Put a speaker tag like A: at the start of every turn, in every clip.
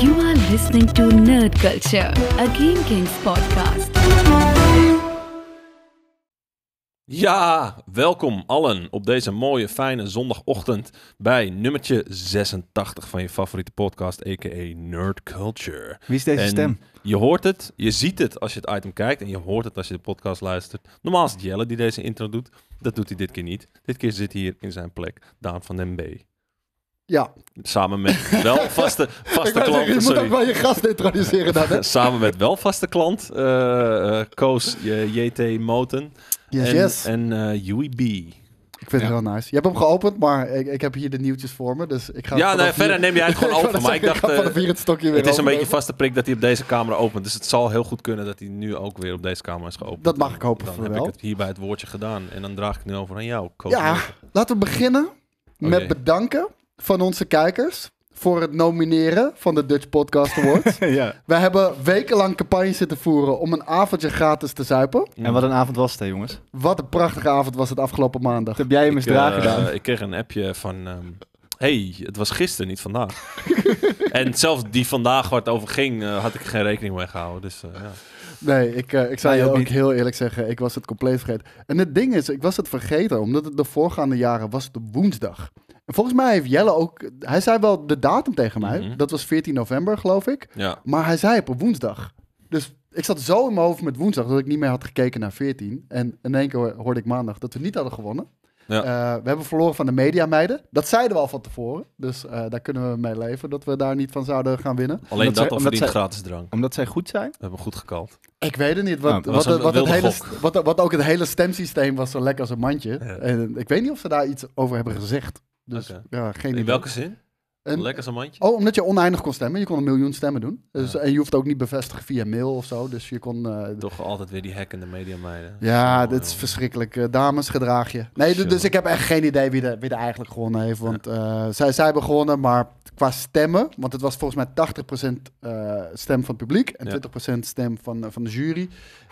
A: You are listening to Nerd Culture, a Game Kings podcast.
B: Ja, welkom allen op deze mooie, fijne zondagochtend bij nummertje 86 van je favoriete podcast, a.k.a. Nerd Culture.
C: Wie is deze
B: En
C: stem?
B: Je hoort het, je ziet het als je het item kijkt en je hoort het als je de podcast luistert. Normaal is het Jelle die deze intro doet, dat doet hij dit keer niet. Dit keer zit hier in zijn plek Daan van den B.
D: Ja,
B: Samen met wel vaste,
D: ik
B: vaste
D: wou zeggen,
B: klanten,
D: je moet ook
B: sorry.
D: wel je gast introduceren dan. Hè?
B: Samen met wel vaste klant, eh, eh, Koos eh, JT Moten
D: Yes,
B: en,
D: yes.
B: en eh, Joey B.
D: ik vind het wel nice. Je hebt hem geopend, maar ik, ik heb hier de nieuwtjes voor me. Dus ik ga
B: Ja,
D: vanaf
B: nee,
D: hier-
B: verder neem jij het gewoon
D: Ik wou
B: over,
D: net
B: maar ik
D: zeggen,
B: dacht,
D: ga vanaf
B: eh,
D: hier het stokje weer
B: Het is een beetje
D: overnemen.
B: vaste prik dat hij op deze camera opent. Dus het zal heel goed kunnen dat hij nu ook weer op deze camera is geopend.
D: Dat mag ik hopen
B: Dan
D: voor
B: heb
D: wel.
B: ik het hier bij het woordje gedaan. En dan draag ik het nu over aan jou, coach.
D: Ja,
B: Milton.
D: laten we beginnen
B: Oké.
D: met bedanken van onze kijkers voor het nomineren van de Dutch Podcast Awards.
C: ja.
D: We hebben wekenlang campagne zitten voeren om een avondje gratis te zuipen.
C: En wat een avond was het, hè, jongens. Dat
D: Wat een prachtige avond was het afgelopen maandag.
C: heb jij hem eens
B: Ik, eh,
C: dragen gedaan.
B: ik kreeg een appje van... ehm, hey, het was gisteren, niet vandaag. en zelfs die vandaag waar het over ging, eh, had ik geen rekening mee gehouden. Dus eh, ja.
D: Nee, ik, eh, ik zou
C: Nee,
D: je
C: ook
D: ook
C: niet.
D: heel eerlijk zeggen, ik was het compleet vergeten. En het ding is, ik was het vergeten, omdat het de voorgaande jaren was de woensdag. En volgens mij heeft Jelle ook, hij zei wel de datum tegen mij,
B: Mhm.
D: dat was 14 november geloof ik,
B: ja.
D: maar hij zei op een woensdag. Dus ik zat zo in mijn hoofd met woensdag dat ik niet meer had gekeken naar 14. En in één keer hoor- hoorde ik maandag dat we niet hadden gewonnen.
B: Ja.
D: Eh, we hebben verloren van de mediameiden. Dat zeiden we al van tevoren. Dus eh, daar kunnen we mee leven dat we daar niet van zouden gaan winnen.
B: Alleen dat
C: zij-
B: of
C: omdat
B: verdient
C: zij-
B: gratis drank.
C: Omdat zij goed zijn?
B: We hebben goed gekald.
D: Ik weet het niet.
C: Nou,
D: Wat,
C: dat
B: was
D: wat,
B: een
D: wat, het
B: wilde
D: hele,
B: gok.
D: st- wat, wat ook het hele stemsysteem was zo lekker als een mandje. En ik weet niet of ze daar iets over hebben gezegd. Dus
B: Oké.
D: ja, geen idee.
B: In welke zin?
D: En-
B: Lekker zo'n mandje?
D: Oh, omdat je oneindig kon stemmen. Je kon een miljoen stemmen doen. Dus,
B: Ja.
D: En je hoeft ook niet bevestigen via mail of zo. Dus je kon... eh,
B: Toch altijd weer die hack in de media meiden.
D: ja,
B: Zo,
D: dit is
B: eh,
D: verschrikkelijk. Eh, dames, gedraag je. Nee, d-
B: Zo.
D: dus ik heb echt geen idee wie er wie er eigenlijk gewonnen heeft. Want eh, zij, zij hebben gewonnen, maar qua stemmen... Want het was volgens mij 80% eh, stem van het publiek... en
B: Ja.
D: 20% stem van, eh, van de jury.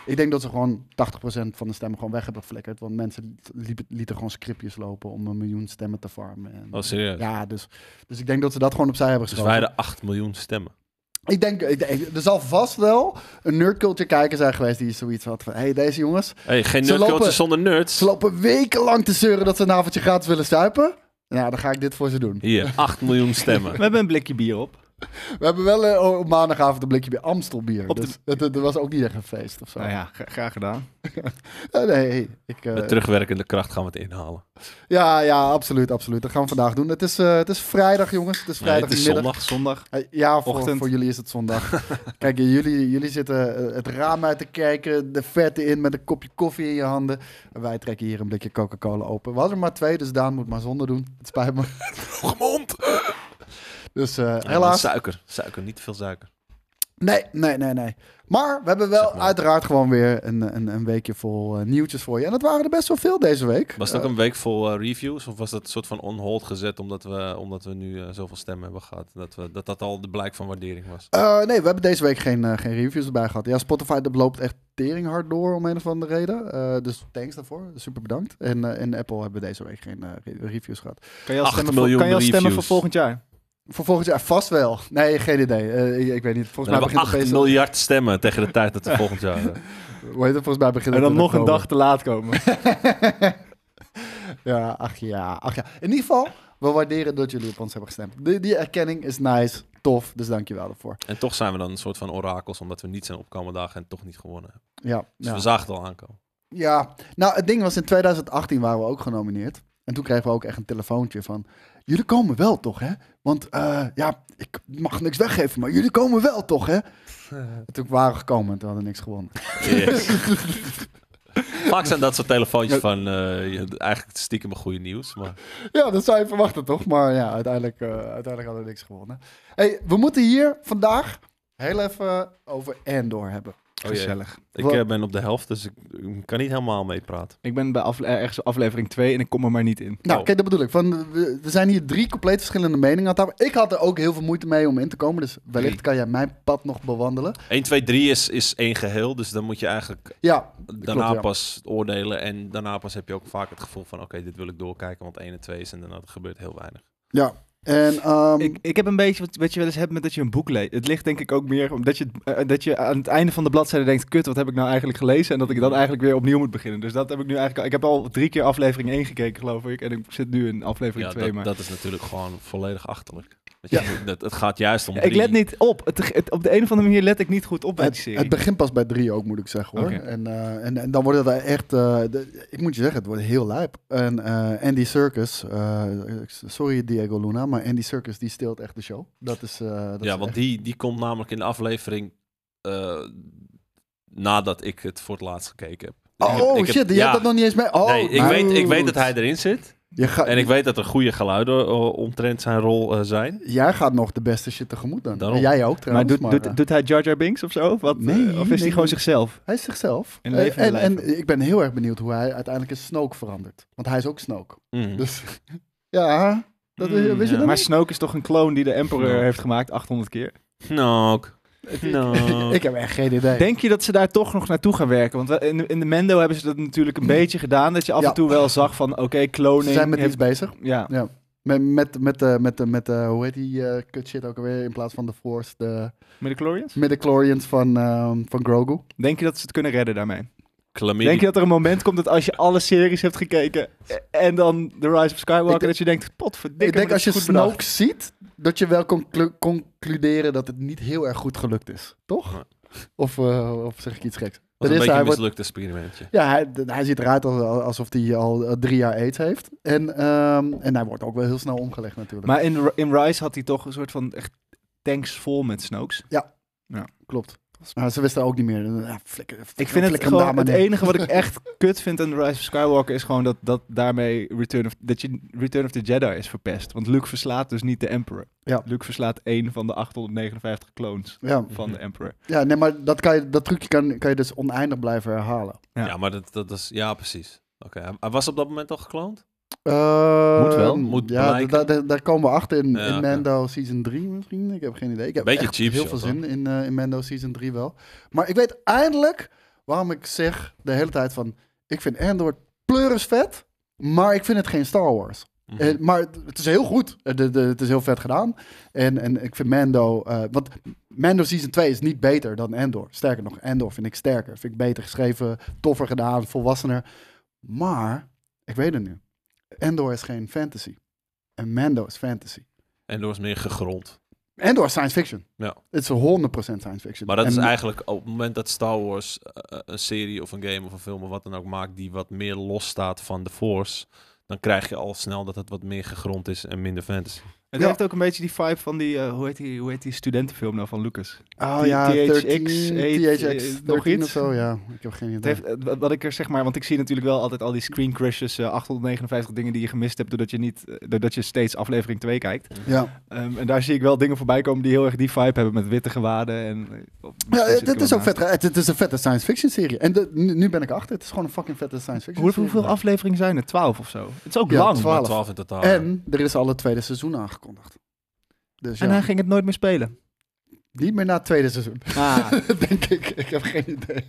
D: Ik denk dat ze gewoon 80% van de stemmen gewoon weg hebben geflikkerd. Want mensen liepen, lieten gewoon scriptjes lopen om een miljoen stemmen te farmen. En,
B: Oh, serieus?
D: ja, dus, dus ik denk dat ze dat gewoon opzij hebben
B: Dus
D: geschoven.
B: wij hadden 8 miljoen stemmen.
D: Ik denk, ik denk- er zal vast wel een nerdculture kijker zijn geweest die zoiets had van... hey, deze jongens...
B: Hey, geen
D: Ze
B: nerdcoaches
D: lopen-
B: zonder nerds.
D: Ze lopen wekenlang te zeuren dat ze een avondje gratis willen stuipen. Nou, dan ga ik dit voor ze doen.
B: Hier, 8 miljoen stemmen.
C: We hebben een blikje bier op.
D: We hebben wel eh, op maandagavond een blikje bij Amstel bier.
C: Op de-
D: Dus dat, dat- dat was ook niet echt een feest of zo.
C: Nou ja, gra- graag gedaan.
D: Eh, nee, hey, ik, eh,
B: Oh Met terugwerkende kracht gaan we het inhalen.
D: ja, ja, absoluut, absoluut. Dat gaan we vandaag doen. Het is, eh, het is vrijdag, jongens. Het is
B: Nee, het
D: vrijdagmiddag.
B: is zondag.
C: Zondag.
D: Eh, Ja, voor,
C: Ochtend.
D: voor jullie is het zondag. Kijk, jullie, jullie zitten eh, het raam uit te kijken, de verte in met een kopje koffie in je handen. En wij trekken hier een blikje Coca-Cola open. We hadden er maar twee, dus Daan moet maar zonder doen. Het spijt me.
B: Gemond!
D: Dus eh, helaas.
B: Suiker, suiker, niet te veel suiker.
D: Nee, nee, nee, nee. Maar we hebben wel
B: Zeg maar.
D: uiteraard gewoon weer een, een, een weekje vol eh, nieuwtjes voor je. En dat waren er best wel veel deze week.
B: Was het ook
D: Eh,
B: een week vol eh, reviews? Of was dat een soort van on hold gezet omdat we, omdat we nu eh, zoveel stemmen hebben gehad? Dat, we, dat dat al de blijk van waardering was.
D: eh, nee, we hebben deze week geen, eh, geen reviews erbij gehad. Ja, Spotify dat loopt echt tering hard door om een of andere reden. Eh, dus thanks daarvoor. Super bedankt. En, eh, en Apple hebben we deze week geen eh, re- reviews gehad.
C: Kan je al
B: Acht
C: stemmen, voor,
B: miljoen
C: kan je al stemmen voor
B: reviews.
C: volgend jaar?
D: Voor volgend jaar vast wel. Nee, geen idee. Eh, ik, ik weet niet.
B: We
D: Volgens mij
B: hebben
D: begint
B: 8
D: het feest...
B: miljard stemmen tegen de tijd dat we volgend jaar... eh,
D: Hoe heet het? Volgens mij begint het
C: En dan
D: in
C: nog een
D: oktober.
C: dag te laat komen.
D: ja, ach ja, ach ja. In ieder geval, we waarderen dat jullie op ons hebben gestemd. Die, die erkenning is nice, tof, dus dankjewel daarvoor.
B: En toch zijn we dan een soort van orakels omdat we niet zijn opkomen dagen en toch niet gewonnen hebben.
D: Ja,
B: Dus
D: ja.
B: we zagen het al aankomen.
D: ja, nou het ding was in 2018 waren we ook genomineerd. En toen kregen we ook echt een telefoontje van, jullie komen wel toch hè? Want eh, ja, ik mag niks weggeven, maar jullie komen wel toch hè? En toen waren we gekomen en toen hadden we niks gewonnen.
B: Yes. Vaak zijn dat soort telefoontjes van eh, je- eigenlijk stiekem een goede nieuws, maar...
D: Ja, dat zou je verwachten, toch? Maar ja, uiteindelijk, eh, uiteindelijk hadden we niks gewonnen. hey, we moeten hier vandaag heel even over Endor hebben.
B: Oh jee.
C: Gezellig.
B: Ik
D: Wat-
B: eh, ben op de helft, dus ik, ik kan niet helemaal meepraten.
C: Ik ben bij afle- eh, ergens aflevering 2 en ik kom er maar niet in.
D: Nou,
B: Oh.
D: kijk, dat bedoel ik. Van, we, er zijn hier drie compleet verschillende meningen aan tafel. Ik had er ook heel veel moeite mee om in te komen, dus wellicht
C: Drie.
D: kan jij mijn pad nog bewandelen.
B: 1, 2, 3 is, is één geheel, dus dan moet je eigenlijk
D: Ja,
B: daarna
D: klopt, ja.
B: pas oordelen. En daarna pas heb je ook vaak het gevoel van, oké, dit wil ik doorkijken, want 1 en 2 is en daarna gebeurt heel weinig.
D: ja. En, ehm,
C: Ik, ik heb een beetje wat, wat je wel eens hebt met dat je een boek leest. Het ligt denk ik ook meer omdat je, het- eh, dat je aan het einde van de bladzijde denkt... kut, wat heb ik nou eigenlijk gelezen? En dat ik dan eigenlijk weer opnieuw moet beginnen. Dus dat heb ik nu eigenlijk... al- Ik heb al drie keer aflevering 1 gekeken, geloof ik. En ik zit nu in aflevering
B: Ja,
C: 2.
B: dat,
C: maar...
B: dat is natuurlijk gewoon volledig achterlijk. Dat je- dat, het gaat juist om
C: Ja, ik
B: drie-
C: let niet op. Het, het- op de een of andere manier let ik niet goed op bij die
D: het,
C: serie.
D: het begint pas bij drie ook, moet ik zeggen hoor.
C: Oké.
D: En, eh, en, en dan wordt het echt, eh, de- ik moet je zeggen, het wordt heel lijp. En eh, Andy Circus, sorry Diego Luna, maar Andy Circus die steelt echt de show. Dat is, eh, dat
B: Ja,
D: is
B: want
D: echt-
B: die, die komt namelijk in de aflevering eh, nadat ik het voor het laatst gekeken heb. Ik heb-
D: Oh
B: ik heb-
D: shit, je
B: ja.
D: hebt dat nog niet eens mee. Oh,
B: nee, ik
D: maar-
B: weet, ik weet dat hij erin zit.
D: Je gaat-
B: En ik weet dat er goede geluiden eh, omtrent zijn rol eh, zijn.
D: Jij gaat nog de beste shit tegemoet dan.
B: Daarom.
D: En jij ook
C: maar
D: trouwens.
C: doet,
D: maar, eh,
C: doet, doet hij Jar Jar Binks of zo? Of, wat?
D: Nee,
C: Eh, of is
D: nee,
C: hij gewoon
D: nee.
C: zichzelf?
D: Hij is zichzelf.
C: In leven en
D: en, en,
C: lijven.
D: ik ben heel erg benieuwd hoe hij uiteindelijk een Snoke verandert. Want hij is ook Snoke.
B: Mm.
D: Dus ja, dat, wist je
B: Mm, ja.
D: dat
C: Maar
D: niet?
C: Snoke is toch een clone die de Emperor
B: Snoke.
C: heeft gemaakt 800 keer?
B: Knock. Knock.
D: Ik heb echt geen idee.
C: Denk je dat ze daar toch nog naartoe gaan werken? Want we- in, in de Mendo hebben ze dat natuurlijk een beetje gedaan. Dat je af
D: Ja.
C: en toe wel zag van, oké, cloning...
D: Ze zijn met
C: Oh, heeft-
D: iets bezig.
C: Ja,
D: Met, met, met, eh, met, eh, met eh, hoe heet die eh kut shit ook alweer? In plaats van de Force, de
C: midichlorians?
D: midichlorians van, ehm, van Grogu.
C: Denk je dat ze het kunnen redden daarmee?
B: Chlamydia.
C: Denk je dat er een moment komt dat als je alle series hebt gekeken... eh, en dan The Rise of Skywalker,
D: Ik denk-
C: dat je denkt, potverdikke,
D: ik denk
C: maar
D: als
C: dat
D: je
C: is goed bedacht.
D: Snoke ziet, dat je wel kon clu- concluderen dat het niet heel erg goed gelukt is. Toch?
B: Ja.
D: Of, eh, of zeg ik iets geks?
B: was
D: Dat
B: een
D: is,
B: beetje
D: hij
B: een
D: wordt-
B: mislukt experimentje.
D: Ja, hij, d- hij ziet eruit als- alsof hij al eh, drie jaar aids heeft. En, ehm, en hij wordt ook wel heel snel omgelegd natuurlijk.
C: Maar in, in Rise had hij toch een soort van echt tanks vol met Snokes.
D: Klopt. Maar ze wisten ook niet meer. Ja, flikker,
C: Ik vind het
D: flikker hem daar
C: gewoon
D: maar
C: het
D: neer.
C: enige wat ik echt kut vind aan The Rise of Skywalker is gewoon dat, dat daarmee Return of, dat je Return of the Jedi is verpest. Want Luke verslaat dus niet de Emperor.
D: Ja.
C: Luke verslaat één van de 859 clones
D: Ja,
C: van de Emperor.
D: ja nee, maar dat, kan je, dat trucje kan, kan je dus oneindig blijven herhalen.
B: Ja,
C: Ja.
B: maar dat, dat is... Ja, precies. Oké, hij- hij was op dat moment al gekloond?
D: Eh,
C: Moet wel,
B: moet
D: ja,
B: blijken.
D: daar- daar- daar komen we achter in,
B: Ja,
D: in
B: oké.
D: Mando Season 3 misschien. Ik heb geen idee. Ik heb
B: Beetje
D: echt
B: cheap
D: heel
B: shot,
D: veel
B: hoor.
D: zin in, eh, in Mando Season 3 wel. Maar ik weet eindelijk waarom ik zeg de hele tijd van... Ik vind Andor pleuris vet, maar ik vind het geen Star Wars.
B: Mhm.
D: Eh, maar het- het is heel goed. Eh, de- de- het is heel vet gedaan. En, en ik vind Mando... eh, want Mando Season 2 is niet beter dan Andor. Sterker nog, Andor vind ik sterker. Vind ik beter geschreven, toffer gedaan, volwassener. Maar, ik weet het nu. Andor is geen fantasy. En Mando is fantasy.
B: En door is meer gegrond.
D: Andor is science fiction.
B: Ja.
D: Het is 100% science fiction.
B: Maar dat
D: En-
B: is eigenlijk op het moment dat Star Wars eh, eh, een serie of een game of een film of wat dan ook maakt die wat meer los staat van de Force, dan krijg je al snel dat het wat meer gegrond is en minder fantasy.
C: Het
D: Ja.
C: heeft ook een beetje die vibe van die, eh, hoe, heet die hoe heet die studentenfilm nou van Lucas?
D: Oh
C: T-
D: ja,
C: THX,
D: 13,
C: eh,
D: THX,
C: nog
D: 13
C: iets?
D: of zo. Ja, ik heb geen idee.
C: Het heeft, eh, wa- wat ik er zeg maar, want ik zie natuurlijk wel altijd al die screen crashes, eh, 859 dingen die je gemist hebt doordat je, niet, eh, doordat je steeds aflevering 2 kijkt.
D: ja.
C: Ehm, en daar zie ik wel dingen voorbij komen die heel erg die vibe hebben met witte gewaden. En, eh, of
D: Ja,
C: misschien zit
D: het,
C: ik
D: het
C: er
D: is
C: wel
D: ook
C: naast.
D: vet. Het, het is een vette science fiction serie. En de- nu, nu ben ik achter. Het is gewoon een fucking vette science fiction
C: Hoe,
B: eh,
D: serie.
C: hoeveel afleveringen zijn er? 12 of zo? Het is ook
D: Ja,
C: lang.
D: 12.
B: Maar 12 in totaal.
D: Ah. En er is al het tweede seizoen aangekondigd. Dus ja,
C: En hij ging het nooit meer spelen.
D: niet meer na het tweede seizoen.
C: Ah,
D: Denk ik. Ik heb geen idee.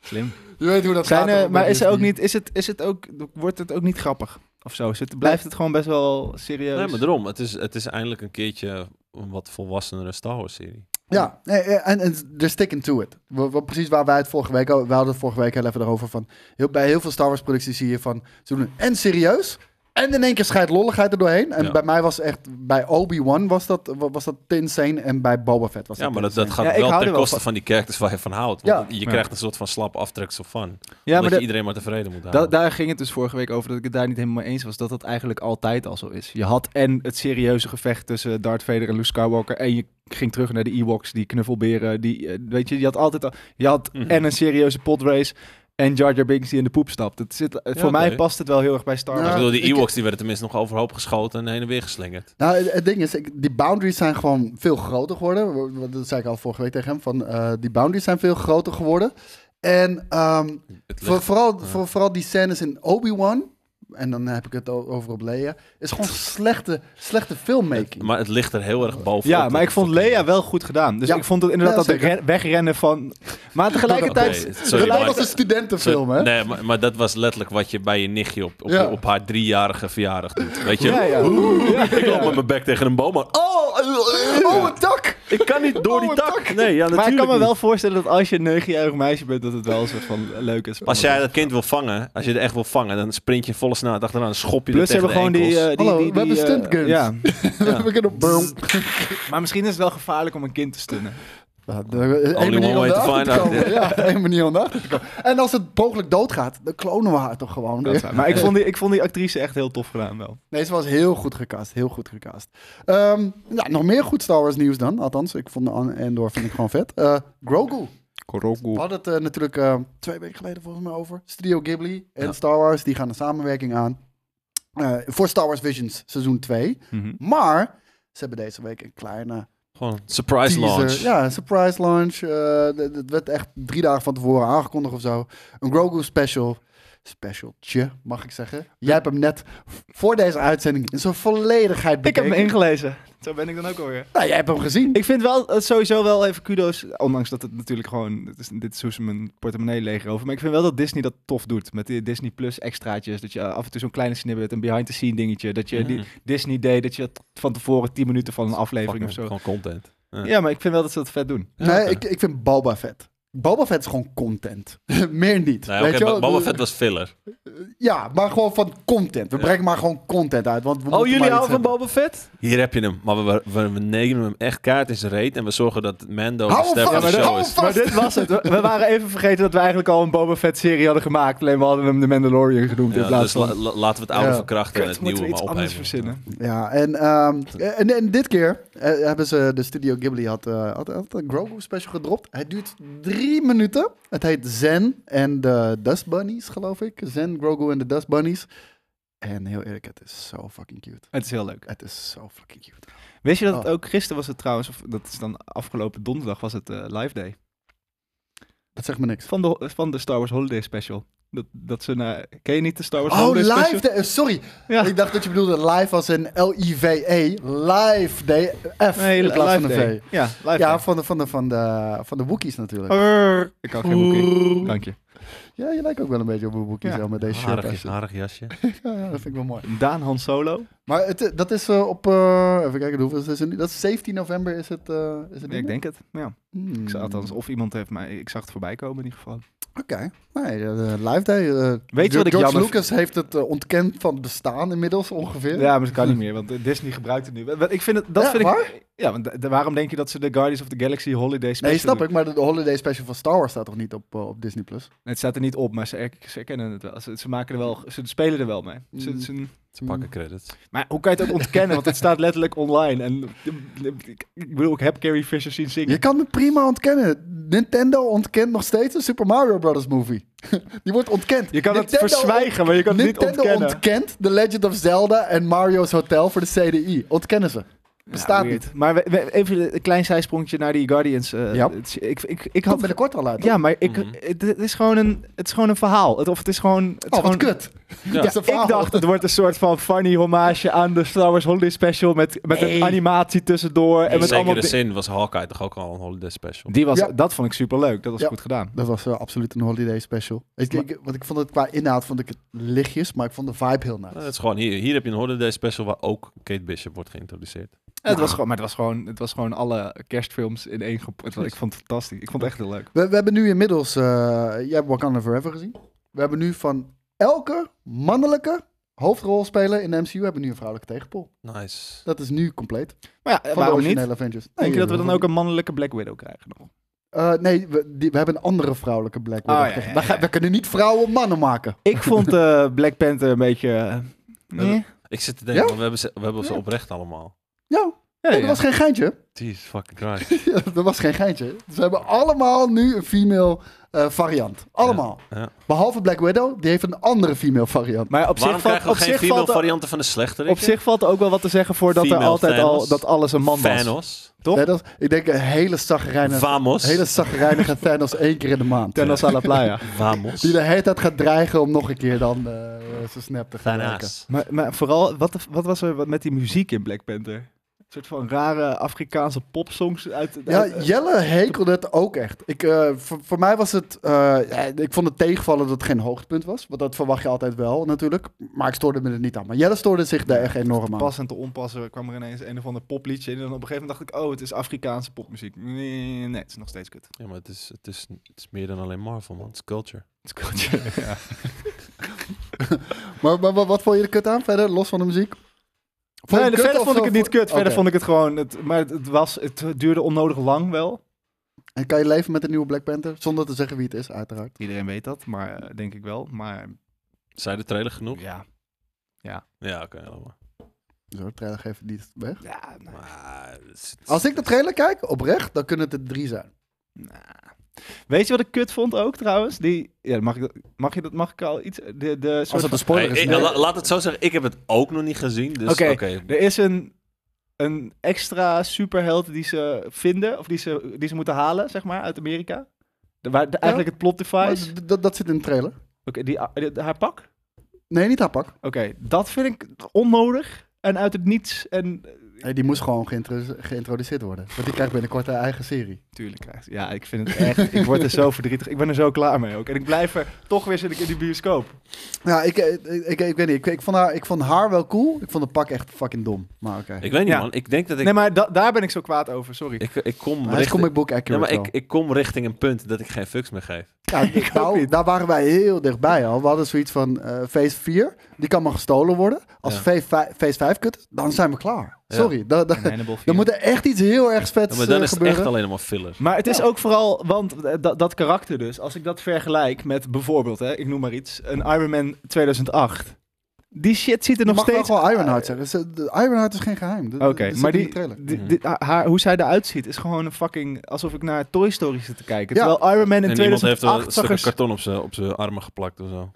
C: slim.
D: Je weet hoe dat
C: Zijn,
D: gaat.
C: eh,
D: hoor,
C: maar
D: bij
C: is er ook
D: Disney.
C: niet, is het, is het ook, wordt het ook niet grappig? Of zo? Is het, blijft het gewoon best wel serieus?
B: Nee, maar daarom. Het is, het is eindelijk een keertje een wat volwassenere Star Wars serie.
D: Ja, nee, eh, en en they're sticking to it. Wa- wa- precies waar wij het vorige week... al- We hadden het vorige week heel even erover van... Heel, bij heel veel Star Wars producties zie je van... Ze doen het en serieus... En in één keer scheidt lolligheid er doorheen. En
B: Ja.
D: bij mij was echt... Bij Obi-Wan was dat, wa- was dat te insane. En bij Boba Fett was
B: Ja,
D: dat
B: maar
D: te
B: dat, dat
D: insane.
B: gaat
C: Ja, ik
B: wel
C: hou
B: ten
C: er wel
B: koste
C: van.
B: van die characters waar je van houdt. Want
D: Ja.
B: je
C: Ja.
B: krijgt een soort van slap aftreksel van.
C: ja,
B: dat
C: maar da-
B: je iedereen maar tevreden moet
C: da-
B: houden.
C: daar ging het dus vorige week over dat ik het daar niet helemaal mee eens was. Dat dat eigenlijk altijd al zo is. Je had en het serieuze gevecht tussen Darth Vader en Luke Skywalker. En je ging terug naar de Ewoks, die knuffelberen. Die, eh, weet je, je had altijd al, je had
B: Mhm.
C: en een serieuze podrace. En Jar Jar Binks die in de poep stapt. Het zit, eh,
B: Ja,
C: voor mij
B: oké.
C: past het wel heel erg bij Star
D: Ja.
C: Wars.
B: ik bedoel, die
D: ik-
B: Ewoks die werden tenminste nog overhoop geschoten en heen en weer geslingerd.
D: Nou, het, het ding is, ik- die boundaries zijn gewoon veel groter geworden. W- w- Dat zei ik al vorige week tegen hem. Van, eh, die boundaries zijn veel groter geworden. En ehm,
B: Het
D: voor,
B: ligt-
D: vooral,
B: ja.
D: voor, vooral die scènes in Obi-Wan. en dan heb ik het o- over op Lea, is gewoon slechte, slechte filmmaking.
B: Maar het ligt er heel erg boven.
C: Ja, maar ik vond Lea wel goed gedaan. Dus
D: Ja.
C: ik vond het inderdaad
D: Ja,
C: dat de
D: zeker.
C: re- wegrennen van... Maar tegelijkertijd...
B: Oké, sorry,
D: Gelijk
B: maar-
D: als een studentenfilm, hè?
B: Nee, maar, maar dat was letterlijk wat je bij je nichtje op, op,
D: Ja.
B: op haar driejarige verjaardag doet. Weet je?
C: Ja, ja. Ja,
B: Ik
C: ja.
B: loop met mijn bek tegen een boom, maar
D: Oh, oh, een tak!
B: ik kan niet door die
D: Oh,
B: tak. Nee, ja, natuurlijk
C: Maar ik kan me
B: niet.
C: wel voorstellen dat als je een 9-jarig meisje bent, dat het wel een soort van leuk is.
B: Als jij dat kind wil vangen, als je het echt wil vangen, dan sprint je volle snelheid achteraan, schop je
C: Plus
B: er
C: ze
B: tegen
C: hebben gewoon
B: de
C: die,
B: enkels.
C: eh, die,
D: Hallo,
C: die,
D: we
C: die,
D: hebben
C: eh,
D: stunt guns.
C: Ja.
D: Dan heb ik het op. Boom.
C: Maar misschien is het wel gevaarlijk om een kind te stunnen.
D: Ja, de- eh, één
B: one
D: manier om
B: way to
D: erachter
B: find
D: te
B: out,
D: komen. Ja, één manier om erachter te komen. En als het mogelijk doodgaat, dan klonen we haar toch gewoon
C: Dat is
D: weer.
C: waar. Maar ik vond, die, ik vond die actrice echt heel tof gedaan wel.
D: Nee, ze was heel goed gecast. Heel goed gecast. Ehm, ja, nog meer goed Star Wars nieuws dan. Althans, ik vond An- Andor vind ik gewoon vet. Eh, Grogu. We
C: Koroku.
D: hadden het eh, natuurlijk eh, twee weken geleden volgens mij over. Studio Ghibli en
B: Ja.
D: Star Wars, die gaan een samenwerking aan. eh, voor Star Wars Visions seizoen 2.
B: Mhm.
D: Maar ze hebben deze week een kleine
C: eh,
B: Gewoon surprise
D: teaser.
B: launch.
D: Ja, een surprise launch. Eh dat werd echt drie dagen van tevoren aangekondigd of zo. Een Grogu special. Specialtje, mag ik zeggen. Jij hebt hem net voor deze uitzending in zijn volledigheid
C: Ik heb
D: bekeken.
C: hem ingelezen. Zo ben ik dan ook alweer.
D: Nou, jij hebt hem gezien.
C: Ik vind wel eh, sowieso wel even kudo's, ondanks dat het natuurlijk gewoon, het is, dit is hoe ze mijn portemonnee leeg over. Maar ik vind wel dat Disney dat tof doet met die Disney Plus extraatjes. Dat je eh, af en toe zo'n kleine snippet, een behind the scene dingetje. Dat je
B: Ja.
C: die Disney deed, dat je dat van tevoren 10 minuten van een aflevering
B: Fucking
C: of zo.
B: Gewoon content.
C: Ja, maar ik vind wel dat ze dat vet doen.
D: nee,
B: oké.
D: ik, ik vind Boba vet. Boba Fett is gewoon content. Meer niet.
B: Nee,
D: weet
B: oké,
D: je wel?
B: Bob- Boba Fett was filler.
D: Ja, maar gewoon van content. We brengen maar gewoon content uit.
C: Oh,
D: Want we moeten maar iets hebben.
B: Boba Fett? Hier heb je hem. Maar we, we, we nemen hem echt kaart in zijn reet en we zorgen dat Mando
D: Hou
B: de
D: hem
B: ster van de
D: vast,
B: show
D: hou
B: is.
D: hem vast.
C: Maar dit was het. We we waren even vergeten dat we eigenlijk al een Boba Fett serie hadden gemaakt. Alleen we hadden hem de Mandalorian genoemd in
B: Ja,
C: plaats
B: dus la-
C: van...
B: la- laten we het oude
D: Ja.
B: verkrachten en
C: Kut,
B: het
C: moeten
B: nieuwe
C: we
B: maar
C: iets anders
B: opheffen. eh.
C: verzinnen.
D: Ja, en, ehm, en, en dit keer eh, hebben ze de Studio Ghibli had, eh, had, had een Grogu special gedropt. Het duurt drie minuten. Het heet Zen en de Dust Bunnies, geloof ik. Zen, Grogu en de Dust Bunnies. En heel eerlijk, het is zo fucking cute.
C: Het is heel leuk.
D: Het is zo fucking cute.
C: Wist je dat
D: Oh.
C: het ook gisteren was het trouwens, of dat is dan afgelopen donderdag, was het eh, live day.
D: Dat zegt me niks.
C: Van de, van de Star Wars Holiday Special. Dat, dat ze naar, ken je niet de Star Wars
D: Oh,
C: Holiday Special?
D: live day. eh, Sorry,
C: Ja.
D: ik dacht dat je bedoelde live als een L-I-V-E. E. Live day. F
C: Nee,
D: in plaats
C: live
D: van een
C: day.
D: V.
C: Ja, live
D: Ja,
C: ja,
D: van de, van de, van de, van de Wookiees natuurlijk.
C: Oh. Ik kan geen boekie. Dank je.
D: Ja, je lijkt ook wel een beetje op een Wookiees
C: Ja.
D: zo met deze shirt.
B: Harig, harig jasje.
D: Ja, ja, dat vind ik wel mooi.
C: Daan Han Solo.
D: Maar het, eh, dat is eh, op, eh, even kijken, hoeveel is het nu? Dat is 17 november is het, eh, is het
C: Ja, ik
D: ding?
C: denk het. Ja.
D: Hmm.
C: Ik zag, althans, of iemand heeft mij, ik zag het voorbij komen in ieder geval.
D: Oké, nee, eh, eh, live day. eh,
C: wat ik
D: George
C: jammer
D: Lucas heeft het eh, ontkend van het bestaan inmiddels ongeveer.
C: Ja, maar dat kan niet meer, want eh, Disney gebruikt het nu. Wa- wa- Ik vind het, dat
D: Ja,
C: vind
D: waar?
C: ik. Ja, want da- da- waarom denk je dat ze de Guardians of the Galaxy Holiday Special.
D: Nee, snap
C: doen?
D: ik, maar de de holiday special van Star Wars staat toch niet op, eh, op Disney+. Plus?
C: Nee, Het staat er niet op, maar ze, er- ze erkennen het wel. Ze, ze maken er wel, ze spelen er wel mee. Ze,
D: Mm.
C: ze-
B: Ze pakken credits.
C: maar hoe kan je het ook ontkennen? Want het staat letterlijk online. En ik- ik ik bedoel, ik heb Carrie Fisher zien zingen.
D: Je kan het prima ontkennen. Nintendo ontkent nog steeds een Super Mario Bros. movie. Die wordt ontkend.
C: Je kan het
D: Nintendo
C: verzwijgen, maar je kan het niet
D: Nintendo
C: ontkennen.
D: ontkent The Legend of Zelda en Mario's Hotel voor de CDI. Ontkennen ze. Bestaat
C: Ja,
D: niet.
C: Nou, weird. Maar we- we- even een klein zijsprongetje naar die Guardians. eh,
D: Ja.
C: het- ik, ik, ik
D: Komt
C: had...
D: binnenkort al uit. Oh,
C: Ja, maar ik,
B: Mhm.
C: het, het is gewoon een, het is gewoon een verhaal. Het, of het is gewoon... Het is
D: Oh,
C: gewoon,
D: wat kut.
B: Ja.
D: Dat is een verhaal.
C: Ik dacht, het wordt een soort van funny hommage aan de Star Wars Holiday Special met, met
D: Nee.
C: een animatie tussendoor. En
B: In
C: met allemaal
B: zekere
C: di-
B: zin was Hawkeye toch ook al een holiday special.
C: die was,
D: Ja.
C: Dat vond ik superleuk. Dat was
D: Ja.
C: goed gedaan.
D: Dat was eh, absoluut een holiday special. Ik,
C: Maar-
D: ik- want ik vond het qua inhoud vond ik het lichtjes, maar ik vond de vibe heel nice.
B: Eh, het is gewoon hier. Hier heb je een holiday special waar ook Kate Bishop wordt geïntroduceerd.
C: Het was gewoon, maar het was, gewoon, het was gewoon alle kerstfilms in één gep- het was- Ik vond het fantastisch. Ik vond het echt heel leuk.
D: We, we hebben nu inmiddels, eh jij hebt Wakanda Forever gezien. We hebben nu van elke mannelijke hoofdrolspeler in de MCU hebben we nu een vrouwelijke tegenpol.
B: Nice.
D: Dat is nu compleet.
C: Maar ja,
D: Van
C: Eh, waarom
D: de
C: niet?
D: originele Avengers.
C: Denk je dat we dan ook
D: een...
C: een mannelijke Black Widow krijgen nog?
D: Eh, nee, we, die- we hebben een andere vrouwelijke Black Widow.
C: Oh, ja, ja,
D: We, gaan-
C: ja.
D: we kunnen niet vrouwen mannen maken.
C: Ik vond eh, Black Panther een beetje... eh,
B: Nee.
C: nee.
B: Ik zit te denken,
D: Ja?
B: want we hebben ze, we hebben ze
D: Ja.
B: oprecht allemaal.
D: Ja,
C: Ja,
D: Nee,
C: ja.
D: dat was geen geintje.
B: Jeez, fucking Christ.
D: Ja, dat was geen geintje. Ze hebben allemaal nu een female eh, variant. Allemaal.
B: ja.
D: Behalve Black Widow, die heeft een andere female variant.
C: Maar op
B: Waarom
C: zich valt,
B: krijgen we
C: op
B: geen
C: zich
B: female
C: valt,
B: varianten van de slechtere?
C: op zich valt er ook wel wat te zeggen voor dat er
B: Female
C: altijd al
B: Thanos.
C: dat alles een man was.
B: Thanos.
C: Toch?
D: Nee, dat is- ik denk een hele zagrijnige,
B: Vamos.
D: hele zagrijnige Thanos één keer in de maand.
C: Thanos à la playa.
B: Vamos.
D: Die de hele tijd gaat dreigen om nog een keer dan eh, zijn snap te gebruiken.
B: Thanos.
C: Maar, maar vooral, wat, wat was er wat met die muziek in Black Panther? Een soort van rare Afrikaanse popsongs uit...
D: Ja,
C: uit- eh,
D: Jelle hekelde het ook echt. Ik, eh, voor, voor mij was het... eh, ja, ik vond het tegenvallen dat het geen hoogtepunt was. Want dat verwacht je altijd wel, natuurlijk. Maar ik stoorde me er niet aan. Maar Jelle stoorde zich daar echt enorm aan.
C: Pas en te onpassen kwam er ineens een of ander popliedje in. En dan op een gegeven moment dacht ik, oh, het is Afrikaanse popmuziek. Nee, nee het is nog steeds kut.
B: Ja, maar het is, het, is, het is meer dan alleen Marvel, man. Het is culture.
C: Het is kut, ja.
D: Maar, maar, maar wat vond je er kut aan verder, los van de muziek? Vond je
C: Nee,
D: het kut
C: verder
D: of
C: vond ik het niet kut. Verder
D: Oké.
C: vond ik het gewoon... Het, maar het, het was, het duurde onnodig lang wel.
D: En kan je leven met een nieuwe Black Panther? Zonder te zeggen wie het is, uiteraard.
C: Iedereen weet dat, maar eh, denk ik wel. Maar
B: Zij de trailer genoeg?
C: ja,
B: Ja, oké. helemaal.
D: Zo, de trailer geeft het niet weg.
C: ja nou,
B: Maar het is-
D: Als ik de trailer kijk, oprecht, dan kunnen het er drie zijn.
C: nou. Weet je wat ik kut vond ook trouwens? Die, ja, mag, ik, dat- mag, je dat, mag ik al iets... De, de soort
D: Als het
C: van-
D: een spoiler
B: Hey,
D: is.
B: ik-
D: nee.
B: la- laat het zo zeggen, ik heb het ook nog niet gezien. Dus oké.
C: Oké, Er is een, een extra superheld die ze vinden, of die ze, die ze moeten halen, zeg maar, uit Amerika. De- waar de- eigenlijk het plot
D: Maar
C: device.
D: d- dat- dat zit in de trailer.
C: Oké, die, a- die- haar pak. Oké,
D: Nee, niet haar pak.
C: dat vind ik onnodig en uit het niets. En
D: Nee, die moest gewoon geïntro- geïntroduceerd worden. Want die krijgt binnenkort haar eigen serie.
C: tuurlijk krijgt. Ja, ik vind het echt. ik word er zo verdrietig. Ik ben er zo klaar mee ook. En ik blijf er toch weer zit ik in die bioscoop.
D: Ja, ik, eh, ik, ik, ik weet niet. Ik, ik, vond haar, ik vond haar wel cool. Ik vond het pak echt fucking dom. Maar oké.
B: Ik weet niet,
C: Ja.
B: man. Ik denk dat ik...
C: Nee, maar da- daar ben ik zo kwaad over. Sorry.
B: ik, ik kom
D: Hij is
B: richting...
D: comic book
B: Ja,
D: accurate
B: maar ik, ik kom richting een punt dat ik geen fucks meer geef.
D: wel. Ja, nou, daar waren wij heel dichtbij al. We hadden zoiets van eh Phase 4, die kan maar gestolen worden. Als
B: Ja.
D: phase, 5, phase 5 kut, dan zijn we klaar.
B: Ja.
D: Sorry, da- da-
C: En Hannibal
D: dan
C: vier.
D: moet er echt iets heel erg vets
B: Ja, maar dan
D: eh,
B: is het
D: gebeuren.
B: echt alleen maar filler.
C: Maar het is ook vooral, want eh, dat, dat karakter dus, als ik dat vergelijk met bijvoorbeeld, hè, ik noem maar iets, een Iron Man 2008. Die shit ziet er
D: Je
C: nog
D: mag
C: steeds...
D: wel gewoon Ironheart zeggen. Ze- de- Ironheart is geen geheim.
C: Oké, maar die,
D: trailer.
C: die- die- haar, hoe zij eruit ziet is gewoon een fucking... Alsof ik naar Toy Story zit te kijken.
D: Ja.
C: Terwijl Iron Man in
B: en iemand heeft
C: 2008
B: een
C: zag
B: stuk
C: er...
B: karton op zijn op zijn armen geplakt of zo.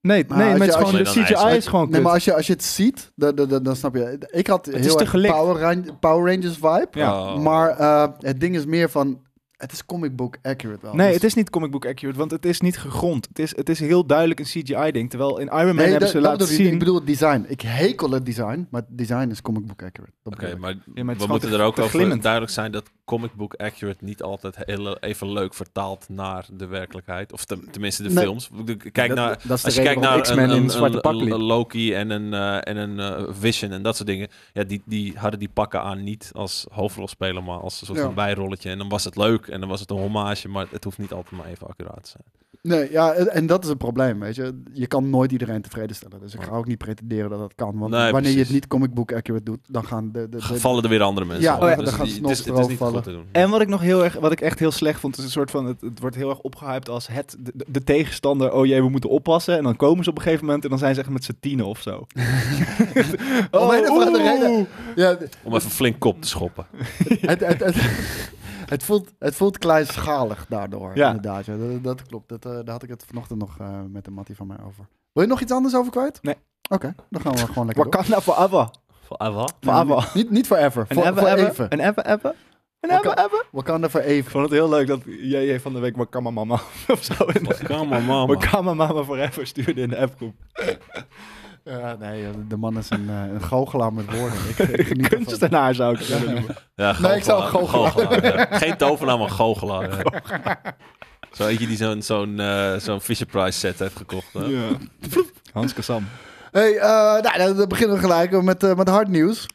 C: Nee,
D: Maar
C: nee
D: als
C: maar
D: je-
C: het is
D: als
C: gewoon, de
B: je-
C: CGI
B: Nee,
C: is gewoon
D: Nee,
C: kut.
D: maar als je, als je het ziet, dan, dan, dan, dan snap je. Ik had
C: is
D: heel
C: te
D: erg
C: gelikt.
D: Power, Ran- Power Rangers vibe.
C: Ja.
B: Oh.
D: Maar eh, het ding is meer van. Het is comic book accurate wel.
C: Nee,
D: Dus-
C: het is niet comic book accurate, want het is niet gegrond. Het is, het is heel duidelijk een CGI-ding. Terwijl in Iron Man
D: Nee, dat-
C: hebben ze
D: dat
C: laten
D: bedoel ik niet.
C: zien...
D: Ik bedoel het design. Ik hekel het design, maar het design is comic book accurate. Dat
B: Oké,
D: bedoel ik.
B: maar,
C: gewoon
B: we
C: te-
B: moeten er ook
C: te
B: over
C: glimmend.
B: duidelijk zijn dat comic book accurate niet altijd heel, even leuk vertaalt naar de werkelijkheid. Of ten- tenminste de
D: Nee.
B: films. Ik bedoel, Kijk
D: Dat-
B: naar,
D: dat is de
B: als je
D: reden
B: kijkt
D: waarom
B: naar
D: X-Men
B: een,
D: in
B: een-
D: zwarte
B: een-
D: pak
B: een
D: liep.
B: Loki en een, eh, en een eh, Vision en dat soort dingen. Ja, die, die hadden die pakken aan niet als hoofdrolspeler, maar als een soort
D: Ja.
B: van bijrolletje. En dan was het leuk en dan was het een hommage, maar het hoeft niet altijd maar even accuraat te zijn.
D: Nee, ja, en- en dat is het probleem, weet je. Je kan nooit iedereen tevreden stellen. Dus ik ga ook niet pretenderen dat dat kan. Want
B: Nee,
D: wanneer je het
B: precies.
D: niet comic book accurate doet, dan gaan de... de, de-
B: Vallen er weer andere mensen
D: Ja,
B: af.
D: oh ja,
B: Dus
D: dan gaan
B: die-
D: ze
B: het is-
D: nog
B: het is niet
D: erover
B: goed te doen.
C: En wat ik nog heel erg, wat ik echt heel slecht vond, is een soort van, het, het wordt heel erg opgehyped als het, de, de- de tegenstander, oh jee, we moeten oppassen. En dan komen ze op een gegeven moment en dan zijn ze echt met z'n tienen of zo. Oh,
D: Om een of andere
C: oeh.
D: reden- ja,
B: Om even flink kop te schoppen.
D: het, het, het, het, voelt, het voelt kleinschalig daardoor,
C: Ja.
D: inderdaad. Ja, dat, dat klopt. Dat, eh, daar had ik het vanochtend nog eh, met een mattie van mij over. Wil je nog iets anders over kwijt?
C: Nee.
D: Oké, dan gaan we gewoon lekker door.
C: Wakanda forever.
B: wat?
D: Nee,
C: forever.
D: niet- Niet, niet forever,
C: En
D: voor,
C: hebben,
D: voor
C: hebben,
D: even.
C: En hebben, hebben. En
D: Waka-
C: hebben, hebben.
D: Wakanda voor
C: Ik
D: even.
C: vond het heel leuk dat JJ van de week Wakama Mama of zo. in de-
B: Come on, mama.
C: Wakama Mama forever stuurde in de appgroep.
D: Ja, nee, eh, de man is een, eh, een goochelaar met woorden. Ik, ik geniet ervan.
C: Kunstenaar zou ik het willen noemen.
B: Ja,
D: Nee, ik zou goochelaar.
B: ja. Geen tovenaar, maar goochelaar. ja. Zo eentje die zo'n zo'n eh, zo'n Fisher Price set heeft gekocht. hè.
C: Ja. Hans Kassam.
D: Hey, eh, nou, dan- dan beginnen we gelijk met, eh, met hard nieuws.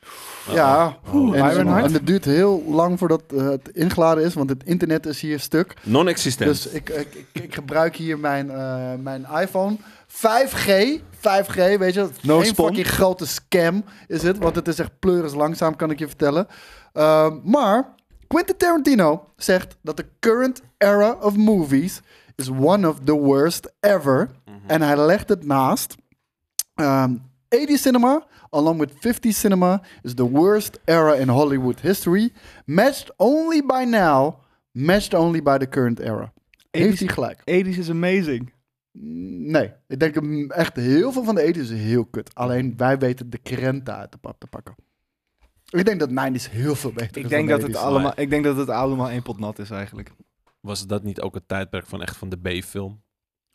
D: Ja,
B: Oh.
D: en,
C: Ironhard.
D: en het duurt heel lang voordat eh, het ingeladen is, want het internet is hier stuk.
B: Non-existent.
D: Dus ik, ik, ik, ik gebruik hier mijn, eh, mijn iPhone. 5G, 5G, weet je,
C: No
D: een
C: spon.
D: fucking grote scam is het, want het is echt pleuris langzaam, kan ik je vertellen. Ehm, maar Quentin Tarantino zegt dat de current era of movies
C: Mhm.
D: is one of the worst ever. En hij legt het naast ehm, 80s cinema, along with 50s cinema, is the worst era in Hollywood history. Matched only by now, matched only by the current era. Heeft
C: 80s
D: hij gelijk?
C: Edis is amazing.
D: Nee, ik denk mm, echt heel veel van de eten is heel kut. Alleen wij weten de krenten uit de pap te pakken. Ik denk dat 90s heel veel beter is
C: Ik denk,
D: dan
C: dat het
D: 80s.
C: allemaal, ik denk dat het allemaal één pot nat is eigenlijk.
B: Was dat niet ook het tijdperk van echt van de B-film?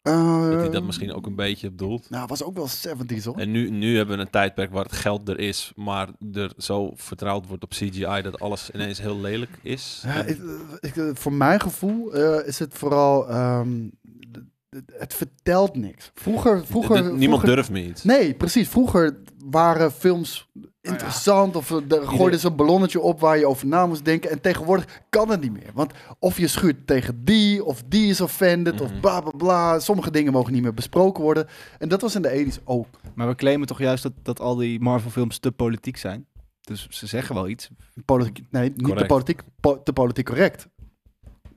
D: Eh,
B: Dat hij dat misschien ook een beetje bedoelt?
D: Nou, was ook wel 70s hoor.
B: En nu, nu hebben we een tijdperk waar het geld er is, maar er zo vertrouwd wordt op CGI dat alles ineens heel lelijk is.
D: Ja,
B: En-
D: ik, ik- eh, voor mijn gevoel eh, is het vooral. ehm, d- d- het vertelt niks. Vroeger. vroeger
B: D- d- niemand
D: vroeger-
B: durft me iets.
D: Nee, precies. Vroeger waren films interessant of eh, er gooiden ze een ballonnetje op waar je over na moest denken. En tegenwoordig kan het niet meer. Want of je schuurt tegen die, of die is offended, of bla bla bla. Sommige dingen mogen niet meer besproken worden. En dat was in de 80s ook.
C: Maar we claimen toch juist dat, dat al die Marvel-films te politiek zijn. Dus ze zeggen wel iets.
D: Politiek, nee, niet te
B: Correct.
D: politiek, po- te politiek correct.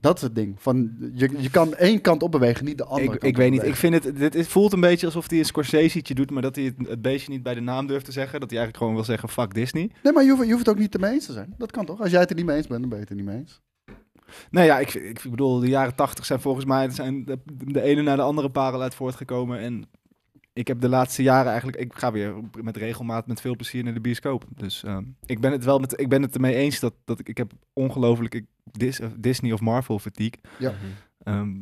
D: Dat is het ding. Van, je, je kan één kant opbewegen, niet de andere
C: Ik,
D: kant
C: ik weet niet. Ik
D: opbewegen.
C: vind het, dit is- voelt een beetje alsof hij een Scorsese doet, maar dat hij het, het beestje niet bij de naam durft te zeggen. Dat hij eigenlijk gewoon wil zeggen, fuck Disney.
D: Nee, maar je hoeft, je hoeft het ook niet het mee eens te zijn. Dat kan toch? Als jij het er niet mee eens bent, dan ben je het er niet mee eens.
C: Nou ja, ik, ik bedoel, de jaren tachtig zijn volgens mij zijn de, de ene naar de andere parel uit voortgekomen. En ik heb de laatste jaren eigenlijk, ik ga weer met regelmaat met veel plezier naar de bioscoop. Dus ehm, ik ben het wel met, ik ben het ermee eens dat, dat ik, ik heb ongelooflijk ik- Dis- eh, Disney of Marvel fatigue.
D: Ja.
B: Mhm.
C: Ehm, maar,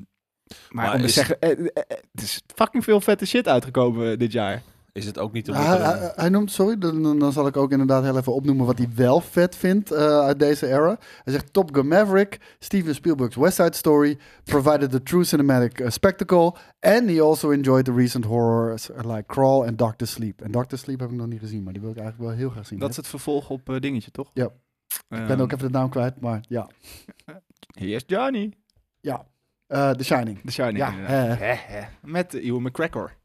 B: Maar
C: om te
B: is-
C: zeggen, eh, eh, eh, het is fucking veel vette shit uitgekomen dit jaar.
B: Is het ook niet te
D: Hij,
B: moeilijk?
D: hij- hij noemt, sorry, dan, dan- dan zal ik ook inderdaad heel even opnoemen wat hij wel vet vindt eh, uit deze era. Hij zegt Top Gun Maverick, Steven Spielberg's West Side Story, provided the true cinematic eh, spectacle, and he also enjoyed the recent horrors eh, like Crawl and Doctor Sleep. En Doctor Sleep heb ik nog niet gezien, maar die wil ik eigenlijk wel heel graag zien.
C: Dat is het vervolg op eh, dingetje, toch?
D: Ja.
C: Ehm,
D: Ik ben ook even de naam kwijt, maar ja.
C: Hier is Johnny.
D: Ja, eh, The Shining.
C: De Shining,
D: Ja,
C: inderdaad.
D: eh.
C: Hè, hè. Met uh, Ewan McCracker.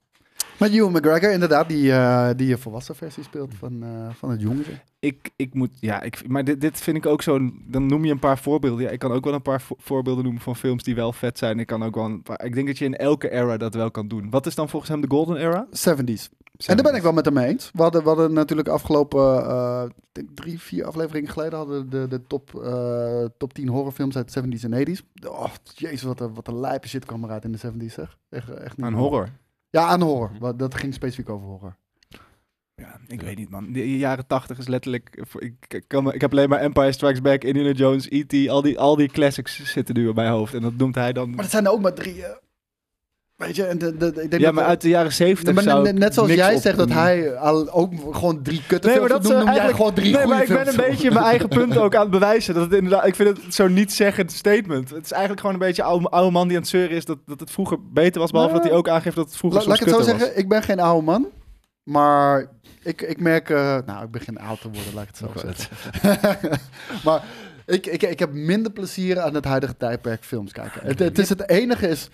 D: Met Ewan McGregor, inderdaad, die, eh, die een volwassen versie speelt van, eh, van het jongere.
C: Ik, ik moet, ja, ik, maar dit, dit vind ik ook zo'n, dan noem je een paar voorbeelden. Ja, ik kan ook wel een paar vo- voorbeelden noemen van films die wel vet zijn. Ik kan ook wel een paar, ik denk dat je in elke era dat wel kan doen. Wat is dan volgens hem de golden era?
D: 70s. En daar ben ik wel met hem eens. We hadden, we hadden natuurlijk afgelopen eh, ik denk drie, vier afleveringen geleden hadden we de, de top, eh, top 10 horrorfilms uit de 70s en 80s. Oh, jezus, wat een, wat een lijpe shit kwam eruit in de 70s, zeg. Echt, echt niet
C: Aan
D: normaal.
C: horror.
D: Ja, aan horror. Wat- Dat ging specifiek over horror.
C: Ja, ik weet niet man. De jaren tachtig is letterlijk, voor- ik, ik kan, me- ik heb alleen maar Empire Strikes Back, Indiana Jones, E.T., al die, al die classics zitten nu in mijn hoofd. En dat noemt hij dan...
D: Maar dat zijn er ook maar drie. eh, weet je, en de, de, ik denk
C: ja,
D: dat-
C: maar uit de jaren zeventig
D: maar
C: zou
D: net-
C: ik
D: net zoals
C: niks
D: jij
C: op
D: zegt dat
C: doen.
D: hij al ook gewoon drie kutte
C: Nee,
D: films
C: maar dat
D: noemt,
C: is
D: noem jij
C: eigenlijk-
D: gewoon drie
C: Nee,
D: goede
C: maar ik ben een
D: films.
C: beetje mijn eigen punt ook aan het bewijzen. Dat het inderdaad, ik vind het zo'n niet-zeggend statement. Het is eigenlijk gewoon een beetje oude, oude man die aan het zeuren is dat, dat het vroeger beter was. Behalve
D: Nou,
C: dat hij ook aangeeft dat het vroeger
D: La- laat
C: soms
D: ik het zo
C: kutter
D: zeggen, ik ben geen oude man. Maar ik, ik merk... eh, nou, ik begin oud te worden, laat ik het zo zeggen. maar ik, ik, ik heb minder plezier aan het huidige tijdperk films kijken. Het, het, is het enige is...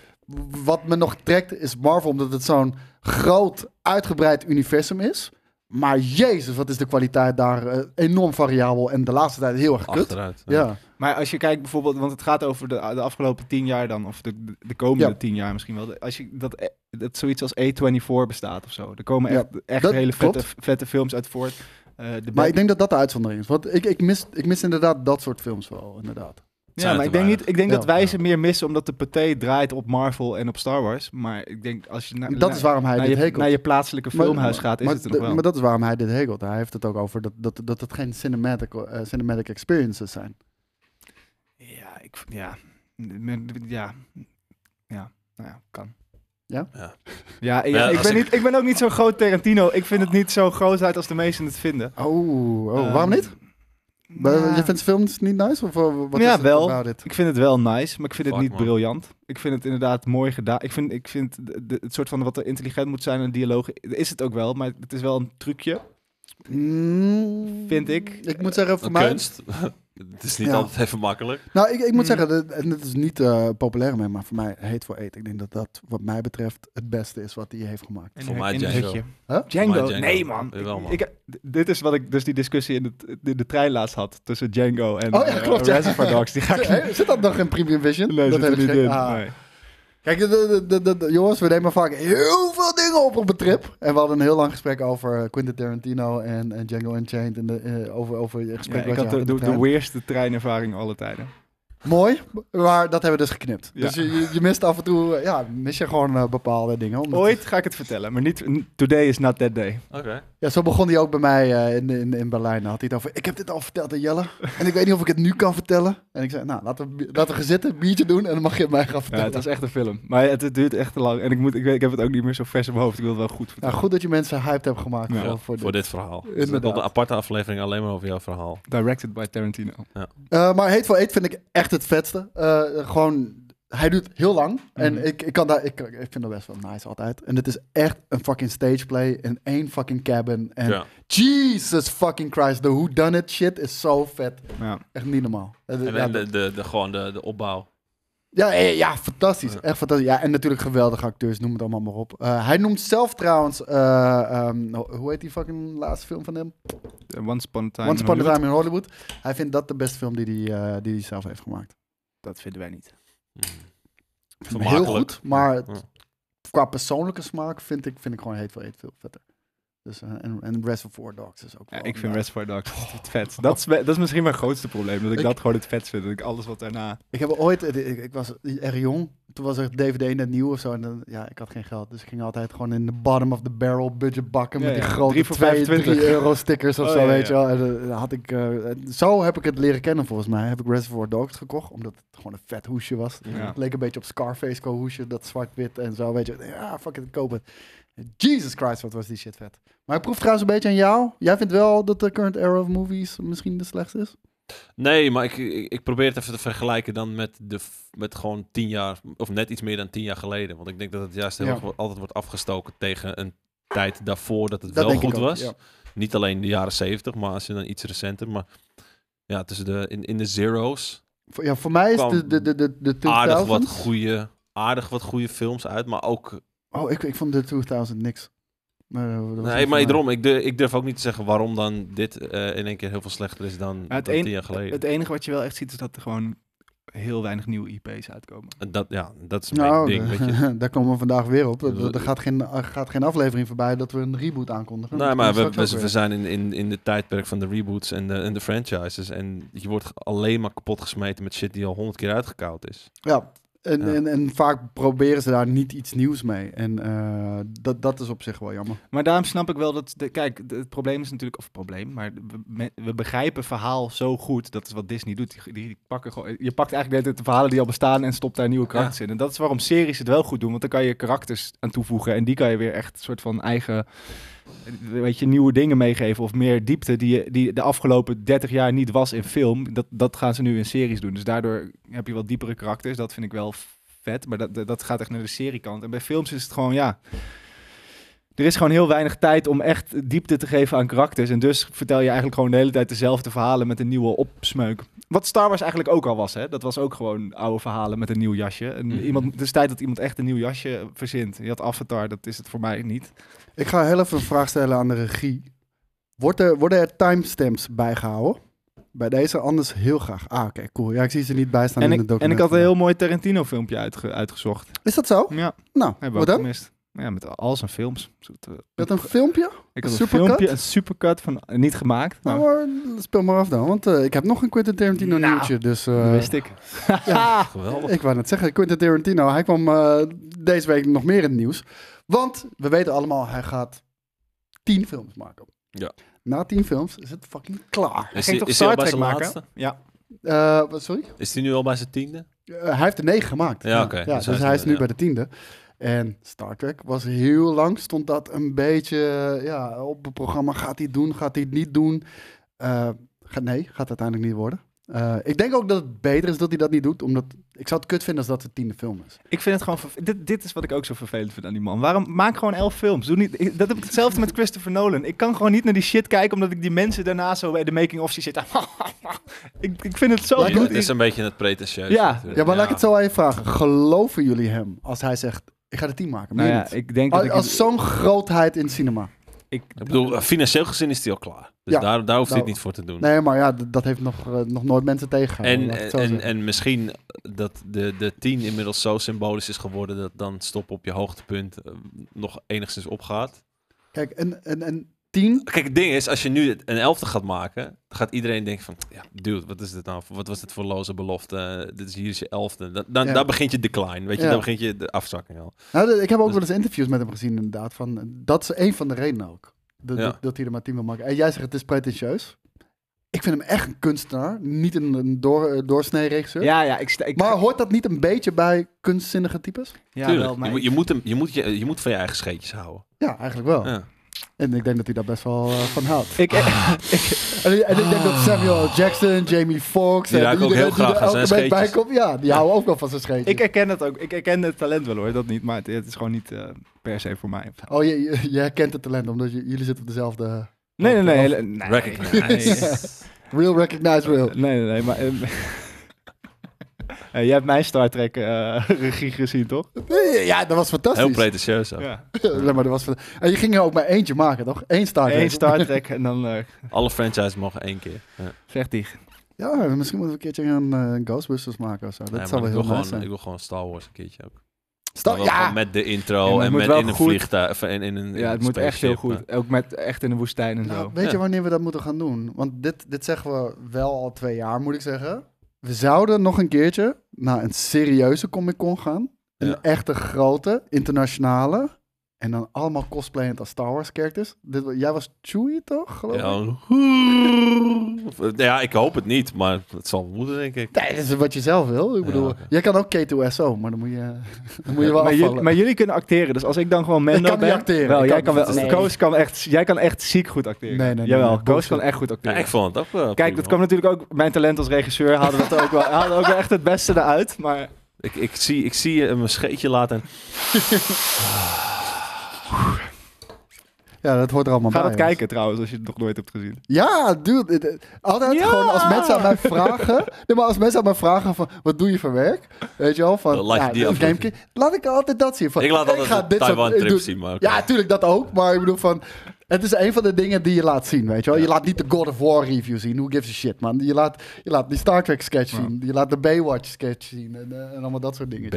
D: Wat me nog trekt is Marvel, omdat het zo'n groot, uitgebreid universum is. Maar jezus, wat is de kwaliteit daar eh, enorm variabel en de laatste tijd heel erg kut.
B: Achteruit.
D: Ja.
C: was. Maar als je kijkt bijvoorbeeld, want het gaat over de, de afgelopen tien jaar dan, of de, de, de komende
D: Ja.
C: tien jaar misschien wel. De- Als je, dat, eh, dat zoiets als A24 bestaat of zo. Er komen
D: Ja,
C: echt, echt
D: dat
C: hele vette,
D: klopt.
C: vette films uit voort. Eh, de
D: Maar
C: Bad-
D: ik denk dat dat de uitzondering is. Want ik, ik, mis, ik mis inderdaad dat soort films wel, inderdaad.
C: Ja,
B: Zijn
C: maar
B: er
C: ik
B: te
C: denk,
B: weinig.
C: niet, ik denk
D: Ja.
C: dat wij ze meer missen omdat de partij draait op Marvel en op Star Wars. Maar ik denk als je na-
D: Dat
C: na-
D: is waarom hij
C: naar,
D: dit
C: nou, je,
D: hekelt.
C: naar je plaatselijke
D: Maar-
C: filmhuis gaat, is
D: maar,
C: het er
D: de-
C: nog wel.
D: Maar dat is waarom hij dit hekelt. Hij heeft het ook over dat, dat, dat het geen cinematic, eh, cinematic experiences zijn.
C: Ja, ik, ja, ja, ja, nou ja, kan.
D: Ja?
B: Ja.
C: Ja, ik,
B: Ja,
C: ik
B: als
C: ben
B: ik-
C: niet, ik ben ook niet zo'n groot Tarantino. Ik vind het niet zo grootheid als de meesten het vinden.
D: Oh, oh
C: Ehm,
D: waarom niet? Maar
C: nou,
D: Je vindt films niet nice? Of eh, wat
C: Ja,
D: is het
C: wel.
D: about it?
C: Ik vind het wel nice, maar ik vind het
B: Fuck,
C: niet
B: man.
C: briljant. Ik vind het inderdaad mooi gedaan. Ik vind, ik vind de- de- het soort van wat er intelligent moet zijn en dialoog is het ook wel, maar het is wel een trucje.
D: Mm,
C: Vind ik.
D: Ik moet zeggen, voor
B: Een
D: mij...
B: kunst. het is niet
D: Ja.
B: altijd even makkelijk.
D: Nou, ik, ik moet
C: Mm.
D: zeggen, dat- en dat is niet eh, populair mee, maar voor mij heet voor eten. Ik denk dat dat, wat mij betreft, het beste is wat hij heeft gemaakt.
C: In
B: Voor
C: een-
B: mij
C: in een
B: Django.
C: hutje.
D: Huh?
C: Django?
B: Voor mij Django.
C: Nee, man.
B: Jawel, man.
C: Ik, ik- d- dit is wat ik dus die discussie in de, in de trein laatst had tussen Django en
D: Oh ja,
C: eh,
D: klopt, ja.
C: Reservoir Dogs. Die ga ik
D: Hey, Zit dat nog in Premium Vision?
C: Nee,
D: dat
C: zit er
D: heb ik
C: niet
D: gek-
C: in.
D: Ah.
C: Nee.
D: Kijk, de, de, de, de- de- jongens, we nemen vaak heel veel dingen op op een trip. En we hadden een heel lang gesprek over eh, Quentin Tarantino en, en Django Unchained. En de, eh, over, over het
C: Ja,
D: gesprek
C: ik
D: wat
C: had
D: je
C: de,
D: met
C: de, de
D: trein.
C: weirdste treinervaring alle tijden.
D: Mooi, maar dat hebben we dus geknipt.
C: Ja.
D: Dus je, je, je mist af en toe, eh, ja, mis je gewoon eh, bepaalde dingen. Omdat-
C: Ooit ga ik het vertellen, maar niet... n- Today is not that day.
B: Oké.
D: Ja, zo begon hij ook bij mij eh, in, in, in Berlijn. Dan had hij het over, ik heb dit al verteld aan Jelle. En ik weet niet of ik het nu kan vertellen. En ik zei, nou, laten we, bi- laten we gaan zitten, biertje doen. En dan mag je het mij gaan
C: Ja, het
D: vertellen.
C: was echt een film. Maar het, het duurt echt te lang. En ik, moet, ik, weet, ik heb het ook niet meer zo vers in mijn hoofd. Ik wil het wel goed
D: nou,
C: vertellen.
D: goed dat je mensen hyped hebt gemaakt
C: Ja,
D: voor, voor dit.
B: verhaal.
D: Inderdaad.
B: Dus dat een aparte aflevering alleen maar over jouw verhaal.
C: Directed by Tarantino.
D: Eh, maar Hateful Eight vind ik echt het vetste. Eh, gewoon, hij duurt heel lang. En
C: Mhm.
D: ik, ik, kan daar, ik, ik vind dat best wel nice altijd. En het is echt een fucking stageplay in één fucking cabin. En
B: Ja.
D: Jesus fucking Christ, de whodunit shit is zo vet.
C: Ja.
D: Echt niet normaal. Eh,
B: En,
D: ja,
B: en de, de, de, gewoon de, de opbouw.
D: Ja, eh, ja fantastisch.
B: Ja.
D: Echt fantastisch. Ja, en natuurlijk geweldige acteurs, noem het allemaal maar op. Eh, hij noemt zelf trouwens, eh, ehm, ho- hoe heet die fucking laatste film van hem?
C: eh, Once Upon a Time
D: Once Upon a
C: in Hollywood.
D: Time in Hollywood. Hij vindt dat de beste film die, die hij eh, die die zelf heeft gemaakt.
C: Dat vinden wij niet.
D: Ik vind hem Heel
B: Mhm. Vermakelijk. Mhm.
D: goed, maar
B: Ja.
D: qua persoonlijke smaak vind ik, vind ik gewoon Hateful Eight veel vetter. Dus, eh, en, en Reservoir Dogs is ook
C: Ja,
D: wel
C: ik
D: een-
C: vind Reservoir Dogs het vet. Dat is, dat is misschien mijn grootste probleem. Dat ik,
D: Ik-
C: dat gewoon het vet vind. Dat ik alles wat daarna...
D: Ik heb ooit, ik, ik- ik was erg jong, toen was er DVD net nieuw of zo. En dan, ja, ik had geen geld, dus ik ging altijd gewoon in de bottom of the barrel budget bakken
C: Ja,
D: met die
C: ja.
D: grote
C: Drie voor
D: 2,
C: 25.
D: 3 euro stickers of
C: Oh,
D: zo,
C: ja,
D: weet
C: ja.
D: je wel. En, eh, dan had ik, eh, en zo heb ik het leren kennen volgens mij. Heb ik Reservoir Dogs gekocht, omdat het gewoon een vet hoesje was.
C: Ja.
D: Het leek een beetje op Scarface co hoesje, dat zwart-wit en zo, weet je. Ja, fuck it, ik koop het. Jesus Christ, wat was die shit vet. Maar ik proef trouwens een beetje aan jou. Jij vindt wel dat de current era of movies misschien de slechtste is?
B: Nee, maar ik, ik, ik probeer het even te vergelijken dan met, de, f- met gewoon tien jaar, of net iets meer dan tien jaar geleden. Want ik denk dat het juist heel
D: Ja.
B: erg wo- altijd wordt afgestoken tegen een tijd daarvoor dat het
D: Dat
B: wel
D: denk
B: goed
D: ik ook,
B: was.
D: ja.
B: Niet alleen de jaren zeventig, maar als je dan iets recenter. Maar ja, tussen de, in, in de zeros
D: Voor, ja, voor mij is
B: Kwam
D: de, de, de, de, de 2000...
B: aardig wat, goede, aardig wat goede films uit, maar ook...
D: Oh, ik, ik vond de 2000 niks. Maar, eh, dat
B: Nee,
D: was niet
B: maar
D: voor mij.
B: daarom, ik, durf- ik durf ook niet te zeggen waarom dan dit eh, in één keer heel veel slechter is dan,
C: het
B: dan
C: een-
B: tien jaar geleden.
C: Het enige wat je wel echt ziet is dat er gewoon heel weinig nieuwe IP's uitkomen.
B: En dat, ja, dat is een
D: Nou,
B: ding, weet je.
D: daar komen we vandaag weer op. Er-
B: Dat-
D: Er gaat geen, er gaat geen aflevering voorbij dat we een reboot aankondigen.
B: Nee,
D: Nou, Dat
B: maar we,
D: komt straks
B: we,
D: ook
B: we
D: weer.
B: zijn in, in, in de tijdperk van de reboots en de, en de franchises. En je wordt ge- alleen maar kapot gesmeten met shit die al honderd keer uitgekoud is.
D: Ja, en,
B: Ja.
D: En, en vaak proberen ze daar niet iets nieuws mee. En eh, dat, dat is op zich wel jammer.
C: Maar daarom snap ik wel dat... De, kijk, de- het probleem is natuurlijk... Of het probleem, maar we, me- we begrijpen verhaal zo goed. Dat is wat Disney doet. Die, die pakken gewoon, je pakt eigenlijk de, hele tijd de verhalen die al bestaan en stopt daar nieuwe karakters in. En dat is waarom series het wel goed doen. Want dan kan je karakters aan toevoegen. En die kan je weer echt een soort van eigen... eh, Weet je, nieuwe dingen meegeven. Of meer diepte die, je- die de afgelopen 30 jaar niet was in film. Dat, dat gaan ze nu in series doen. Dus daardoor heb je wat diepere karakters. Dat vind ik wel vet. Maar dat, dat- dat gaat echt naar de seriekant. En bij films is het gewoon, ja... Er is gewoon heel weinig tijd om echt diepte te geven aan karakters. En dus vertel je eigenlijk gewoon de hele tijd dezelfde verhalen met een nieuwe opsmeuk. Wat Star Wars eigenlijk ook al was, hè? Dat was ook gewoon oude verhalen met een nieuw jasje. En
B: Mhm.
C: iemand, het is tijd dat iemand echt een nieuw jasje verzint. Je had Avatar, dat is het voor mij niet.
D: Ik ga heel even een vraag stellen aan de regie. Wordt er, worden er timestamps bijgehouden? Bij deze anders heel graag. Ah, oké, cool. Ja, ik zie ze niet bij staan
C: En
D: in
C: ik,
D: het
C: en ik
D: document.
C: had een heel mooi Tarantino-filmpje uitge- uitgezocht.
D: Is dat zo?
C: Ja,
D: Nou,
C: hebben
D: wat
C: we ook
D: dan?
C: gemist. Ja, met al zijn films.
D: Dat een filmpje?
C: Ik had een
D: supercut?
C: filmpje, een supercut van niet gemaakt.
D: Nou,
C: Nou,
D: maar speel maar af dan, want eh, ik heb nog een Quentin Tarantino
C: Nou,
D: nieuwtje. Dus eh,
C: dat wist ik.
D: ja,
B: Geweldig.
D: ik wou net zeggen, Quentin Tarantino, hij kwam eh, deze week nog meer in het nieuws. Want we weten allemaal, hij gaat tien films maken.
B: Ja.
D: Na tien films is het fucking klaar.
B: Is
C: ging
B: die-
C: toch
B: is die al
C: Star
B: bij
C: Trek
B: zijn
C: maken?
B: laatste?
C: Ja,
D: Eh, wat sorry?
B: Is die nu al bij zijn tiende?
D: Eh, hij heeft er negen gemaakt.
B: Ja, oké.
D: Ja,
B: Dus
D: dus,
B: hij is
D: hij is
B: er-
D: nu
B: ja.
D: bij de tiende. En Star Trek was heel lang, stond dat een beetje eh, ja, op het programma. Gaat hij het doen, gaat hij het niet doen? Eh, ga- nee, gaat het uiteindelijk niet worden. Eh, ik denk ook dat het beter is dat hij dat niet doet, omdat ik zou het kut vinden als dat de tiende film is.
C: Ik vind het gewoon. verve- Dit, dit is wat ik ook zo vervelend vind aan die man. Waarom maak gewoon elf films? Doe niet, ik- dat heb ik hetzelfde met Christopher Nolan. Ik kan gewoon niet naar die shit kijken omdat ik die mensen daarna zo bij de making-of zie zitten. ik, ik vind het zo.
D: Lijkt
B: Ja,
D: me-
B: het
C: bloed-
B: is een beetje het pretentieus.
C: Ja.
B: natuurlijk.
D: Ja, maar laat ik het zo aan je vragen. Geloven jullie hem als hij zegt, ik ga de tien maken?
C: Nou
D: Meer
C: ja,
D: niet.
C: ik denk dat
D: Als,
C: ik.
D: als zo'n grootheid in het cinema.
C: ik,
B: Ik bedoel, eh, financieel gezien is die al klaar. Dus
D: Ja.
B: daar, daar hoeft hij het
D: Nou,
B: niet voor te doen.
D: Nee, maar ja, d- dat heeft nog, eh, nog nooit mensen tegengehouden.
B: En,
D: laat ik het
B: en,
D: zo
B: en,
D: zeggen.
B: misschien dat de, de 10 inmiddels zo symbolisch is geworden dat dan stoppen op je hoogtepunt eh, nog enigszins opgaat.
D: Kijk, en, en, en tien,
B: Kijk, het ding is, als je nu een elfte gaat maken, dan gaat iedereen denken van, ja, dude, wat is dit nou? Wat was dit voor loze belofte? Dit is hier is je elfde. Dan, dan,
D: Ja.
B: Daar begint je decline, weet je,
D: Ja.
B: daar begint je de afzakking al.
D: nou, de- ik heb ook
B: Dus-
D: wel eens interviews met hem gezien inderdaad. Van, eh, dat is een van de redenen ook. Dat,
B: Ja.
D: dat, dat hij er maar tien wil maken. En jij zegt het is pretentieus. Ik vind hem echt een kunstenaar, niet een, een door, eh, doorsnee regisseur.
C: ja, ja, ik, sta- ik
D: Maar hoort dat niet een beetje bij kunstzinnige types?
C: ja,
B: Tuurlijk,
C: wel, maar
B: je, moet-
C: ik-
B: je, moet hem, je, moet je, je moet van je eigen scheetjes houden.
D: Ja, eigenlijk wel.
B: Ja.
D: En ik denk dat hij daar best wel eh, van houdt.
C: ik,
B: Ah,
D: En, ik- en ik denk dat Samuel L. Jackson, Jamie Foxx...
B: Die
D: en
B: raken ook
D: iedereen
B: heel graag
D: die er
B: aan zijn
D: elke week bij
B: scheetjes.
D: komt, Ja, die houden ook wel van zijn scheetjes.
C: ik herken het ook. Ik herken het talent wel hoor, dat niet. Maar het, het is gewoon niet eh, per se voor mij.
D: Oh, je, je, je herkent het talent, omdat je- jullie zitten op dezelfde... eh,
C: Nee, nee, nee. hele- nee.
B: Recognize.
D: Real recognize real.
C: Nee, nee, nee. Maar, ehm, eh, jij hebt mijn Star Trek eh, regie gezien, toch?
D: Nee, Ja, dat was fantastisch.
B: Heel pretentieus ook.
C: Ja.
D: Ja, maar dat was van- En je ging er ook maar eentje maken, toch? Eén Star Trek.
C: Eén Star Trek en dan eh
B: Alle franchises mogen één keer. Ja.
C: vecht die.
D: Ja, misschien moeten we een keertje een eh, Ghostbusters maken of zo. Dat
B: Nee,
D: zou
B: maar
D: wel
B: ik,
D: heel
B: wil
D: nice
B: gewoon,
D: zijn.
B: ik wil gewoon Star Wars een keertje ook.
D: Star-
B: Maar wel
D: ja,
B: gewoon met de intro
C: Ja, maar het
B: en
C: moet
B: met
C: wel
B: in een
C: goed.
B: vliegtuig. of in, in een, in
C: Ja, het
B: een
C: moet echt heel
B: spaceship, eh.
C: goed. Ook met echt in de woestijn en
D: nou,
C: zo.
D: weet
B: Ja.
D: je wanneer we dat moeten gaan doen? Want dit, dit zeggen we wel al twee jaar, moet ik zeggen. We zouden nog een keertje naar een serieuze Comic-Con gaan. Een
B: Ja.
D: echte grote, internationale. En dan allemaal cosplayend als Star Wars characters. Dit, jij was Chewie, toch?
B: eh.
D: geloof ik?
B: Ja, een- Of, eh, ja, ik hoop het niet, maar het zal moeten, denk ik.
D: Nee, dat is wat je zelf wil. Ik
B: Ja,
D: bedoel,
B: oké.
D: jij kan ook K2SO, maar dan moet je, dan moet je wel
C: maar,
D: afvallen.
C: jullie, maar jullie kunnen acteren, dus als ik dan gewoon Mendo
D: kan niet
C: ben...
D: acteren.
C: Wel,
D: Ik
C: jij
D: kan-
C: kan wel...
D: Nee.
C: Koos kan echt, jij kan echt ziek goed acteren.
D: Nee, nee, nee,
C: Jawel,
D: nee,
C: Koos
D: bullshit.
C: kan echt goed
B: Ja,
C: acteren.
B: ik vond het ook wel
C: Kijk,
B: prima.
C: dat kwam natuurlijk ook... Mijn talent als regisseur haalde dat ook wel... haalde ook wel echt het beste eruit, maar...
B: Ik, ik zie, ik zie je een scheetje laten. en-
D: Ja, dat hoort er allemaal
C: Ga
D: bij.
C: dat
D: jongens.
C: kijken trouwens, als je het nog nooit hebt gezien.
D: Ja, dude. het- het- Altijd
C: Ja!
D: gewoon als mensen aan mij vragen... Nee, maar als mensen aan mij vragen van... Wat doe je voor werk? Weet je wel, van...
B: Dan laat je die
D: een
B: aflevering.
D: gameke- Laat ik altijd dat zien. Van,
B: Ik laat altijd
D: ga
B: een
D: dit soort-
B: Taiwan trip
D: doe-
B: zien, maar oké.
D: Ja, natuurlijk dat ook. Maar ik bedoel van... Het is een van de dingen die je laat zien, weet je wel. Je laat niet de God of War review zien. Who gives a shit, man. Je laat, je laat die Star Trek sketch zien. Je laat de Baywatch sketch zien. En, eh, en allemaal dat soort dingen.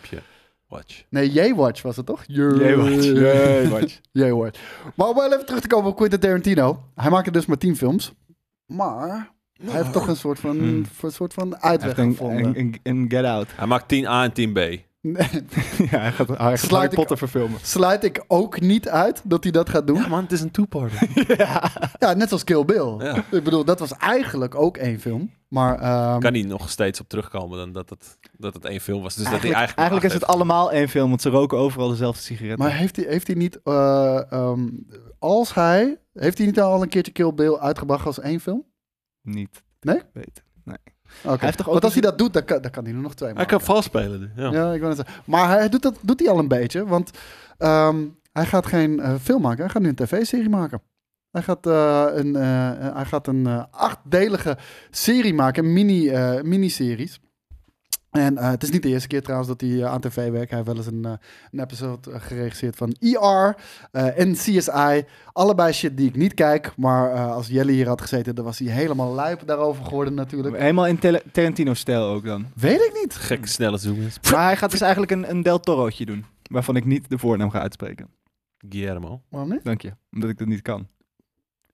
B: B-watch.
D: Nee, J-Watch was het toch? J-
C: J-Watch. J-Watch.
D: Jij hoort. Maar om wel even terug te komen op Quentin Tarantino. Hij maakte dus maar tien films. Maar hij heeft toch een soort van,
C: Hmm.
D: een soort van uitweg
C: Echt een,
D: gevonden.
C: een, een, een Get Out.
B: Hij maakt 10A en 10B.
D: Nee,
C: ja, hij gaat, hij gaat
D: Sluit
C: Harry
D: ik-
C: Potter verfilmen.
D: Sluit ik ook niet uit dat hij dat gaat doen.
B: Ja,
D: Ja,
B: man, het is een two-party.
D: net zoals Kill Bill.
B: Ja.
D: Ik bedoel, dat was eigenlijk ook één film. Maar ehm,
B: Kan hij nog steeds op terugkomen dan dat het, dat het één film was. Dus dat hij eigenlijk
C: Eigenlijk, eigenlijk is het
B: acht heeft.
C: allemaal één film, want ze roken overal dezelfde sigaretten.
D: Maar heeft hij, heeft hij niet, eh, ehm, als hij, heeft hij niet al een keertje Kill Bill uitgebracht als één film?
C: Niet.
D: Nee?
C: Weet.
D: Oké.
C: Hij heeft toch ook
D: Want als hij
C: eens-
D: dat doet, dan kan, dan kan hij er nog twee
B: Hij
D: maken.
B: kan vals spelen. nu, Ja.
D: Ja, ik wil net zeggen. Maar hij doet dat doet hij al een beetje, want ehm, hij gaat geen eh, film maken, hij gaat nu een tv-serie maken. Hij gaat eh, een, eh, eh, hij gaat een eh, achtdelige serie maken, mini, eh miniseries. En eh, het is niet de eerste keer trouwens dat hij eh, aan tv werkt. Hij heeft wel eens een, eh, een episode eh, geregisseerd van ER eh, en CSI. Allebei shit die ik niet kijk. Maar eh, als Jelle hier had gezeten, dan was hij helemaal lijp daarover geworden natuurlijk.
C: Helemaal in Tele- Tarantino-stijl ook dan.
D: Weet ik niet.
B: Gekke snelle zoomers.
C: Maar hij gaat dus eigenlijk een, een Del Toro'tje doen. Waarvan ik niet de voornaam ga uitspreken.
B: Guillermo.
D: Waarom niet?
C: Dank je. Omdat ik dat niet kan.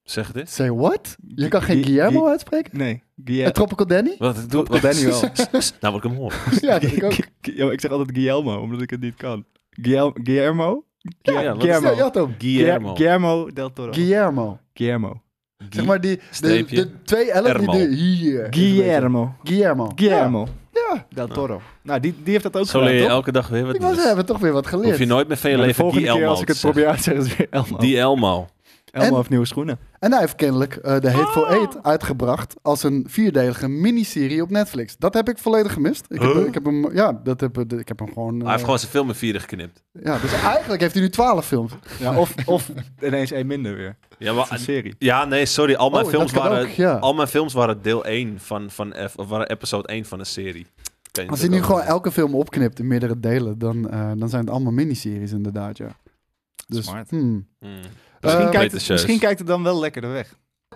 B: Zeg het eens.
D: Say what? Je kan geen
C: Gu- gu-
D: Guillermo uitspreken?
C: Nee.
D: En
C: Guillermo.
D: Tropical Danny?
B: Wat, doe,
C: Wat ben je wel?
B: Nou, moet ik hem horen.
D: ja, dat ik ook.
C: Ja, maar ik zeg altijd Guillermo, omdat ik het niet kan. Guillermo? Guillermo?
B: Ja,
C: Guillermo.
B: wat is
D: Ja, je had hem.
B: Guillermo.
C: Guillermo del Toro.
D: Guillermo.
C: Guillermo.
D: Zeg maar die de,
B: Streepje.
D: de twee L'en die
B: Ermo.
D: de hier.
C: Guillermo.
D: Guillermo.
C: Guillermo.
D: Ja.
C: Del Toro. Nou, die, die heeft dat ook
B: Zo leer je
C: gedaan, toch?
B: elke dag weer wat
D: Ik was, we
B: nieuws.
D: hebben toch weer wat
B: Hoef je
D: geleerd.
B: nooit meer van je
C: Maar de
B: leven
C: volgende keer
B: Guillermo
C: als ik
B: te
C: het
B: zeggen.
C: probeer uit te zeggen, is het weer Elmo.
B: Guillermo.
C: Elmo
D: En-
C: heeft nieuwe schoenen.
D: En hij heeft kennelijk eh, The Hateful
B: Ah.
D: Eight uitgebracht als een vierdelige miniserie op Netflix. Dat heb ik volledig gemist. Ik heb,
B: Huh?
D: ik heb hem, ja, dat heb, ik heb hem gewoon... eh,
B: Hij heeft gewoon zijn film in vieren geknipt.
D: Ja, dus eigenlijk heeft hij nu twaalf films.
C: Ja, of, of ineens één minder weer.
B: Ja,
C: Een
B: maar,
C: serie.
B: ja nee, sorry. Al mijn,
D: Oh,
B: films
D: dat kan
B: waren,
D: ook, ja.
B: al mijn films waren deel 1 van, van F, of waren episode 1 van een serie. Ken je
D: Als
B: dat
D: hij nu
B: ook?
D: gewoon elke film opknipt in meerdere delen, dan, eh, dan zijn het allemaal miniseries inderdaad, ja. Dus,
C: Smart.
D: hmm.
B: Hmm.
C: Misschien,
D: Eh,
C: kijkt het,
B: Pretentieus.
C: misschien kijkt het dan wel lekkerder weg.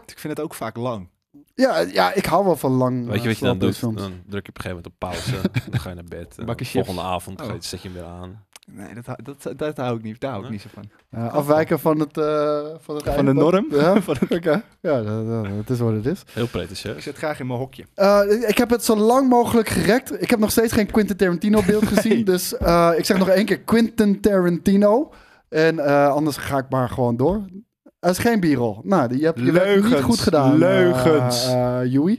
C: Ik vind het ook vaak lang.
D: ja, ja, ik hou wel van lang.
B: Weet je
D: eh,
B: wat je dan doet?
D: films.
B: Dan druk je op een gegeven moment op pauze. dan ga je naar bed. En
C: Bakje
B: de
C: chips.
B: volgende avond ga je,
C: Oh.
B: zet je hem weer aan.
C: Nee, dat, hou- dat, dat hou ik niet. Daar hou ik
B: Nee.
C: niet zo van.
D: Ja, afwijken van, het, eh, van, het
C: Van
D: einde-
C: de norm?
D: Ja, oké. Ja, dat, dat- het is wat het is.
B: Heel
C: Ik
B: pretentieus.
C: zit graag in mijn hokje.
D: Eh, ik heb het zo lang mogelijk gerekt. Ik heb nog steeds geen Quentin Tarantino beeld gezien. Dus eh, ik zeg nog één keer Quentin Tarantino. En eh, anders ga ik maar gewoon door. Er is geen b-roll. Nou, die- je hebt je werk niet
C: Leugens,
D: goed gedaan.
C: leugens.
D: eh, eh, Joey.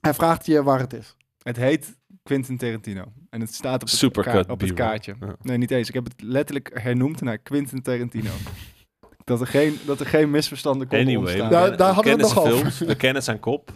D: Hij vraagt je waar het is.
C: Het heet Quentin Tarantino. En het staat op het,
B: Supercut
C: kaart- op het
B: B-roll.
C: kaartje.
B: Ja.
C: Nee, niet eens. Ik heb het letterlijk hernoemd naar Quentin Tarantino. dat, er geen, dat er geen misverstanden konden
B: Anyway,
C: ontstaan.
D: Daar- daar hadden we het
B: kennen
D: nog
B: zijn
D: over.
B: films, We kennen zijn kop.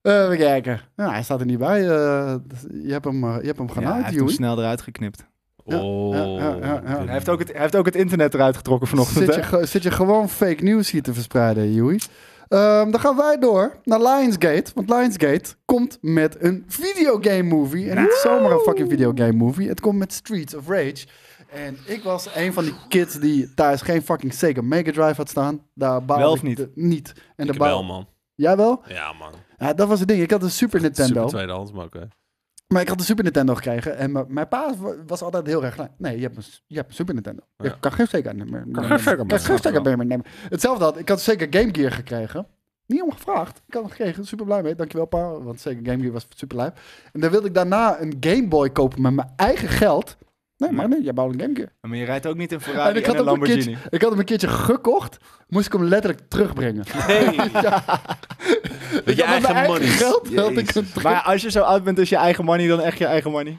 D: Eh even kijken. Nou, hij staat er niet bij. Eh, dus je, hebt hem, eh, je hebt hem
C: ja, hij
D: genaaid,
C: heeft hem
D: Joey.
C: snel eruit geknipt.
D: Ja,
B: Oh.
D: ja, ja, ja.
B: Willem.
C: Hij heeft, ook het, hij heeft ook het internet eruit getrokken vanochtend.
D: Zit
C: hè?
D: je, ge- zit je gewoon fake news hier te verspreiden, Joey. Ehm, dan gaan wij door naar Lionsgate. Want Lionsgate komt met een videogame movie. En niet zomaar een fucking videogame movie. Het komt met Streets of Rage. En ik was een van die kids die thuis geen fucking Sega Mega Drive had staan. Daar baalde
C: Wel of
D: ik
C: niet?
D: de- niet. En
B: Ik
D: daar
B: wel,
D: baal...
B: man.
D: Jij wel?
B: Ja, man.
D: Ja, dat was het ding. Ik had een Super Nintendo.
B: Super tweedehands, maar oké.
D: Maar ik had een Super Nintendo gekregen en mijn- mijn pa wa- was altijd heel erg klein. Nee, je hebt een, s- je hebt een Super Nintendo.
B: Ja.
D: Ik kan geen Sega meer nemen.
B: Kan geen Sega meer.
D: Kan geen Sega meer nemen. Hetzelfde had, ik had zeker Game Gear gekregen. Niet om gevraagd. Ik had hem gekregen, super blij mee. Dankjewel pa, want zeker Game Gear was super blij. En dan wilde ik daarna een Game Boy kopen met mijn eigen geld. Nee, maar nee, jij bouwt een Game Gear.
C: Maar je rijdt ook niet in Ferrari
D: En
C: en,
D: ik had,
C: een
D: hem een
C: Lamborghini.
D: keertje, ik had hem een keertje gekocht, moest ik hem letterlijk terugbrengen.
B: Met je
D: Ik had met mijn
B: eigen money.
D: geld had ik hem terug.
C: Maar als je zo oud bent als je eigen money, dan echt je eigen money.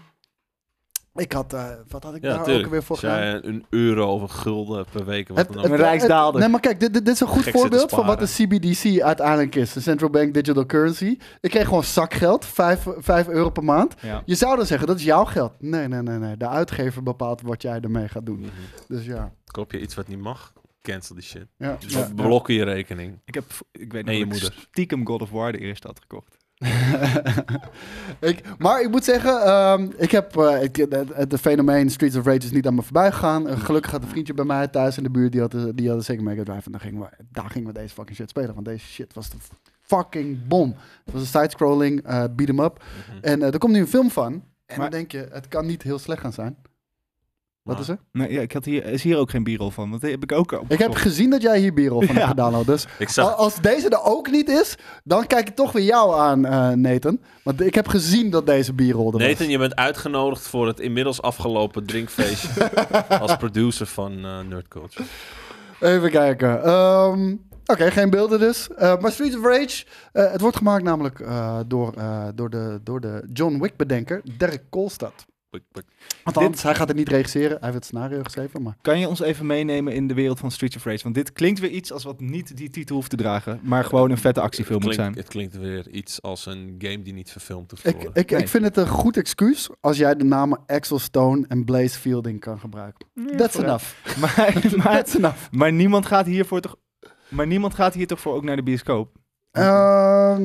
D: Ik had, eh, wat had ik
B: Ja,
D: daar
B: natuurlijk.
D: ook weer voor
B: Als
D: gedaan?
B: jij een euro of een gulden per week. Wat dan ook.
C: het- Een rijksdaalder.
D: Nee, maar kijk, dit, dit dit is een goed
B: Gek zitten
D: voorbeeld van wat de
B: sparen.
D: CBDC uiteindelijk is. De Central Bank Digital Currency. Ik kreeg gewoon zakgeld, 5, euro per maand.
C: Ja.
D: Je zou dan zeggen, dat is jouw geld. Nee, nee, nee, nee. De uitgever bepaalt wat jij ermee gaat doen. Dus ja.
B: Koop je iets wat niet mag? Cancel die shit.
D: ja,
B: Dus
D: ja, ja.
B: blokken je rekening.
C: Ik, heb, v- ik weet
B: En
C: nog
B: je
C: dat ik
B: moeder.
C: stiekem God of War de eerste had gekocht.
D: ik, maar ik moet zeggen, ehm, ik heb, eh, ik, het, het- het fenomeen Streets of Rage is niet aan me voorbij gegaan. Eh, gelukkig had een vriendje bij mij thuis in de buurt, die had, de- die had een Sega Mega Drive. En daar gingen, we, daar gingen we deze fucking shit spelen, want deze shit was de fucking bom. Het was een side-scrolling, eh beat 'em up.
B: Mhm.
D: En eh, er komt nu een film van. En
C: Maar-
D: dan denk je, het kan niet heel slecht gaan zijn. Wat
B: Maar-
D: is er?
C: Nee, ja, ik had hier, is hier ook geen b-roll van, want die heb ik ook
D: Ik heb
C: opgezocht.
D: gezien dat jij hier b-roll van
C: Ja.
D: hebt gedownload. Dus
B: Ik
D: al-
B: zag
D: als deze er ook niet is, dan kijk ik toch weer jou aan, eh, Nathan. Want ik heb gezien dat deze b-roll er was.
B: Nathan, je bent uitgenodigd voor het inmiddels afgelopen drinkfeestje als producer van eh, Nerd Culture.
D: Even kijken. Ehm, Oké, geen beelden dus. Eh, maar Streets of Rage, eh, het wordt gemaakt namelijk eh, door, eh, door, de, door de John Wick-bedenker Derek Kolstad.
B: Pik, pik.
D: Althans, hij gaat het niet regisseren. Hij heeft het scenario geschreven, maar...
C: Kan je ons even meenemen in de wereld van Streets of Rage? Want dit klinkt weer iets als wat niet die titel hoeft te dragen, maar gewoon een vette actiefilm
B: het
C: moet
B: klinkt,
C: zijn.
B: Het klinkt weer iets als een game die niet verfilmd hoeft te
D: Ik,
B: worden.
D: ik,
C: Nee.
D: ik vind het een goed excuus als jij de namen Axel Stone en Blaze Fielding kan gebruiken. That's
C: vooruit.
D: enough.
C: Maar, maar,
D: That's enough.
C: maar niemand gaat hiervoor toch... Maar niemand gaat hier toch voor ook naar de bioscoop?
D: Ehm,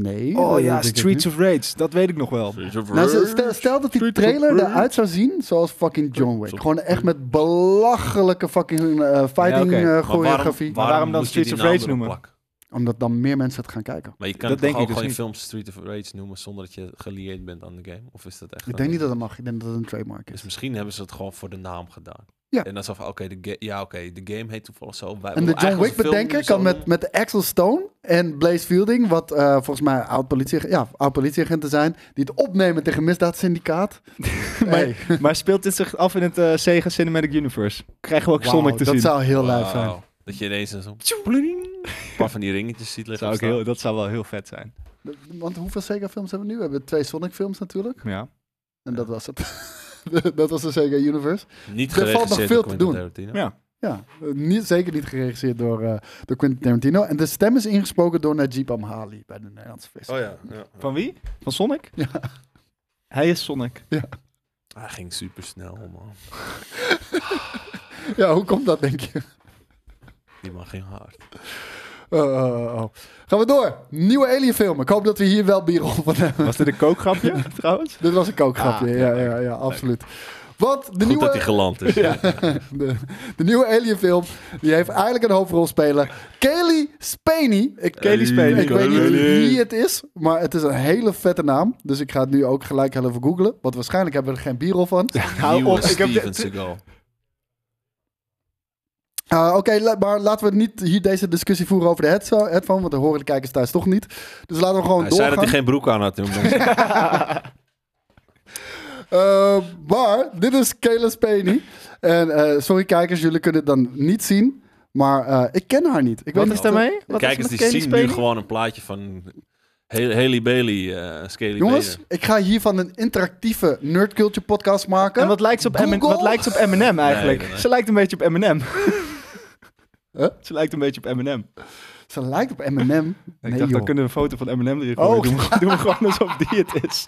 D: nee.
C: Oh
D: dat
C: ja,
D: denk ik
C: Streets
D: niet.
C: of Rage, dat weet ik nog wel.
D: Nou, stel- stel, stel dat die
B: Streets of
D: trailer
B: Rage.
D: eruit zou zien zoals fucking John Wick.
B: Zo-
D: Gewoon echt met belachelijke fucking eh, fighting
C: Ja, oké.
D: eh,
C: Maar
B: Maar waarom,
D: choreografie.
C: waarom
B: moet
C: dan
B: je
C: Streets
B: die
C: of
B: naam
C: Rage
B: erop
C: noemen?
B: plakken?
D: Omdat dan meer mensen het gaan kijken.
B: Maar je kan dat
C: Dat denk
B: denk
C: ik
B: ook
C: dus
B: gewoon
C: niet.
B: film Street of Rage noemen zonder dat je gelieerd bent aan de game? Of is dat echt...
D: Ik
B: een-
D: denk niet dat dat mag. Ik denk dat het een trademark
B: Dus
D: is.
B: misschien hebben ze het gewoon voor de naam gedaan.
D: Ja.
B: En dan zo van, oké, de, ga- ja, oké, de game heet toevallig zo. Wij
D: En de
B: willen
D: John
B: eigenlijk
D: Wick
B: onze film
D: bedenken
B: zo
D: kan met,
B: noemen.
D: met Axel Stone en Blaze Fielding, wat eh, volgens mij oud politie, ja, oud politieagenten zijn, die het opnemen tegen misdaadsyndicaat. Hey.
C: Maar, maar speelt dit zich af in het eh, Sega Cinematic Universe? Krijgen we ook
D: Wauw,
C: Sonic te
D: dat
C: zien?
D: zou heel lijf zijn.
B: Wauw. Dat je ineens een zo'n een paar van die ringetjes ziet liggen.
C: Zou ik
B: staan.
C: heel, dat zou wel heel vet zijn.
D: D- Want hoeveel Sega films hebben we nu? We hebben twee Sonic films natuurlijk.
C: Ja.
D: En dat was het. dat was de Sega Universe.
B: Niet
D: Er valt nog
B: geregisseerd
D: veel
B: door
D: te
B: Quentin
D: doen.
B: Tarantino.
C: Ja.
D: Ja, eh, niet, zeker niet geregisseerd door, eh, door Quentin Tarantino. En de stem is ingesproken door Najib Amhali bij de Nederlandse vis.
B: Oh ja, ja.
C: Van wie? Van Sonic?
D: Ja.
C: Hij is Sonic.
B: Hij ging super snel, man.
D: Ja, hoe komt dat, denk je?
B: Die man ging hard.
D: Oh, oh, oh. Gaan we door. Nieuwe Alien film. Ik hoop dat we hier wel bier op van hebben.
C: Was dit een kookgrapje trouwens?
D: Dit was een kookgrapje,
C: Ah,
D: ja, ja, ja, absoluut. Want de
B: Goed
D: nieuwe...
B: dat hij geland is.
D: De, de nieuwe Alien-film, die heeft eigenlijk een hoofdrolspeler. Kelly Spaney. Ik,
C: Kelly Spaney.
D: Ik weet niet
B: Kelly.
D: wie het is, maar het is een hele vette naam. Dus ik ga het nu ook gelijk heel even googlen. Want waarschijnlijk hebben we er geen bierrol van.
C: Hou op, ik heb
B: Steven
C: dit-
B: Seagal.
D: Eh, Oké, la- maar laten we niet hier deze discussie voeren over de headso- headphone. Want dan horen de kijkers thuis toch niet. Dus laten we gewoon
B: Hij zei
D: doorgaan.
B: dat hij geen broek aan had. toen mensen-
D: Eh, maar dit is Kayla Spaney. En eh, sorry kijkers, jullie kunnen het dan niet zien. Maar eh, ik ken haar niet. Ik
C: Wat
D: weet
C: is
D: niet of dat-
C: daarmee? Wat
B: Kijkers
C: is
B: die
C: met
B: zien
C: Kelly
B: nu
C: Spaney?
B: gewoon een plaatje van Hal- Haley Bailey, eh Scaly
D: Jongens,
B: Bailey.
D: ik ga hiervan een interactieve nerdculture podcast maken.
C: En wat lijkt ze op,
D: Google?
C: M- wat lijkt ze op Eminem eigenlijk?
B: nee, nee.
C: Ze lijkt een beetje op Eminem.
D: Huh?
C: Ze lijkt een beetje op Eminem.
D: Eh, Ze lijkt op Eminem.
C: Ik
D: nee,
C: dacht,
D: joh.
C: dan kunnen we een foto van Eminem erin gooien.
D: Oh.
C: Doen, we, doen we gewoon alsof die het is.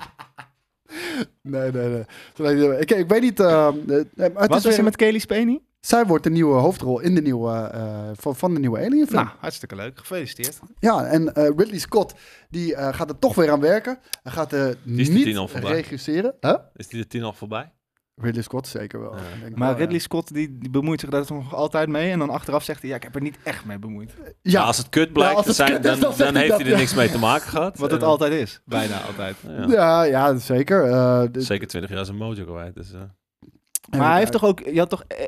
D: nee, nee, nee. Ze lijkt- Ik, ik weet niet. eh, eh, het
C: Wat
D: is weer-
C: is er met Kelly Spaney?
D: Zij wordt de nieuwe hoofdrol in de nieuwe, eh, van, van de nieuwe Alien film.
C: Nou, hartstikke leuk. Gefeliciteerd.
D: Ja, en eh, Ridley Scott die, eh, gaat er toch weer aan werken. Hij gaat eh
B: is de
D: niet
B: tien al voorbij.
D: regisseren. Huh?
B: Is die de tien al voorbij?
D: Ridley Scott zeker wel. Ik denk wel,
C: Maar
D: Oh, ja.
C: Ridley Scott die, die bemoeit zich daar toch nog altijd mee. En dan achteraf zegt hij, ja, ik heb er niet echt mee bemoeid.
B: Ja,
D: Ja,
B: Nou, als het kut
D: Ja,
B: blijkt,
D: als
B: te
D: het
B: zijn,
D: kut is,
B: dan,
D: dan
B: dan,
D: zegt hij
B: heeft
D: dat,
B: hij er
D: ja.
B: niks mee te maken gehad.
C: Wat
B: En
C: het
B: dan-
C: altijd is. Bijna altijd.
B: Ja.
D: ja, ja, zeker. Eh, dit-
B: Zeker 20 jaar zijn mojo kwijt. Dus, eh.
C: Maar hij heeft
D: Ja,
C: toch ook, je had toch eh, eh,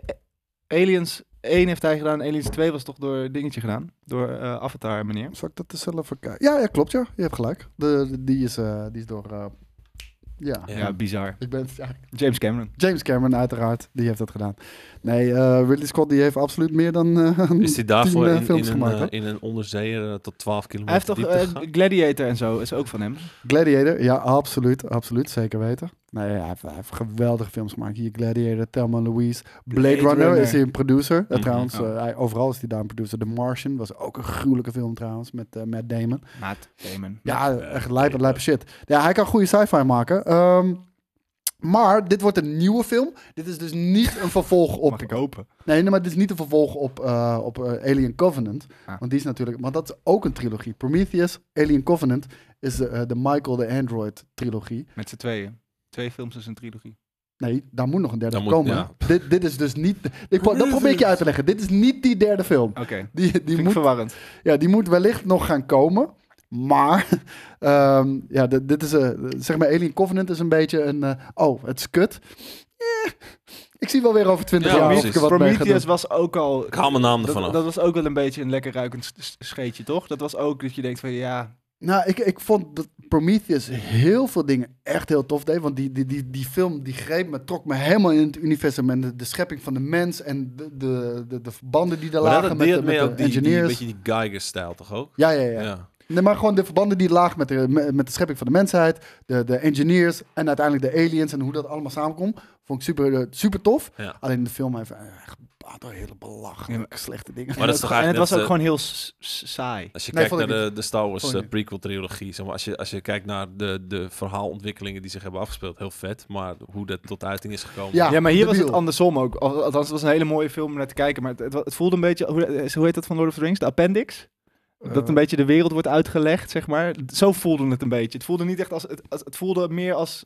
C: Aliens 1 heeft hij gedaan, Aliens 2 was toch door dingetje gedaan? Door eh, Avatar meneer.
D: Zal ik dat er zelf voor kijken? Ja, ja, klopt ja. Je hebt gelijk. De, de- die, is, eh, die is door... eh, ja.
B: Ja.
C: Ja. bizar.
D: Ik ben, ja,
C: James Cameron.
D: James Cameron uiteraard, die heeft dat gedaan. Nee, eh Ridley Scott die heeft absoluut meer dan eh,
B: Is hij daarvoor
D: tien, eh,
B: in, in,
D: films
B: een,
D: gemaakt,
B: eh,
D: hoor.
B: in een onderzeeër eh, tot 12
C: Hij
B: kilometer
C: heeft toch
B: diepte
C: eh,
B: gegaan?
C: Gladiator en zo, is ook van hem.
D: Gladiator, ja, absoluut, absoluut, zeker weten. Nee, hij heeft, hij heeft geweldige films gemaakt. Hier Gladiator, Thelma en Louise, Blade,
C: Blade
D: Runner,
C: Runner.
D: is hij een producer. Eh,
B: Mhm.
D: trouwens,
C: Oh.
D: eh, hij, overal is hij daar een producer. The Martian was ook een gruwelijke film trouwens, met eh, Matt Damon.
C: Maat Damon.
D: Ja, echt lijpe,
B: Damon.
D: lijpe shit. Ja, hij kan goede sci-fi maken. Ehm, maar dit wordt een nieuwe film. Dit is dus niet een vervolg op
C: Mag ik hopen.
D: Nee, nee, maar het is niet een vervolg op, eh, op eh, Alien Covenant.
C: Ah.
D: Want die is natuurlijk... Want dat is ook een trilogie. Prometheus, Alien Covenant is de, eh, de Michael de Android trilogie.
C: Met z'n tweeën. Twee films is een trilogie.
D: Nee, daar moet nog een derde
B: Daar moet-
D: komen.
B: ja.
D: Dit, dit is dus niet... Ik, pro- dat probeer ik je uit te leggen. Dit is niet die derde film.
C: Oké.
D: Die, die,
C: Vind
D: moet,
C: ik verwarrend.
D: ja, die moet wellicht nog gaan komen. Maar, ehm, ja, dit, dit is, eh, zeg maar, Alien Covenant is een beetje een, eh, oh, het is kut. Eh, ik zie wel weer over twintig
B: Ja,
D: jaar of ik
B: precies.
D: er wat mee ga doen.
C: Prometheus was ook al...
B: Ik haal mijn naam ervan
C: Dat,
B: af.
C: dat was ook wel een beetje een lekker ruikend s- s- scheetje, toch? Dat was ook dat je denkt van, ja...
D: Nou, ik, ik vond dat Prometheus heel veel dingen echt heel tof deed. Want die, die, die, die film die greep me, trok me helemaal in het universum. En de, de schepping van de mens en de, de, de, de verbanden die daar
B: maar
D: lagen
B: dat
D: met de,
B: deed
D: met
B: mee
D: de
B: ook die, die, een
D: engineers.
B: beetje die Geiger-stijl, toch ook?
D: ja, ja, ja. Nee, maar gewoon de verbanden die lagen met de, me- met de schepping van de mensheid. De, de engineers en uiteindelijk de aliens en hoe dat allemaal samenkomt. Vond ik super, eh, super tof.
B: Ja.
D: Alleen de film heeft eh, echt een aantal hele belachelijke slechte dingen.
B: Maar dat is toch
C: En het
B: eigenlijk net,
C: was ook
B: eh,
C: gewoon heel s- s- saai.
B: Als je
D: Nee,
B: kijkt
D: vond ik
B: naar de, de Star Wars
D: Vond ik
B: eh, prequel-trilogie, zeg maar, als, je, als je kijkt naar de, de verhaalontwikkelingen die zich hebben afgespeeld, heel vet. Maar hoe dat tot uiting is gekomen.
D: Ja.
C: Ja, maar hier was
D: debiel.
C: het andersom ook. Al- Althans, het was een hele mooie film om naar te kijken. Maar het, het, wa- het voelde een beetje... Hoe, eh, hoe heet dat van Lord of the Rings? De appendix? Dat
D: Eh,
C: een beetje de wereld wordt uitgelegd, zeg maar. Zo voelde het een beetje. Het voelde niet echt als... Het, als- het voelde meer als...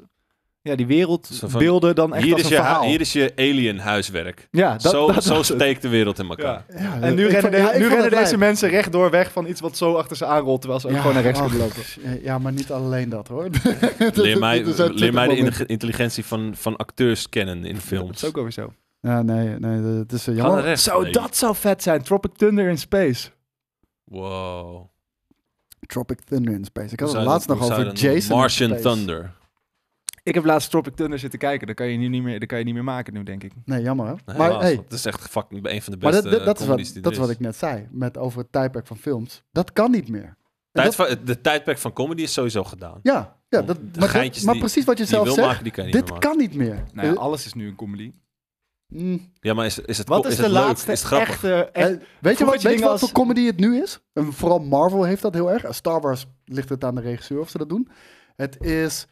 C: Ja, die
B: Zo van,
C: wereldbeelden dan echt
B: hier,
C: als
B: is
C: een
B: je, hu-
C: verhaal.
B: hier is je alien-huiswerk.
C: ja, dat,
B: zo
C: dat
B: zo
C: was het.
B: steekt de wereld in elkaar.
D: ja,
C: En nu
D: ik
C: rennen,
D: vond-
C: de-
D: ja, ik vond
C: nu rennen
D: het
C: deze
D: lijp.
C: mensen rechtdoor weg van iets wat zo achter ze aanrolt, terwijl ze ook gewoon naar rechts
D: ach,
C: kunnen lopen.
D: Ja, maar niet alleen dat hoor.
B: Leer mij, leer mij de
D: in
B: inge- intelligentie van, van acteurs kennen in
C: Dat
B: films.
C: is ook alweer zo.
D: Ja, nee, nee, het is eh,
B: Ga naar
D: jammer.
B: rechts.
C: Zo,
B: Nee.
C: dat zou vet zijn. Tropic Thunder in Space.
B: Wow.
D: Tropic Thunder in Space. Ik had
B: Hoe zou
D: het laatst
B: dat-
D: nog
B: hoe zou
D: over
B: dat noemen?
D: Jason. in
B: Martian
D: Space.
B: Thunder.
C: Ik heb laatst Tropic Thunder zitten kijken. Dat kan je nu niet meer, dat kan je niet meer maken nu, denk ik.
D: Nee, jammer hè.
B: Nee,
D: maar
B: helaas,
D: hey,
B: want Het is echt fucking een van de
D: maar
B: beste eh,
D: dat, dat, dat is
B: comedies
D: wat,
B: die
D: dat
B: er
D: is
B: is.
D: wat ik net zei. Met over het tijdperk van films. Dat kan niet meer. En
B: Tijd
D: dat-
B: van- de tijdperk van comedy is sowieso gedaan.
D: ja, ja
B: Want
D: dat,
B: de
D: maar, dat-
B: geintjes
D: maar
B: die-
D: precies wat je
B: Die je
D: zelf
B: wil
D: zegt.
B: maken, die kan je niet
D: Dit
B: meer maken.
D: kan niet meer.
C: Nou ja,
D: Eh,
C: alles is nu een comedy.
D: mm,
B: Ja, maar is, Oh, is het
C: Wat
B: ko-
C: is, de
B: het leuk?
C: laatste
B: Is het grappig?
C: echte...
D: eh,
C: echt-
D: weet je wat,
C: Vond je
D: weet je
C: dingen
D: wat
C: als-
D: voor comedy het nu is? En vooral Marvel heeft dat heel erg. Star Wars ligt het aan de regisseur of ze dat doen. Het is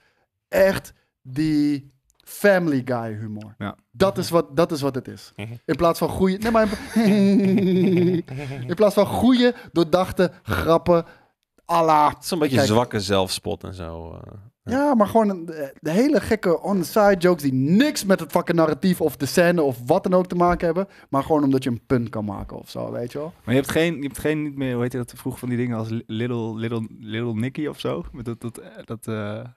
D: echt die Family Guy humor.
C: Ja.
D: Dat is, wat, dat is wat het is.
C: Mhm.
D: In plaats van goede. Nee, maar in, in plaats van goede, doordachte grappen. Allah.
B: Het is een beetje
D: Kijk.
B: zwakke zelfspot en zo. eh.
D: Ja, maar gewoon een- de- de hele gekke on-the-side jokes die niks met het fucking narratief of de scène of wat dan ook te maken hebben. Maar gewoon omdat je een punt kan maken of zo, weet je wel.
C: Maar je hebt geen, je hebt geen niet meer, hoe heet dat vroeg van die dingen als li- Little, little, little Nicky of zo? Met dat, dat, eh, dat eh,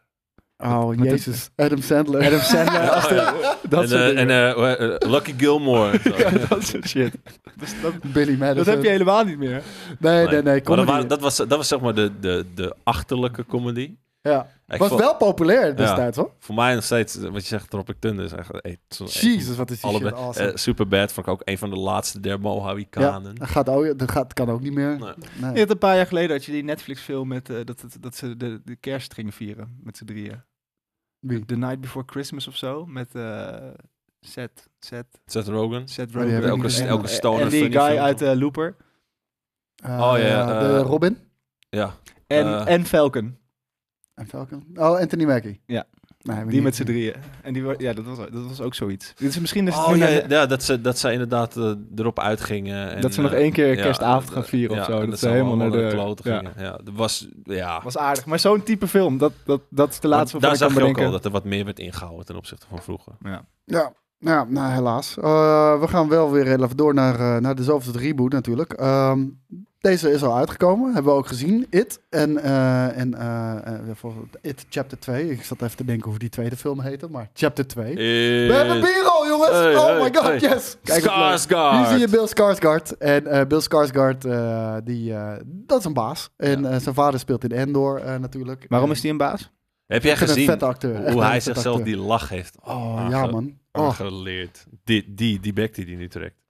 D: Oh,
C: Met-
D: jezus. Adam Sandler.
C: Adam Sandler. als de- dat
B: Oh, en
C: soort
B: eh, en
C: dingen.
B: eh, hoe- eh, Lucky Gilmore. Zo.
C: Ja, dat soort shit. Dus dat,
D: Billy
C: dat
D: Madison.
C: heb je helemaal niet meer.
D: Nee, nee, nee.
B: eh, Maar dat,
D: comedy.
B: waren- dat, was, dat was zeg maar de, de, de achterlijke comedy.
D: ja.
B: Ik
D: Was
B: vond-
D: wel populair destijds, hoor.
B: Voor mij nog steeds, eh, wat je zegt, Tropic Thunder is echt... eh, zo-
D: Jezus, wat is die
B: Allebei,
D: shit awesome.
B: eh, Superbad vond ik ook een van de laatste der
D: ja,
B: Mohawikanen.
D: dat, gaat ook, dat gaat, kan ook niet meer.
B: Nee.
D: Nee.
C: Je had een paar jaar geleden had je die Netflix-film met eh, dat, dat, dat ze de, de kerst gingen vieren met z'n drieën.
D: Wie?
C: The Night Before Christmas of zo. Met eh Seth, Seth,
B: Seth Rogen.
C: Seth
D: Oh, die heb
C: Rogen.
D: ik
B: Elke-
D: niet gezien.
B: elke stoner
C: En die
B: funny
C: guy
B: film.
C: uit eh, Looper.
D: Eh,
B: Oh, ja,
D: de
B: eh,
D: Robin
B: Ja.
C: En,
B: Eh.
C: en Falcon.
D: en Falcon. Oh, Anthony Mackie.
C: Ja.
D: Nee, heb ik
C: Die
D: niet
C: met z'n
D: gezien.
C: drieën. En die, wa- ja, dat was, dat was ook zoiets. Dit is misschien dus
B: Oh, ja, ja, ja, dat, ze, dat ze inderdaad eh, erop uitgingen. En,
C: dat ze nog
B: eh,
C: één keer
B: ja,
C: kerstavond
B: dat-
C: gaan vieren of
B: ja,
C: zo.
B: en
C: Dat, ze helemaal naar de...
B: klote
C: ja.
B: gingen. Ja. dat was... Ja.
C: was aardig. Maar zo'n type film, dat, dat, dat is de
B: Maar
C: laatste
B: daar
C: waarvan
B: zag je
C: ik kan
B: ook al
C: bedenken.
B: dat er wat meer werd ingehouden ten opzichte van vroeger.
C: Ja.
D: Ja, ja nou, helaas. Eh, we gaan wel weer heel even door naar, eh, naar de zoveelste reboot natuurlijk. Ehm, deze is al uitgekomen, hebben we ook gezien. It en, eh, en eh, eh, voor- It Chapter 2. Ik zat even te denken hoe die tweede film heette, maar Chapter 2. We hebben Biro, jongens!
B: Hey,
D: oh
B: hey,
D: my god,
B: hey.
D: yes! Kijk, wat leuk.
B: Skarsgård!
D: Hier zie je Bill Skarsgård. En eh, Bill Skarsgård, eh, die, eh, dat is een baas. En eh, zijn vader speelt in Endor eh, natuurlijk.
C: Waarom is die een baas?
B: Heb jij
D: Echt een
B: gezien
D: vette acteur. Echt een
B: hoe hij
D: vette
B: zichzelf
D: acteur.
B: die Ah, lach heeft
D: Oh, ja man. Oh.
B: aangeleerd? Die, die, die bek die die nu trekt.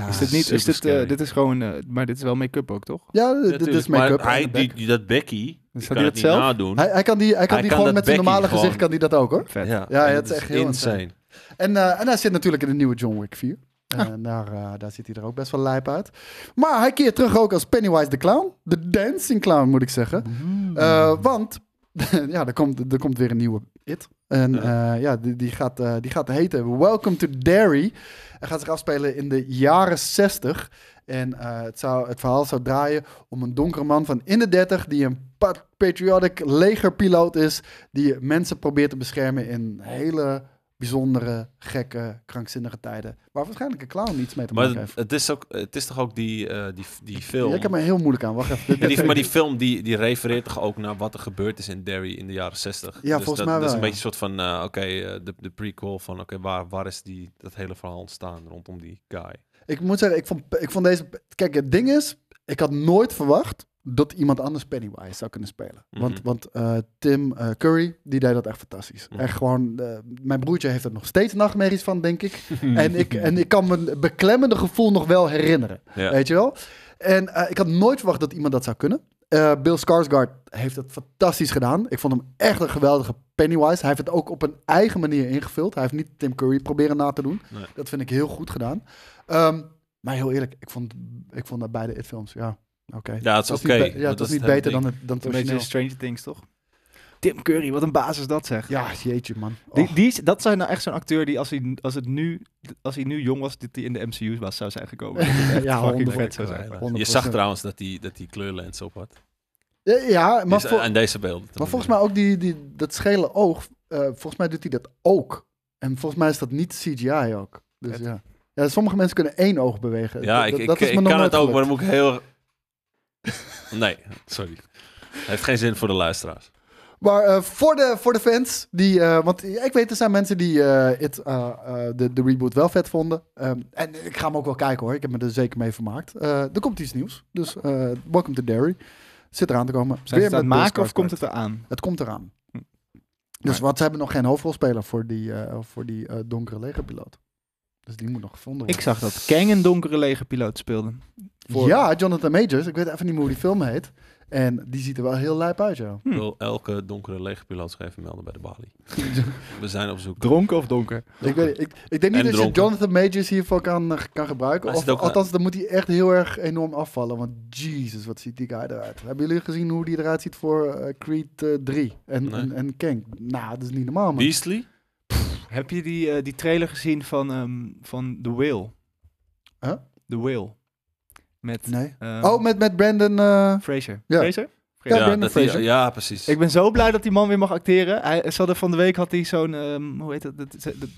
B: Ah,
C: Is dit niet... Is dit, eh,
B: superscary.
C: dit is gewoon... eh, maar dit is wel make-up ook, toch?
D: Ja, d- dit
B: Natuurlijk,
D: is make-up.
B: Maar hij,
D: en de bek.
B: die, die- dat Becky, die
C: dat
B: kan
C: Dus hij
B: het
C: dat
B: niet
C: zelf?
B: nadoen.
D: Hij, hij kan die, hij kan
B: Hij
D: die
B: kan dat
D: gewoon met zijn
B: Becky
D: normale
B: gewoon-
D: gezicht kan die dat ook hoor.
C: Vet.
D: ja,
B: en
D: het is echt heel
B: insane.
D: En, eh, en hij zit natuurlijk in de nieuwe John Wick 4.
B: Ah.
D: En daar, eh, daar ziet hij er ook best wel lijp uit. Maar hij keert terug ook als Pennywise de Clown. De Dancing Clown moet ik zeggen.
B: Mm.
D: Eh, want ja, er, komt, er komt weer een nieuwe It. En ja, ja die, die, gaat, eh, die gaat heten Welcome to Derry. Hij gaat zich afspelen in de jaren 60. En eh, het, zou, het verhaal zou draaien om een donkere man van in de 30 die een pa- patriotic legerpiloot is, die mensen probeert te beschermen in hele bijzondere, gekke, krankzinnige tijden. Waar waarschijnlijk een clown niets mee te
B: Maar
D: maken
B: het,
D: heeft.
B: het is ook, het is toch ook die, eh, die, die film...
D: Ik heb me heel moeilijk aan. Wacht even.
B: maar, die, maar die film die, die refereert toch ook naar wat er gebeurd is in Derry in de jaren 60.
D: Ja, volgens
B: dat,
D: mij
B: Dat is
D: wel,
B: een
D: ja.
B: beetje een soort van, eh, oké, eh, de, de prequel van, oké, waar, waar is die, dat hele verhaal ontstaan rondom die guy?
D: Ik moet zeggen, ik vond, ik vond deze. Kijk, het ding is, ik had nooit verwacht dat iemand anders Pennywise zou kunnen spelen.
B: Mhm.
D: Want, want eh, Tim eh, Curry, die deed dat echt fantastisch.
B: Mhm.
D: Echt gewoon, eh, mijn broertje heeft er nog steeds nachtmerries van, denk ik. en, ik en ik kan mijn beklemmende gevoel nog wel herinneren.
B: Ja.
D: Weet je wel? En eh, ik had nooit verwacht dat iemand dat zou kunnen. Eh, Bill Skarsgård heeft dat fantastisch gedaan. Ik vond hem echt een geweldige Pennywise. Hij heeft het ook op een eigen manier ingevuld. Hij heeft niet Tim Curry proberen na te doen.
B: Nee.
D: Dat vind ik heel goed gedaan. Ehm, maar heel eerlijk, ik vond, ik vond dat beide It-films, ja, oké.
B: Ja, het is
D: Het was
B: oké.
D: niet be- Ja,
B: Dat
D: het was
B: is
D: niet
B: hele
D: beter
B: ding.
D: dan het, dan het
C: Een beetje
D: origineel.
C: Stranger Things, toch? Tim Curry, wat een baas is dat, zeg.
D: Ja, jeetje man. Oh.
C: Die,
D: Och.
C: die, is- dat zijn nou echt zo'n acteur die als hij, als, het nu, als hij nu jong was, dat hij in de MCU was, zou zijn gekomen. Dat het echt
D: Ja, 100%.
C: fucking vet zou zijn.
B: Ja, Je
D: 100%.
B: zag trouwens dat die, dat die kleurlens op had.
D: Ja, maar,
B: Dus,
D: voor-
B: eh, aan deze beelden. te
D: maar volgens mij
B: bedoelen.
D: ook die, die, dat schele oog, eh, volgens mij doet hij dat ook. En volgens mij is dat niet CGI ook. Dus
C: Vet.
D: ja. ja. Sommige mensen kunnen één oog bewegen.
B: Ja,
D: Dat-
B: ik,
D: dat-
B: ik,
D: dat is
B: ik
D: me nog
B: kan
D: nooit
B: het ook, maar dan
D: gelukt.
B: moet ik heel... Nee, sorry. Heeft geen zin voor de luisteraars.
D: Maar eh, voor, de, voor de fans, die, eh, want ik weet er zijn mensen die eh, het, eh, eh, de, de reboot wel vet vonden. Ehm, en ik ga hem ook wel kijken hoor, ik heb me er zeker mee vermaakt. Eh, er komt iets nieuws, dus eh welcome to Derry. Zit eraan te komen.
C: Zijn ze
D: Weer
C: het aan het
D: met Bill
C: maken of
D: Skarsgård.
C: komt het eraan?
D: Het komt eraan.
C: Hm.
D: Dus
C: Maar-
D: wat, ze hebben nog geen hoofdrolspeler voor die, eh, voor die eh, donkere legerpiloot. Dus die moet nog gevonden
C: Ik
D: worden.
C: zag dat Kang een donkere legerpiloot speelde. voor-
D: Ja, Jonathan Majors. Ik weet even niet meer hoe die film heet. En die ziet er wel heel lijp uit, ja.
B: Ik
C: Hm.
B: wil elke donkere legerpiloot zich even melden bij de balie. We zijn op zoek.
C: Dronken of donker?
D: Ik, weet, ik, ik denk niet
B: En
D: dat je
B: dronken.
D: Jonathan Majors hiervoor kan, eh, kan gebruiken.
B: Maar is
D: Of,
B: het ook-
D: althans, dan moet hij echt heel erg enorm afvallen. Want Jesus, wat ziet die guy eruit. Hebben jullie gezien hoe die eruit ziet voor eh, Creed eh, 3 en,
B: Nee.
D: en, en Kang? Nou, dat is niet normaal, man.
B: Beastly?
C: Heb je die, eh, die trailer gezien van, ehm, van The Whale?
D: Huh?
C: The Whale. Met,
D: Nee.
C: ehm,
D: Oh, met, met Brandon... eh,
C: Fraser.
D: Ja.
C: Fraser?
D: Ja, Brandon
B: dat die-
D: Fraser.
B: ja, precies.
C: Ik ben zo blij dat die man weer mag acteren. Hij, ze hadden van de week had hij zo'n, ehm, hoe heet dat? dat, dat- dat-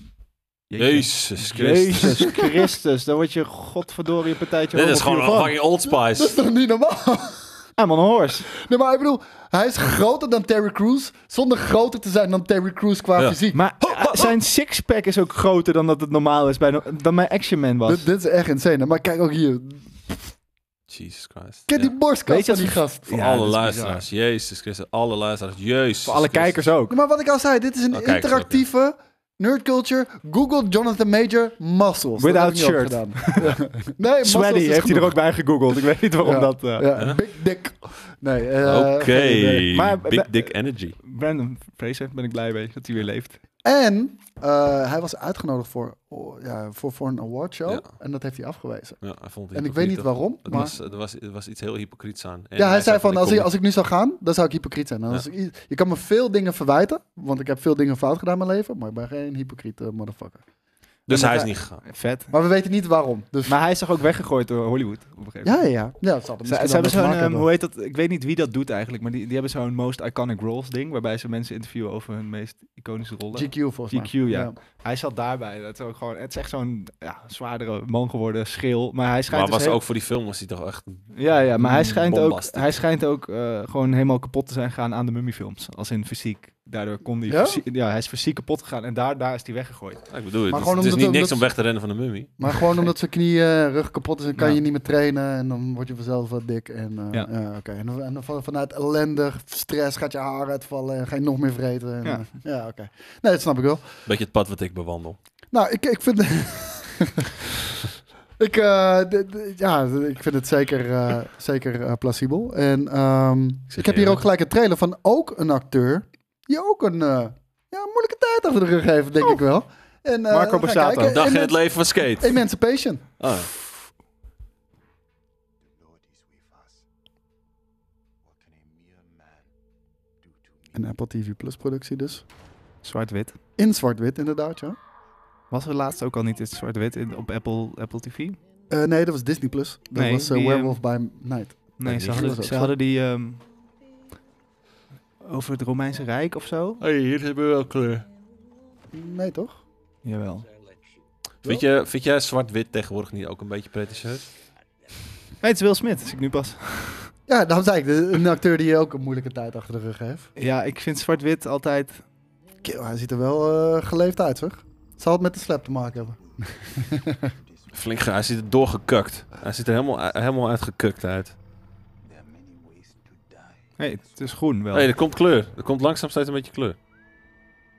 C: Jeetje.
B: Jezus Christus.
C: Jezus Christus, dan word je godverdorie een partijtje
B: Dit is gewoon
C: homofiel
B: een
C: van.
B: fucking Old
D: Dat is
B: Spice.
D: toch niet normaal?
C: I'm on a horse.
D: Nee, maar ik bedoel, hij is groter dan Terry Crews, zonder groter te zijn dan Terry Crews qua
B: Ja.
D: fysiek.
C: Maar eh, zijn sixpack is ook groter dan dat het normaal is bij no- dan mijn Action Man was.
D: Dit, dit is echt insane. Maar kijk ook hier.
B: Jesus Christ.
D: Ken
B: Ja.
D: die borstkast
C: Weet je
D: van die
C: dat-
D: gast.
B: Voor
C: Ja, dat
B: alle
C: is bizar.
B: luisteraars. Jezus Christus. Alle luisteraars. Jezus
C: Voor alle
B: Christus.
C: kijkers ook.
D: Ja, maar wat ik al zei, dit is een
B: Oh, kijk,
D: interactieve nerd culture. Google Jonathan Major muscles. Dat
C: Without
D: heb ik niet
C: shirt.
D: opgedaan. nee, muscles
C: Sweaty
D: is
C: heeft hij
D: genoeg.
C: er ook bij gegoogeld. Ik weet niet waarom
D: Ja,
C: dat... eh,
D: Ja, big dick. Nee, eh,
B: Oké.
D: geen idee.
C: Maar-
B: Big Dick Energy.
C: Brandon Fraser, ben ik blij mee dat hij weer leeft.
D: En eh, hij was uitgenodigd voor, oh, ja, voor, voor een awardshow.
B: Ja.
D: En dat heeft hij afgewezen.
B: Ja, hij vond het
D: En ik
B: hypocriet,
D: weet niet
B: toch?
D: waarom,
B: Het
D: maar...
B: was, er, was, er was iets heel hypocriets aan. En
D: Ja, hij zei van,
B: ik
D: als
B: kom
D: ik,
B: niet-
D: als ik nu zou gaan, dan zou ik hypocriet zijn. En
B: Ja.
D: Als ik i- je kan me veel dingen verwijten, want ik heb veel dingen fout gedaan in mijn leven, maar ik ben geen hypocriete motherfucker.
B: Dus
C: Ja,
B: hij is
C: maar-
B: niet gegaan.
C: Vet.
D: Maar we weten niet waarom. Dus,
C: Maar hij is toch ook weggegooid door Hollywood op een gegeven
D: ja,
C: moment?
D: ja, ja. ja dat zal er
C: Ze,
D: misschien
C: ze hebben
D: wel mee te
C: zo'n,
D: maken
C: ehm,
D: hebben.
C: hoe heet dat? Ik weet niet wie dat doet eigenlijk, maar die, die hebben zo'n Most Iconic Roles ding, waarbij ze mensen interviewen over hun meest iconische rollen.
D: GQ volgens mij.
C: GQ, ja. Hij zat daarbij. Dat is ook gewoon, het is echt zo'n ja, zwaardere man geworden, schil. Maar hij schijnt
B: Maar
C: dus
B: was
C: heel-
B: ook voor die film was hij toch echt...
C: Ja, ja, maar hij schijnt ook,
B: Hmm, Bombastic.
C: hij schijnt ook eh, gewoon helemaal kapot te zijn gegaan aan de mummiefilms. Als in fysiek. Daardoor kon hij...
D: Ja?
C: fysie- Ja, hij is fysiek kapot gegaan en daar, daar is hij weggegooid.
B: Ja, ik bedoel,
D: Maar
B: het, is-
D: gewoon
B: het is
D: omdat-
B: niet niks
D: omdat-
B: om weg te rennen van de mummie.
D: Maar gewoon omdat zijn knie, eh, rug kapot is en kan
C: Ja.
D: je niet meer trainen en dan word je vanzelf wat dik. En, eh,
C: Ja.
D: ja, oké. en, dan- en dan van- vanuit ellende, stress, gaat je haar uitvallen en ga je nog meer vreten. En,
C: Ja.
D: eh, ja, oké. Nee, dat snap ik wel.
B: Beetje het pad wat ik bewandel.
D: Nou, ik, ik vind. ik, eh, d- d- ja, d- ik vind het zeker, eh, zeker eh, plausibel. En ehm, ik,
B: zit
D: heb
B: hier
D: hier ook
B: ook.
D: gelijk een trailer van ook een acteur. Die ook een eh, ja, moeilijke tijd achter de rug heeft, denk ik wel. En, eh,
C: Marco
D: we gaan
C: Borsato.
D: kijken.
B: Dag in het
D: Eman-
B: leven van skate.
D: Emancipation.
B: Ah.
E: Lord is with us. What can a mere man do to me?
D: Een Apple TV Plus productie dus.
C: Zwart-wit.
D: In zwart-wit inderdaad, ja.
C: Was er laatst ook al niet eens zwart-wit in- op Apple, Apple TV?
D: Eh, nee, dat was Disney Plus. Dat
C: Nee,
D: was eh,
C: die, ehm,
D: Werewolf by Night.
C: Nee,
B: Nee,
C: ze,
B: die
D: was
C: hadden,
D: ook
C: ze
D: zo.
C: hadden die ehm, over het Romeinse Rijk of zo.
B: Hey, hier hebben we wel kleur.
D: Nee, toch?
C: Jawel.
B: Vind, je, vind jij zwart-wit tegenwoordig niet ook een beetje pretentieus?
C: Nee, het is Will Smith, zie ik nu pas.
D: Ja, daarom zei ik, de- een acteur die ook een moeilijke tijd achter de rug heeft.
C: Ja, ik vind zwart-wit altijd...
D: Kill, hij ziet er wel eh, geleefd uit, zeg. Zal het met de slap te maken hebben?
B: Flink, ge- hij ziet er doorgekukt. Hij ziet er helemaal, eh, helemaal uitgekukt uit.
E: There are many ways to die.
C: Nee, het is groen wel.
B: Hé, hey, er komt kleur. Er komt langzaam steeds een beetje kleur.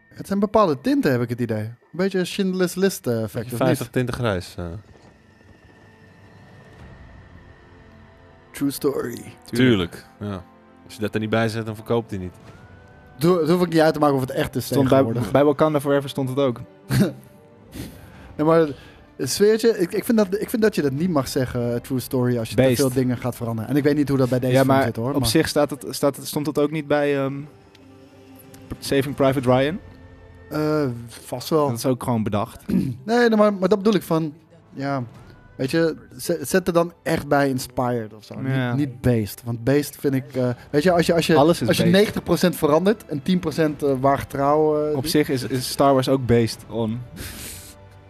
D: Het zijn bepaalde tinten, heb ik het idee. Een beetje een Schindler's List eh, effect, of
B: 50
D: niet?
B: tinten grijs. eh.
D: True story.
B: tuurlijk. Ja. Als je dat er niet bij zet, dan verkoopt hij niet.
D: Doe, dat hoef ik niet uit te maken of het echt is
C: Stond bij,
D: tegenwoordig.
C: bij Wakanda Forever stond het ook.
D: Nee, maar het sfeertje, ik, ik, vind dat, ik vind dat je dat niet mag zeggen, eh, true story, als je te
C: Beest.
D: veel dingen gaat veranderen. En ik weet niet hoe dat bij deze
C: ja,
D: film
C: maar
D: zit, hoor.
C: op
D: maar-
C: zich staat het, staat het, stond het ook niet bij ehm, Saving Private Ryan.
D: Eh, vast wel.
C: Dat is ook gewoon bedacht.
D: Nee, nee, maar, maar dat bedoel ik van, ja... Weet je, zet, zet er dan echt bij inspired of zo.
C: Ja.
D: Niet, niet beest. Want beest vind ik... eh, weet je, als je, als je,
C: Alles is
D: Als
C: based.
D: je 90% verandert en 10% eh, waar getrouw... eh,
C: Op
D: die-
C: zich is, is Star Wars ook based on.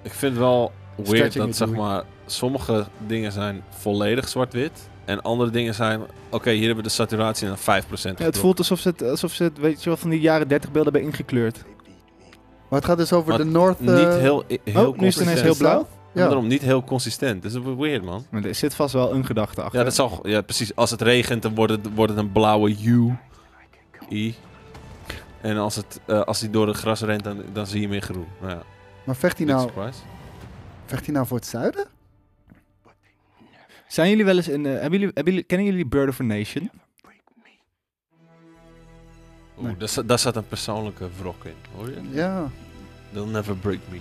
B: Ik vind het wel weird
D: Stretching
B: dat
D: it,
B: zeg
D: doei.
B: maar, sommige dingen zijn volledig zwart-wit. En andere dingen zijn, oké, hier hebben we de saturatie naar 5%
C: Ja, het
B: getrokken.
C: voelt alsof ze het, alsof ze het, weet je wel, van die jaren 30 beelden hebben ingekleurd.
E: They beat me.
D: Maar het gaat dus over
B: Maar
D: de North... eh,
B: Niet heel, heel
C: oh, nu is het
B: consistent.
C: ineens heel blauw.
B: Ja.
D: Ja.
B: Daarom niet heel consistent. Dat is weird, man.
C: Maar er zit vast wel een gedachte achter.
B: Ja, dat zal, ja, precies. Als het regent, dan wordt het, wordt het een blauwe U. I. En als, het, eh, als hij door het gras rent, dan, dan zie je hem in groen. Nou ja,
D: Maar vecht hij,
B: big
D: nou,
B: surprise.
D: vecht hij nou voor het zuiden?
C: Zijn jullie wel eens in... eh, hebben jullie, hebben jullie, kennen jullie Bird of a Nation?
B: Oeh, daar, zat- daar zat een persoonlijke wrok in, hoor je?
D: Ja.
B: They'll never break me.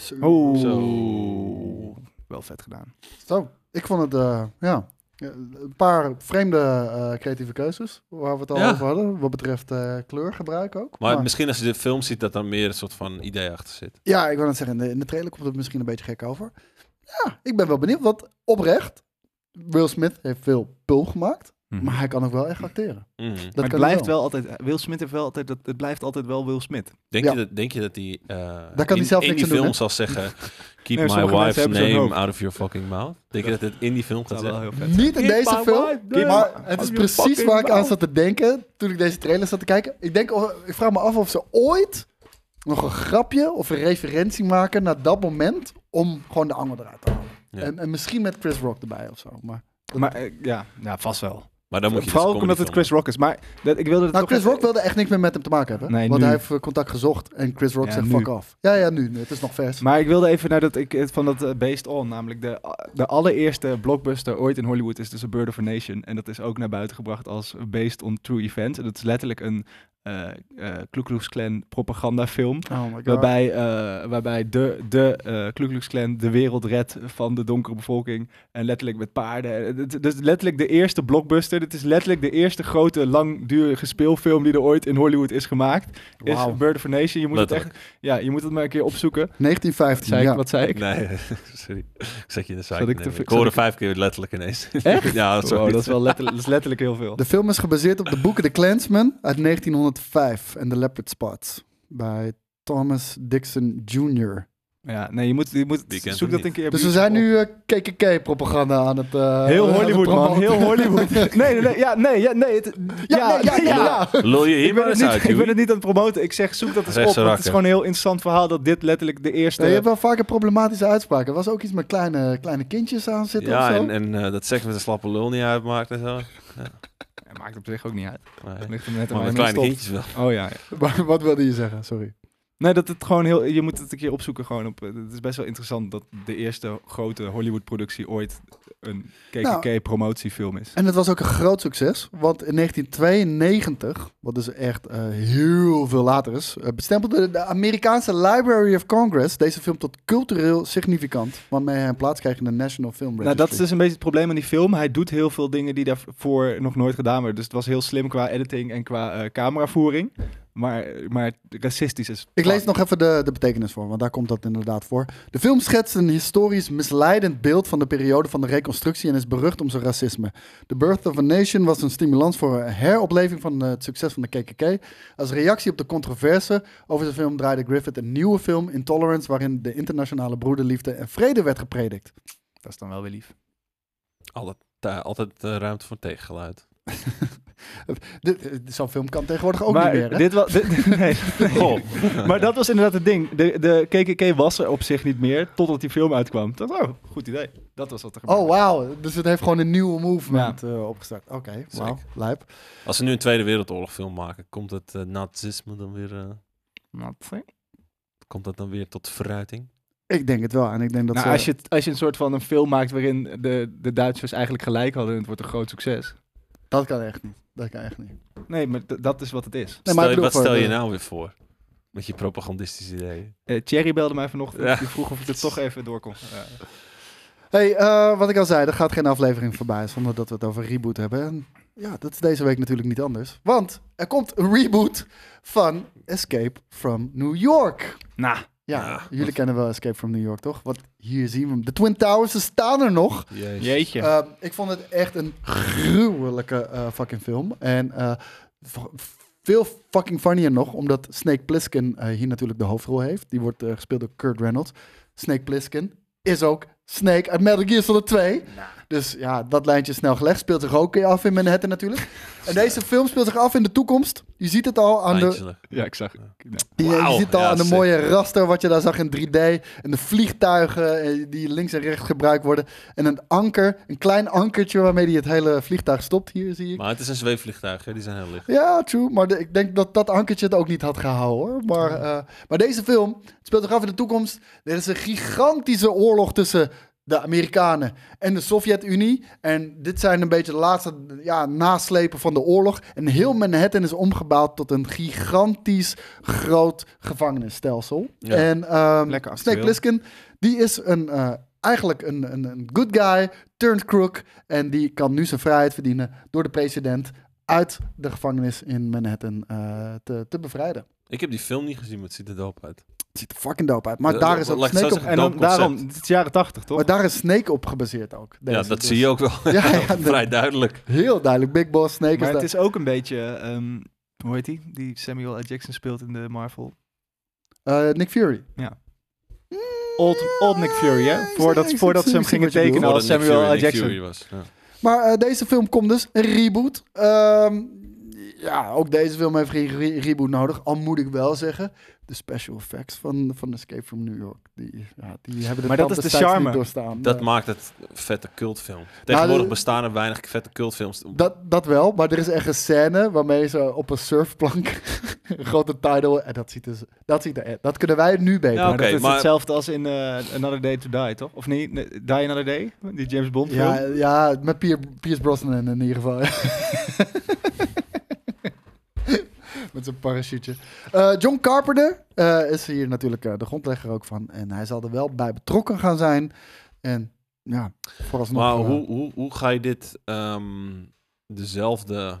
D: Zo.
C: Oeh.
B: Zo.
C: Wel vet gedaan.
D: Zo. Ik vond het, eh, ja... ja, Een paar vreemde eh, creatieve keuzes, waar we het al
B: Ja.
D: over hadden, wat betreft eh, kleurgebruik ook.
B: Maar misschien als je de film ziet, dat daar meer een soort van idee achter zit.
D: ja, ik wil het zeggen, in de, in de trailer komt het misschien een beetje gek over. Ja, ik ben wel benieuwd, want oprecht, Will Smith heeft veel pul gemaakt,
C: Mhm.
D: maar hij kan ook wel echt acteren.
B: Mhm.
D: Dat
C: maar
D: kan
C: het blijft
D: hij
C: wel altijd. Will Smith heeft wel altijd. Dat, het blijft altijd wel Will Smith.
B: Denk,
D: Ja.
B: je dat, denk je dat die eh
D: Daar kan
B: in,
D: hij zelf
B: in
D: niks
B: die
D: aan doen,
B: film zal zeggen... Keep
C: Nee,
B: my
C: sommige mensen
B: wife's
C: hebben zo'n
B: name
C: hoofd.
B: out of your fucking mouth. Denk je dat dit in die film
C: Dat
B: gaat
C: zou wel
B: zeggen?
C: heel vet zijn.
D: Niet in
B: Keep
D: deze
B: my
D: film,
B: wife
D: maar
B: down.
D: het is
B: Are you
D: precies
B: fucking
D: waar ik aan
B: wild?
D: zat te denken toen ik deze trailer zat te kijken. Ik, denk, oh, ik vraag me af of ze ooit nog een grapje of een referentie maken naar dat moment om gewoon de angel eruit te halen.
B: Ja.
D: En, en misschien met Chris Rock erbij of zo. Maar,
C: Maar eh, ja, ja, vast wel.
B: Maar dan moet je
C: Vooral
B: dus
C: ook
B: een
C: omdat het
B: comedyfilm
C: Chris Rock is. Maar dat, ik wilde het
D: nou,
C: toch
D: Chris
C: even-
D: Rock wilde echt niks meer met hem te maken hebben.
C: Nee,
D: want
C: nu.
D: hij heeft eh, contact gezocht en Chris Rock
C: Ja,
D: zegt
C: nu.
D: fuck af. Ja, ja, nu. nu, Het is nog vers.
C: Maar ik wilde even naar dat ik het van dat eh, Based On, namelijk de, eh, de allereerste blockbuster ooit in Hollywood is dus A Bird of a Nation. En dat is ook naar buiten gebracht als Based On True Event. En dat is letterlijk een eh eh Ku Klux Klan propagandafilm.
D: oh my god.
C: Waarbij, eh, waarbij de, de eh Ku Klux Klan de wereld redt van de donkere bevolking. En letterlijk met paarden. Eh, dit- Dit is letterlijk de eerste blockbuster. Dit is letterlijk de eerste grote, langdurige speelfilm die er ooit in Hollywood is gemaakt. Is
D: Wauw.
C: A Bird of a Nation. Je moet, het echt,
B: Letterlijk.
C: ja, je moet het maar een keer opzoeken.
D: 1915,
C: Zei ik,
D: ja.
C: Wat zei ik?
B: Nee, sorry. Ik zet je in de zaak.
C: Zat ik
B: Ik,
C: te ver-
B: ik hoorde
C: zat ik-
B: vijf keer letterlijk ineens.
C: Echt?
B: ja, dat is
C: Wow,
B: ook
C: dat, is
B: niet-
C: wel letterlijk, dat is letterlijk heel veel.
D: De film is gebaseerd op de boeken The Clansman uit 1905 en The Leopard Spots bij Thomas Dixon Jr.
C: Ja, nee, je moet, je moet
B: Die kent hem
C: zoek dat een
B: niet.
C: keer. op
D: Dus we
C: YouTube
D: zijn
C: op.
D: nu KKK-propaganda aan het. eh, aan
C: Heel
D: het
C: Hollywood, man.
D: promoten.
C: Heel Hollywood. Nee, nee, nee. Ja, nee, ja, nee. het-
D: Ja, nee, ja, ja, ja.
B: Lul je hier
C: Ik ben,
B: maar
C: het
B: eens uit,
C: niet, ik
B: Joey?
C: ben het niet aan het promoten. Ik zeg, zoek dat eens
B: Rechtse
C: op. want Het is
B: rakker.
C: gewoon een heel interessant verhaal dat dit letterlijk de eerste...
D: Ja, je hebt wel vaker problematische uitspraken. Er was ook iets met kleine, kleine kindjes aan zitten
B: Ja,
D: of zo.
B: en, en eh, dat seks met een slappe lul niet uitmaakt en zo.
C: Ja, maakt op zich ook niet uit.
B: Nee.
C: Ligt hem net aan
B: Maar
C: waar
B: met
C: je
B: kleine
C: stopt.
B: kindjes wel.
C: Oh ja. ja.
D: Maar wat wilde je zeggen? Sorry.
C: Nee, dat het gewoon heel... Je moet het een keer opzoeken gewoon op... eh, Het is best wel interessant dat de eerste grote Hollywood-productie ooit een KKK-promotiefilm is.
D: En het was ook een groot succes, want in 1992, wat dus echt eh, heel veel later is, eh, bestempelde de Amerikaanse Library of Congress deze film tot cultureel significant, waarmee hij een plaats kreeg in de National Film Registry.
C: Nou, dat is dus een beetje het probleem aan die film. Hij doet heel veel dingen die daarvoor nog nooit gedaan werden. Dus het was heel slim qua editing en qua eh, cameravoering. Maar, maar racistisch is...
D: Ik lees nog even de, de betekenis voor, want daar komt dat inderdaad voor. De film schetst een historisch misleidend beeld van de periode van de reconstructie en is berucht om zijn racisme. The Birth of a Nation was een stimulans voor een heropleving van eh, het succes van de KKK. Als reactie op de controverse over de film draaide Griffith een nieuwe film, Intolerance, waarin de internationale broederliefde en vrede werd gepredikt.
C: Dat is dan wel weer lief.
B: Altijd, eh, altijd eh, ruimte voor tegengeluid.
D: Dit- eh, Zo'n film kan tegenwoordig ook
C: maar eh,
D: niet meer, hè?
C: dit was... dit- nee.
B: Goh.
C: Maar dat was inderdaad het ding. De, de KKK was er op zich niet meer, totdat die film uitkwam. Dat oh, goed idee. Dat was wat er gebeurde.
D: Oh, wauw. Dus het heeft gewoon een nieuwe movement eh, opgestart. Oké, wauw.
B: Zeker.
D: Lijp.
B: Als ze nu een Tweede Wereldoorlog film maken, komt het eh, nazisme dan weer, eh,
C: Wat?
B: komt dat dan weer tot verruiting?
D: Ik denk het wel. En ik denk dat eh,
C: Nou,
D: ze-
C: als, je, als je een soort van een film maakt waarin de, de Duitsers eigenlijk gelijk hadden en het wordt een groot succes.
D: Dat kan echt niet. Dat kan echt niet.
C: Nee, maar d- dat is wat het is.
D: Nee,
B: Stel
D: maar
B: je-
D: ik bedoel
B: wat
D: voor
B: stel je
D: de-
B: nou weer voor? Met je propagandistische ideeën.
C: Eh, Thierry belde mij vanochtend.
B: Ja.
C: Die vroeg of ik er toch even door kon. Ja.
D: Hey, eh, wat ik al zei, er gaat geen aflevering voorbij zonder dat we het over reboot hebben. En ja, dat is deze week natuurlijk niet anders. Want er komt een reboot van Escape from New York.
C: Nou,
D: Ja,
B: Ja,
D: jullie kennen wel Escape from New York, toch? Want hier zien we hem. De Twin Towers, ze staan er nog.
B: Jezus.
C: jeetje.
D: Eh, ik vond het echt een gruwelijke eh, fucking film. En eh, v- veel fucking funnier nog, omdat Snake Plissken eh, hier natuurlijk de hoofdrol heeft. Die wordt eh, gespeeld door Kurt Reynolds. Snake Plissken is ook Snake uit Metal Gear Solid 2. Dus ja, dat lijntje is snel gelegd. Speelt zich ook af in Manhattan natuurlijk. En deze film speelt zich af in de toekomst. Je ziet het al aan de,
B: Eindelijk.
C: ja, ik zag.
D: je, je
B: Wauw,
D: ziet het al
B: ja,
D: aan de
B: sick.
D: mooie raster wat je daar zag in 3D. En de vliegtuigen eh, die links en rechts gebruikt worden. En een anker, een klein ankertje waarmee hij het hele vliegtuig stopt. Hier zie ik.
B: Maar het is een zweefvliegtuig, hè? die zijn heel licht.
D: Ja, true. Maar de- ik denk dat dat ankertje het ook niet had gehouden hoor. Maar, eh, maar deze film het speelt zich af in de toekomst. Er is een gigantische oorlog tussen de Amerikanen en de Sovjet-Unie. En dit zijn een beetje de laatste ja, naslepen van de oorlog. En heel Manhattan is omgebouwd tot een gigantisch groot gevangenisstelsel.
B: Ja.
D: En ehm,
C: Lekker
D: Snake
C: actueel.
D: Plissken, die is een, eh, eigenlijk een, een, een good guy, turned crook. En die kan nu zijn vrijheid verdienen door de president uit de gevangenis in Manhattan eh, te, te bevrijden.
B: Ik heb die film niet gezien, maar het ziet er dope uit.
D: Het ziet er fucking dope uit. Maar
B: Eh,
D: daar is
B: laat
D: ook
B: ik zo
D: Snake op.
B: zeggen,
C: En dan,
B: Dope concept.
C: daarom, het is jaren tachtig, toch?
D: Maar daar is Snake op gebaseerd ook.
B: ja, dat zie je ook wel.
D: dus- Ja, ja, dat-
B: Vrij duidelijk.
D: Heel duidelijk, Big Boss Snake
C: maar
D: is
C: het
D: daar.
C: is ook een beetje, ehm, hoe heet die? Die Samuel L. Jackson speelt in de Marvel.
D: Eh, Nick Fury.
C: Ja. Old, old Nick Fury, hè? Voordat, voordat ze hem gingen tekenen
B: Voordat
C: als
B: Nick
C: Samuel
B: Fury
C: L.
B: Nick
C: Jackson.
B: Fury was. Ja.
D: Maar eh, deze film komt dus, een reboot. Ehm, ja, ook deze film heeft geen re- reboot nodig. Al moet ik wel zeggen, de special effects van, van Escape from New York, die, ja, die hebben de
C: Maar dat
D: tand
C: is de
D: des tijds niet
C: charme.
D: doorstaan.
B: Dat
D: Eh,
B: maakt het een vette cultfilm. Tegenwoordig
D: de-
B: bestaan er weinig vette cultfilms.
D: Nou, Dat, dat wel, maar er is echt een scène waarmee ze op een surfplank een grote tidal en dat ziet dus, dat ziet er, dat kunnen wij nu beter.
B: Ja,
C: Maar
B: oké,
C: dat is
B: maar-
C: hetzelfde als in eh, Another Day to Die, toch? Of niet? Nee, Die Another Day? Die James Bond film?
D: Ja, ja, met Pier, Piers Brosnan in ieder geval. met zijn parachute. Eh, John Carpenter eh, is hier natuurlijk eh, de grondlegger ook van. En hij zal er wel bij betrokken gaan zijn. En ja, vooralsnog...
B: Maar
D: eh,
B: hoe, hoe, hoe ga je dit ehm, dezelfde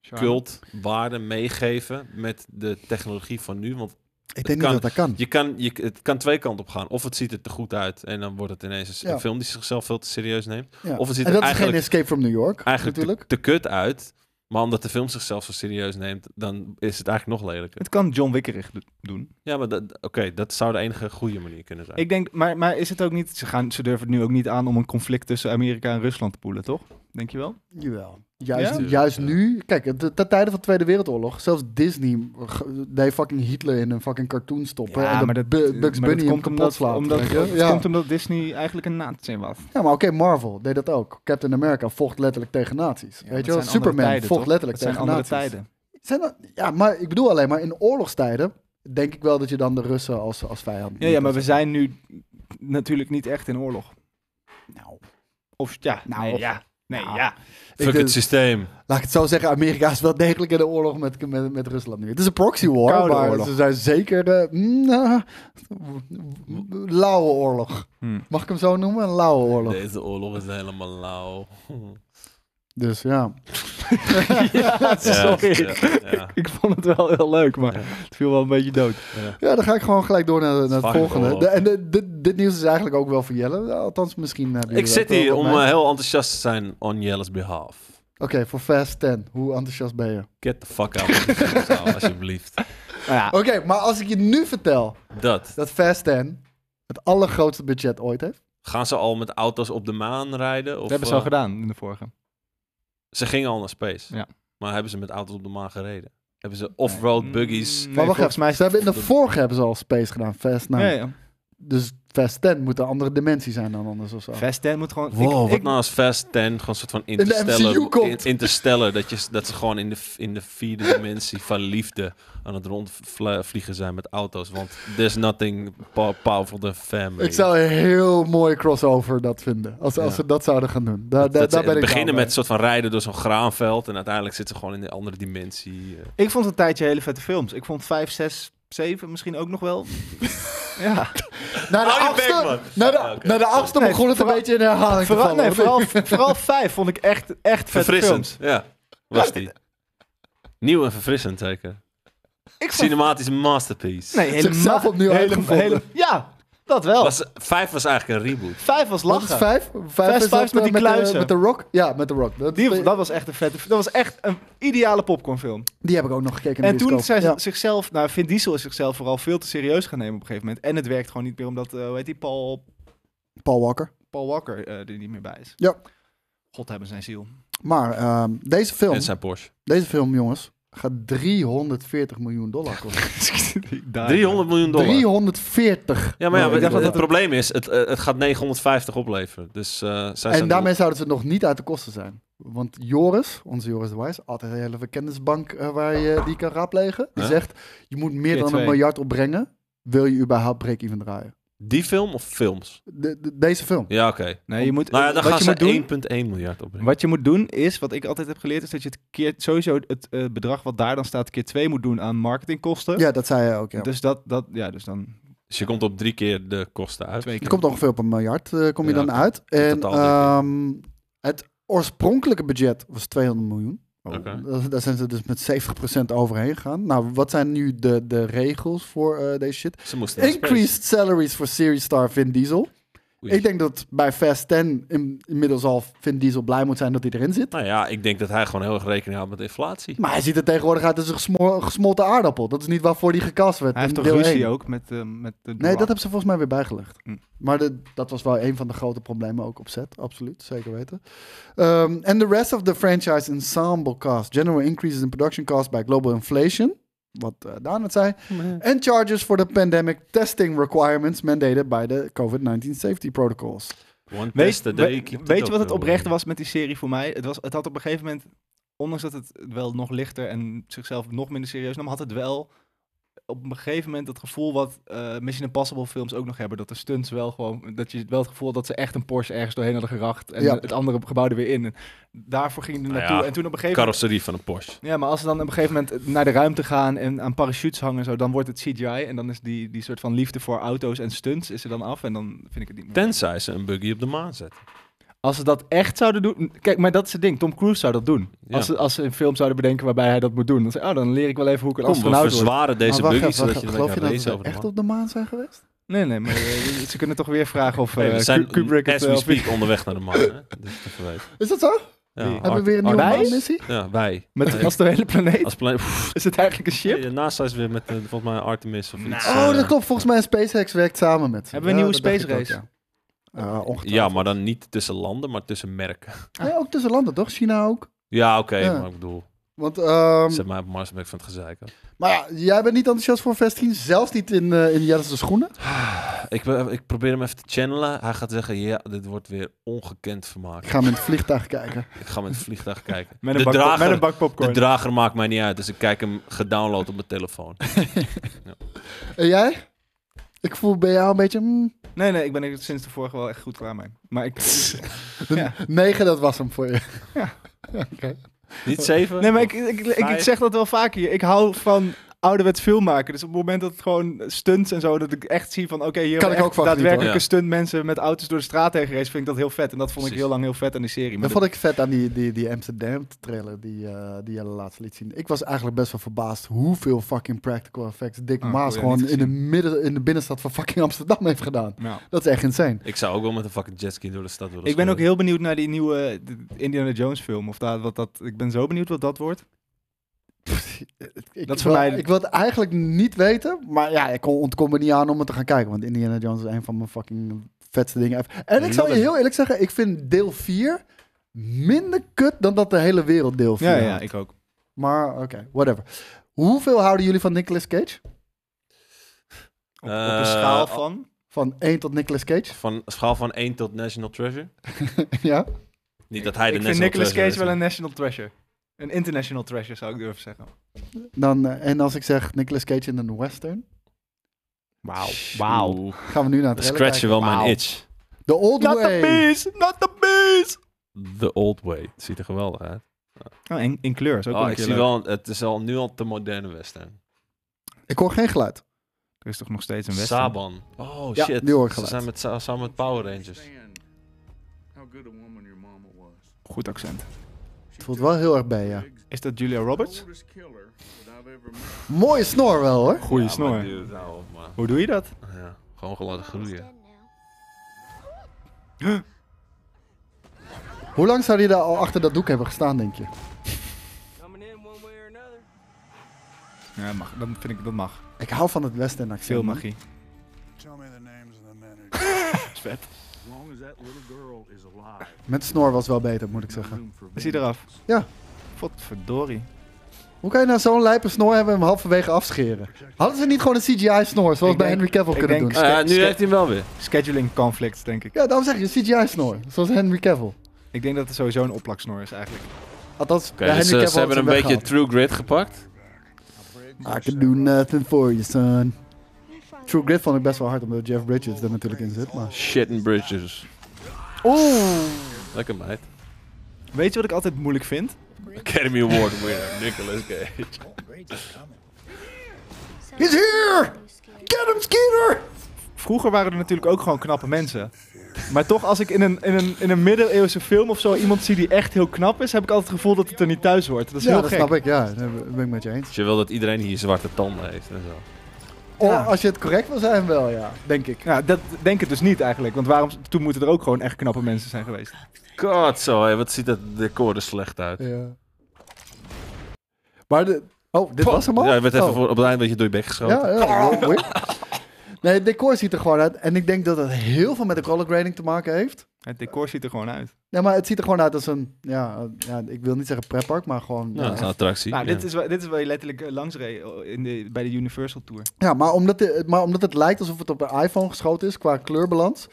C: Charme.
B: cultwaarde meegeven met de technologie van nu? Want
D: ik denk
B: kan-
D: niet dat dat kan.
B: je kan, je, het kan twee kanten op gaan. Of het ziet er te goed uit en dan wordt het ineens een s-
D: Ja.
B: een film die zichzelf veel te serieus neemt.
D: Ja.
B: of er zit
D: en dat is geen
B: eigenlijk-
D: Escape from New York,
B: Eigenlijk te-
D: natuurlijk.
B: Te, kut uit. Maar omdat de film zichzelf zo serieus neemt, dan is het eigenlijk nog lelijker.
C: Het kan John Wickerig do- doen.
B: Ja, maar dat- oké, dat zou de enige goede manier kunnen zijn.
C: Ik denk, maar, maar is het ook niet... Ze, gaan, ze durven het nu ook niet aan om een conflict tussen Amerika en Rusland te poelen, toch? Denk je wel?
D: Jawel. Juist,
B: Ja?
D: juist
B: Ja.
D: nu. Kijk, de- ten tijde van de Tweede Wereldoorlog, zelfs Disney ge- deed fucking Hitler in een fucking cartoon stoppen. en de Bu- Bugs
C: maar dat
D: Bunny hem
C: komt
D: kapot slaat.
C: Omdat,
D: weet je?
C: omdat,
D: ja.
C: Het komt omdat Disney eigenlijk een nazi was.
D: ja, maar oké, Marvel deed dat ook. Captain America vocht letterlijk tegen nazi's.
C: Ja,
D: weet
C: dat
D: je wel?
C: zijn andere
D: Superman
C: tijden,
D: vocht
C: toch?
D: letterlijk
C: Dat zijn
D: tegen
C: andere
D: nazi's.
C: tijden.
D: Zijn dat- ja, maar ik bedoel alleen maar in oorlogstijden denk ik wel dat je dan de Russen als, als vijand...
C: Ja, ja, maar we zijn nu natuurlijk niet echt in oorlog.
D: Nou,
C: Of ja,
D: Nou,
C: nee,
D: of-
C: ja. Nee,
D: nou.
C: ja.
D: ik
B: Fuck
D: denk-
B: het systeem.
D: Laat ik het zo zeggen, Amerika is wel degelijk in de oorlog met, met, met Rusland nu. Het is een proxy war,
C: Koude
D: maar
C: oorlog.
D: ze zijn zeker... eh, mm, ah, lauwe oorlog.
C: Hmm.
D: Mag ik hem zo noemen? Een lauwe oorlog.
B: Deze oorlog is helemaal lauw.
D: Dus ja.
C: Ja, sorry.
B: Ja, ja,
C: Ik vond het wel heel leuk, maar het viel wel een beetje dood.
B: ja.
D: Ja, dan ga ik gewoon gelijk door naar, naar het
B: Fucking
D: volgende.
B: oorlog.
D: De- en de- dit, dit nieuws is eigenlijk ook wel voor Jelle. Althans, misschien... hebben
B: Ik
D: jullie
B: zit
D: dat wel
B: hier
D: wat
B: om
D: mee.
B: eh, heel enthousiast te zijn on Jelle's behalf.
D: Oké, voor Fast 10. Hoe enthousiast ben je? Oké,
B: Get the fuck out of this zaal, alsjeblieft. Ah.
C: ja,
D: maar als ik je nu vertel
B: Dat.
D: dat Fast 10 het allergrootste budget ooit heeft.
B: Gaan ze al met auto's op de maan rijden? Of,
C: dat hebben ze al
B: eh,
C: gedaan in de vorige.
B: Ze gingen al naar space.
C: Ja.
B: Maar hebben ze met auto's op de maan gereden? Hebben ze off-road buggies?
C: Nee, Mm.
D: maar wacht
C: volgens
D: even,
C: mij...
D: ze hebben in de vorige hebben ze al Space gedaan, Fast 9.
C: Ja, ja.
D: Dus Fast 10 moet een andere dimensie zijn dan anders of zo.
C: Fast 10 moet gewoon...
B: Wow,
C: ik,
B: wat
C: ik,
B: nou als Fast 10 gewoon een soort van
D: de
B: interstellar,
D: MCU komt.
B: interstellar dat, je, dat ze gewoon in de, in de vierde dimensie van liefde aan het rondvliegen zijn met auto's. Want there's nothing po- powerful than family.
D: Ik zou een heel mooie crossover dat vinden. Als, als
B: Ja.
D: ze dat zouden gaan doen. Daar,
B: Dat-
D: daar,
B: dat ze
D: daar ben ik
B: beginnen
D: down
B: met
D: bij.
B: een soort van rijden door zo'n graanveld en uiteindelijk zitten ze gewoon in een andere dimensie. eh.
C: ik vond een tijdje hele vette films. Ik vond 5, 6, 7 misschien ook nog wel. ja.
D: Naar de
B: Hou Oh, je
D: achtste,
B: bek, man.
D: naar de,
B: Ah, oké.
D: naar de achtste
C: Nee,
D: begon het een
C: vooral-
D: beetje in herhaling te
C: Vooral,
D: vallen.
C: nee,
D: hoor.
C: vooral, vooral 5 vond ik echt, echt vette
B: Verfrissend,
C: films.
B: ja. Was die. Nieuw en verfrissend zeker.
C: Ik vond
B: Cinematisch masterpiece.
C: Nee,
D: Zichzelf opnieuw
C: helemaal,
D: uitgevonden.
C: helemaal, Ja, dat wel.
B: Was, vijf was eigenlijk een reboot.
C: Vijf was
D: Wat is
C: lachen.
D: vijf?
C: Vijf is
D: dat,
C: vijf met
D: eh,
C: die
D: De,
C: kluizen.
D: met de rock? Ja, met de rock. Dat,
C: Die, dat was echt een vette... Dat was echt een ideale popcornfilm.
D: die heb ik ook nog gekeken in
C: En
D: de
C: toen
D: bioscoop.
C: zijn ze
D: Ja.
C: zichzelf... Nou, Vin Diesel is zichzelf vooral veel te serieus gaan nemen op een gegeven moment. En het werkt gewoon niet meer omdat, eh hoe heet die, Paul,
D: Paul Walker.
C: Paul Walker eh, er niet meer bij is.
D: Ja.
C: God hebben zijn ziel.
D: Maar ehm, deze film,
B: En zijn Porsche.
D: deze film jongens, gaat 340 miljoen dollar kosten.
C: Die daar.
B: 300 miljoen dollar.
D: 340.
B: Ja, maar ja,
D: miljoen.
B: we-
C: dacht dat
B: het
C: het-
B: probleem is, het, eh, het gaat 950 opleveren. Dus eh, zij
D: En
B: zijn
D: daarmee zouden ze nog niet uit de kosten zijn. Want Joris, onze Joris de Wijs, altijd een hele kennisbank eh, waar je die kan raadplegen. Die
B: Ja.
D: zegt, je moet meer
C: Keer
D: dan
C: twee.
D: een miljard opbrengen, wil je überhaupt break-even draaien.
B: die film of films?
D: De- de- deze film.
B: Ja, oké.
C: Nee, je moet,
B: Nou ja, dan
C: wat,
B: gaan
C: je moet doen,
B: ze 1,1 miljard opbrengen.
C: wat je moet doen is, wat ik altijd heb geleerd, is dat je het keer, sowieso het eh, bedrag wat daar dan staat keer 2 moet doen aan marketingkosten.
D: Ja, dat zei je ook. Ja.
C: Dus dat, dat, ja, dus dan
B: Dus je komt op drie keer de kosten uit.
C: twee keer.
D: Je komt ongeveer op een miljard, eh, kom je
B: Ja,
D: dan uit. En
B: totaal denk
D: ehm, het oorspronkelijke budget was 200 miljoen. Oh,
B: Oké.
D: da- Daar zijn ze dus met 70% overheen gegaan. Nou, wat zijn nu de, de regels voor eh, deze shit?
B: Ze moesten naar space.
D: Increased salaries for series star Vin Diesel.
B: Oei.
D: Ik denk dat bij Fast 10 in- inmiddels al Vin Diesel blij moet zijn dat hij erin zit.
B: Nou ja, ik denk dat hij gewoon heel erg rekening houdt met inflatie.
D: Maar hij ziet er tegenwoordig uit als een gesmo- gesmolten aardappel. Dat is niet waarvoor hij gekast werd.
C: Hij heeft
D: in
C: toch
D: deel
C: ruzie
D: één.
C: ook met, eh, met de
D: Nee, dat
C: Rock?
D: hebben ze volgens mij weer bijgelegd.
C: Hm.
D: Maar de- dat was wel een van de grote problemen ook op set. Absoluut, zeker weten. Ehm, and the rest of the franchise ensemble cast. General increases in production costs by global inflation. Wat eh, Daan het zei. And charges for the pandemic testing requirements mandated by the COVID-19 safety protocols.
B: One
C: Weet,
B: test a day
C: weet-
B: keep the
C: weet je wat het
B: doctor
C: oprecht
B: away.
C: was met die serie voor mij? Het, was, het had op een gegeven moment, ondanks dat het wel nog lichter en zichzelf nog minder serieus nam, had het wel op een gegeven moment dat gevoel wat eh Mission Impossible films ook nog hebben. Dat de stunts wel gewoon, dat je wel het gevoel had dat ze echt een Porsche ergens doorheen hadden geracht en
D: Ja.
C: het andere gebouw er weer in. En daarvoor ging er
B: Nou
C: naartoe.
B: ja,
C: en toen op een gegeven moment...
B: Carrosserie van een Porsche.
C: Ja, maar als ze dan op een gegeven moment naar de ruimte gaan en aan parachutes hangen en zo, dan wordt het CGI. En dan is die, die soort van liefde voor auto's en stunts is er dan af. En dan vind ik het niet meer.
B: Tenzij ze een buggy op de maan zetten.
C: Als ze dat echt zouden doen. Kijk, maar dat is het ding. Tom Cruise zou dat doen.
B: Ja.
C: Als, ze, als ze een film zouden bedenken waarbij hij dat moet doen. Dan, zei, oh, dan leer ik wel even hoe ik een
B: Kom, we
C: astronaut Ah, word.
B: verzwaren deze
D: Maar wacht
B: buggy,
D: even,
B: zodat
D: wacht
B: je
D: even,
B: er
D: geloof je
B: kan
D: nou dat
B: racen
D: we
B: over de
D: echt
B: maan.
D: op de maan zijn geweest?
C: Nee, nee, maar eh, ze kunnen toch weer vragen of eh,
B: Hey, we zijn
C: Ku- Kubrick het
B: as
C: wel
B: we
C: of niet-
B: speak onderweg naar de maan. Hè? Dat is even weten.
D: Is dat zo?
B: Ja,
C: Hebben
D: Hebben
B: Art-
D: we weer een nieuwe
C: Art-
D: maanmissie?
B: Ja, wij.
C: Met
B: Nee,
C: als de hele planeet.
B: als planeet. Pff,
C: Is het eigenlijk een ship?
B: nee, Daarnaast is weer met eh, volgens mij Artemis of
C: Nou.
B: iets.
D: Oh,
B: eh,
D: dat klopt. Volgens mij SpaceX werkt samen met ze.
C: Hebben we een
D: Ja,
C: nieuwe
D: dat dacht
C: space
D: ik ook,
C: race?
D: Ja, Ah, ongetwijfeld.
B: Ja, maar dan niet tussen landen, maar tussen merken.
D: Ja, ook tussen landen, toch? China ook.
B: Ja, oké,
D: Ja.
B: maar ik bedoel,
D: Want, ehm,
B: zet mij op Mars, ben ik van het gezeik. hoor.
D: maar ja, jij bent niet enthousiast voor Fast 10, zelfs niet in, eh in Jens' schoenen.
B: Ik, ben- ik probeer hem even te channelen. Hij gaat zeggen, ja, dit wordt weer ongekend vermaak.
D: Ik ga hem in het vliegtuig kijken.
B: Ik ga met het vliegtuig kijken.
C: Met
B: de,
C: een, bak,
B: drager,
C: met een bak
B: de
C: popcorn.
B: drager maakt mij niet uit, dus ik kijk hem gedownload op mijn telefoon.
D: En jij? Ik voel bij jou een beetje... mm,
C: nee, nee, ik ben er sinds de vorige wel echt goed klaar mee. Maar ik... Ja.
D: Negen, dat was hem voor je.
C: Ja.
D: Oké.
B: Niet zeven?
C: Nee, maar ik, ik, ik, ik zeg dat wel vaak hier. Ik hou van ouderwets filmmaken. Dus op het moment dat het gewoon stunts en zo, dat ik echt zie van oké, hier
D: Kan
C: hebben
D: ik
C: echt
D: ook van genieten,
C: daadwerkelijke
B: hoor.
C: stunt mensen met auto's door de straat heen gereden, vind ik dat heel vet. En dat vond ik
B: Precies.
C: heel lang heel vet aan die serie. Maar
D: Dat vond ik vet aan die, die, die Amsterdam trailer die, eh die je laatst liet zien. Ik was eigenlijk best wel verbaasd hoeveel fucking practical effects Dick
C: Oh,
D: Maas
C: goeie,
D: gewoon
C: niet
D: in de,
C: gezien.
D: midden, in de binnenstad van fucking Amsterdam heeft gedaan.
C: dit- Nou.
D: Dat is echt insane.
B: Ik zou ook wel met een fucking jetski door de stad willen
C: Ik ben ook
B: scheuren.
C: heel benieuwd naar die nieuwe eh, de- Indiana Jones film. Of daar, wat dat, ik ben zo benieuwd wat dat wordt.
D: Ik,
C: Dat is voor
D: wil,
C: mij-
D: ik wil het eigenlijk niet weten, maar ja, ik kon- ontkom er niet aan om het te gaan kijken. Want Indiana Jones is een van mijn fucking vetste dingen. ever. En ik zal je
B: Love it.
D: heel eerlijk zeggen, ik vind deel 4 minder kut dan dat de hele wereld deel 4
C: Ja, ja,
D: had.
C: ik ook.
D: Maar oké, whatever. Hoeveel houden jullie van Nicolas Cage?
C: Op, op
B: Eh,
C: een schaal van.
D: Van 1 tot Nicolas Cage?
B: Van schaal van 1 tot National Treasure.
D: ja.
B: Niet dat hij de
C: ik
B: National
C: vind Nicolas
B: Treasure
C: Cage wel
B: is.
C: een national treasure. Een international treasure zou ik durven zeggen.
D: Dan, eh, en als ik zeg Nicolas Cage in een western,
C: Wauw.
B: Oeh,
D: gaan we nu naar
B: Dan
D: het
B: scratch je wel mijn
D: Wauw.
B: itch.
D: The Old
C: Not the
D: Way.
C: bees! Not the bees!
B: The Old Way. Het ziet er geweldig uit.
C: Oh, in, in kleur. Is ook wel
B: Oh,
C: een
B: ik
C: keer
B: zie
C: leuk.
B: wel, het is al nu al de moderne western.
D: Ik hoor geen geluid.
C: Er is toch nog steeds een western?
B: Saban. Oh
D: Ja,
B: shit.
D: nu hoor ik
B: Ze
D: geluid.
B: zijn met, sa- samen met Power Rangers.
E: How good a woman your mama was.
C: Goed accent.
D: Het voelt wel heel erg bij, ja.
C: Is dat Julia Roberts?
E: killer that I've ever met.
D: Mooie snor wel, hoor.
C: Goeie
B: Ja,
C: snor.
B: maar dude, hou op, man.
C: Hoe doe je dat?
B: Ja, gewoon laten groeien.
D: Hoe lang zou hij daar al achter dat doek hebben gestaan, denk je?
F: Coming in one way or another.
C: Ja, mag. Dat vind ik, dat mag.
D: Ik hou van het Western accent.
C: Veel
D: man.
C: magie.
E: Tell me the names of the men. Vet. As long as that little girl is alive.
D: Met snor was wel beter, moet ik zeggen.
E: room for
C: Is hij
E: vengeance.
C: eraf?
D: Ja.
C: Potverdorie.
D: Hoe kan je nou zo'n lijpe snor hebben en hem halverwege afscheren? Hadden ze niet gewoon een CGI-snor, zoals
C: Ik
D: bij
C: denk-
D: Henry Cavill
C: ik
D: kunnen
C: denk-
D: doen?
B: Eh, nu
C: Ske-
B: heeft hij hem wel weer.
C: Scheduling conflicts, denk ik.
D: Ja, daarom zeg je CGI-snor, zoals Henry Cavill.
C: Ik denk dat er sowieso een opplaksnor is eigenlijk.
D: Althans,
B: Oké,
D: bij
B: dus
D: Henry
B: eh,
D: Cavill
B: ze hebben een beetje
D: weggehaald.
B: True Grit gepakt.
D: I can do nothing for you, son. True Grit vond ik best wel hard, omdat Jeff Bridges er natuurlijk in zit. Maar...
B: Shit and Bridges.
D: Oeh!
B: Lekker meid.
C: Weet je wat ik altijd moeilijk vind?
B: Academy Award winner, Nicolas Cage.
D: He's here! Get him, Skeeter!
C: Vroeger waren er natuurlijk ook gewoon knappe mensen. Maar toch, als ik in een, in, een, in een middeleeuwse film of zo iemand zie die echt heel knap is, heb ik altijd het gevoel dat het er niet thuis hoort. Dat is
D: ja,
C: heel
D: dat
C: gek.
D: snap ik. Ja, daar ben ik met je eens.
B: Dus je wil dat iedereen hier zwarte tanden heeft en zo.
C: Ja.
D: Oh, als je het correct wil zijn, wel ja, denk ik.
C: Ja, dat denk ik dus niet eigenlijk. Want waarom, toen moeten er ook gewoon echt knappe mensen zijn geweest.
B: God zo, hé, wat ziet dat decor er slecht uit.
D: Ja. Maar de. Oh, dit was hem al?
B: Ja, je werd even
D: Oh.
B: voor, op het einde een beetje door je bek geschoten.
D: Ja, ja. Wip. Nee, het decor ziet er gewoon uit. En ik denk dat het heel veel met de color grading te maken heeft.
C: Het decor ziet er gewoon uit.
D: Ja, maar het ziet er gewoon uit als een... Ja, eh, ja ik wil niet zeggen pretpark, maar gewoon...
B: Ja,
D: Ja,
B: dat is een attractie.
C: Nou,
B: ja.
C: dit, is, wa- dit is waar je letterlijk eh, langs reed eh, in de, bij de Universal Tour.
D: Ja, maar, omdat de- maar omdat het lijkt alsof het op een iPhone geschoten is qua kleurbalans...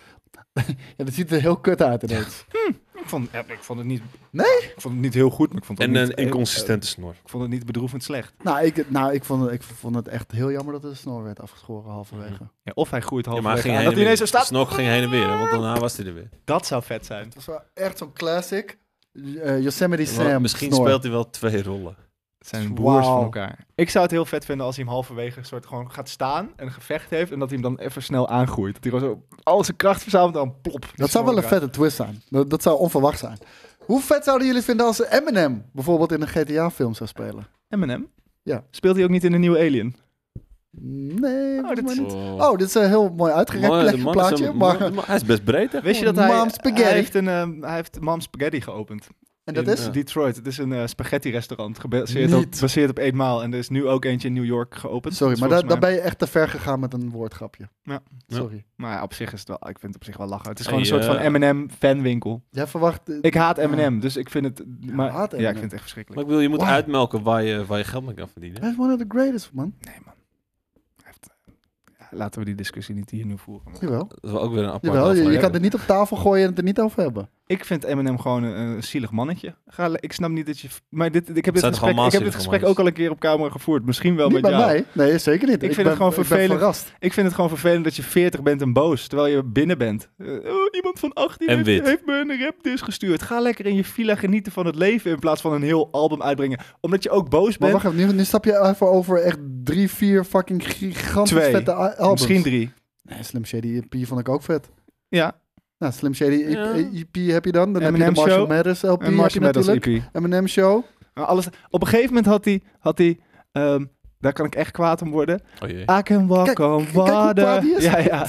D: ja, dat ziet er heel kut uit ineens.
C: Ik vond, eh, ik vond het niet...
D: Nee?
C: Ik vond het niet heel goed, maar ik vond het,
B: En
C: ook
B: een
C: niet, eh,
B: inconsistente snor.
C: ik vond het niet bedroevend slecht.
D: nou, ik, nou ik, vond, het- ik vond het echt heel jammer dat de snor werd afgeschoren halverwege.
C: Ja, of hij groeit
B: Ja,
C: halverwege
B: maar hij ging
C: aan,
B: heen en
C: dat hij
B: weer.
C: ineens zo staat.
B: Snok ging heen en weer, hè, want daarna was hij er weer.
C: Dat zou vet zijn.
D: Dat is wel echt zo'n classic eh, Yosemite Sam
B: Misschien
D: snor.
B: speelt hij wel twee rollen.
C: Het zijn broers van
D: Wauw.
C: elkaar. Ik zou het heel vet vinden als hij hem halverwege een soort gewoon gaat staan en een gevecht heeft en dat hij hem dan even snel aangroeit. Dat hij gewoon zo al zijn kracht verzamelt en dan plop.
D: Dat zou wel een
C: vet.
D: vette twist zijn. Dat, dat zou onverwacht zijn. Hoe vet zouden jullie vinden als Eminem bijvoorbeeld in een GTA-film zou spelen?
C: Eminem?
D: Ja.
C: M&M? Speelt hij ook niet in de nieuwe Alien?
D: Nee,
C: Oh,
D: oh,
C: dat
D: dit,
C: is-
D: niet. oh, dit is een heel mooi uitgerekt
B: Mooi, de
D: plek-
B: man is
D: plaatje.
B: een-
D: maar,
B: man- man- hij is best breed, hè?
C: Wist je dat hij...
D: Mom Spaghetti.
C: Hij heeft, een, ehm, hij heeft Mom Spaghetti geopend.
D: en dat
C: in
D: is?
C: eh, Detroit. Het is een spaghetti-restaurant, gebaseerd op,
D: Niet.
C: gebaseerd op eenmaal. En er is nu ook eentje in New York geopend.
D: Sorry,
C: Dus
D: maar
C: volgens
D: daar
C: mij-
D: daar ben je echt te ver gegaan met een woordgrapje.
C: Ja.
D: Sorry.
C: Maar ja, op zich is het wel... Ik vind het op zich wel lachen. Het is
B: Hey,
C: gewoon een soort
B: eh,
C: van Eminem-fanwinkel.
D: Jij verwacht... eh,
C: Ik haat Eminem, dus ik vind het... Maar,
D: haat M&M. Eminem.
C: ja, ik vind het echt
B: Maar
C: verschrikkelijk.
B: ik bedoel, je moet
D: Why?
B: uitmelken waar je, waar je geld mee kan verdienen.
D: Hij is one of the greatest, man.
C: Nee, man. Hij heeft- ja, Laten we die discussie niet hier nu voeren. man.
D: Jawel.
B: Dat is wel ook weer een apart
D: Jawel, je, je
B: aflevering.
D: kan het niet op tafel gooien en het er niet over hebben.
C: Ik vind Eminem gewoon een, een zielig mannetje. Ga, le- ik snap niet dat je... Maar dit, ik
B: zijn toch
C: heb dit gesprek,
B: allemaal
C: ik heb dit
B: zielige
C: gesprek ook
B: mannetjes?
C: al een keer op camera gevoerd. Misschien wel
D: niet
C: met
D: bij
C: jou.
D: mij. Nee, zeker niet.
C: Ik vind het gewoon
D: ik ben
C: vervelend.
D: verrast.
C: Ik vind het gewoon vervelend dat je 40 bent en boos, terwijl je binnen bent. Eh, oh, iemand van 18
B: En
C: heeft,
B: wit.
C: heeft me een rapdisc gestuurd. Ga lekker in je villa genieten van het leven in plaats van een heel album uitbrengen. Omdat je ook boos
D: Maar
C: bent.
D: wacht even, nu, nu stap je even over echt drie, vier fucking gigantisch
C: Twee.
D: vette a- albums.
C: Misschien drie.
D: Nee, Slim Shady EP vond ik ook vet.
C: Ja,
D: Nou, Slim Shady EP,
B: Ja.
D: EP heb je dan. Dan heb je
C: Eminem
D: de Marshall
C: Show.
D: Mathers LP
C: een
D: heb je
C: Marshall Mathers E
D: natuurlijk.
C: EP.
D: Eminem Show.
C: Maar Nou, alles, op een gegeven moment had hij, had hij ehm, daar kan ik echt kwaad om worden.
B: Oh jee.
C: I can walk
D: Kijk,
C: on
D: kijk hoe kwaad
C: water.
D: die is.
C: Ja, ja.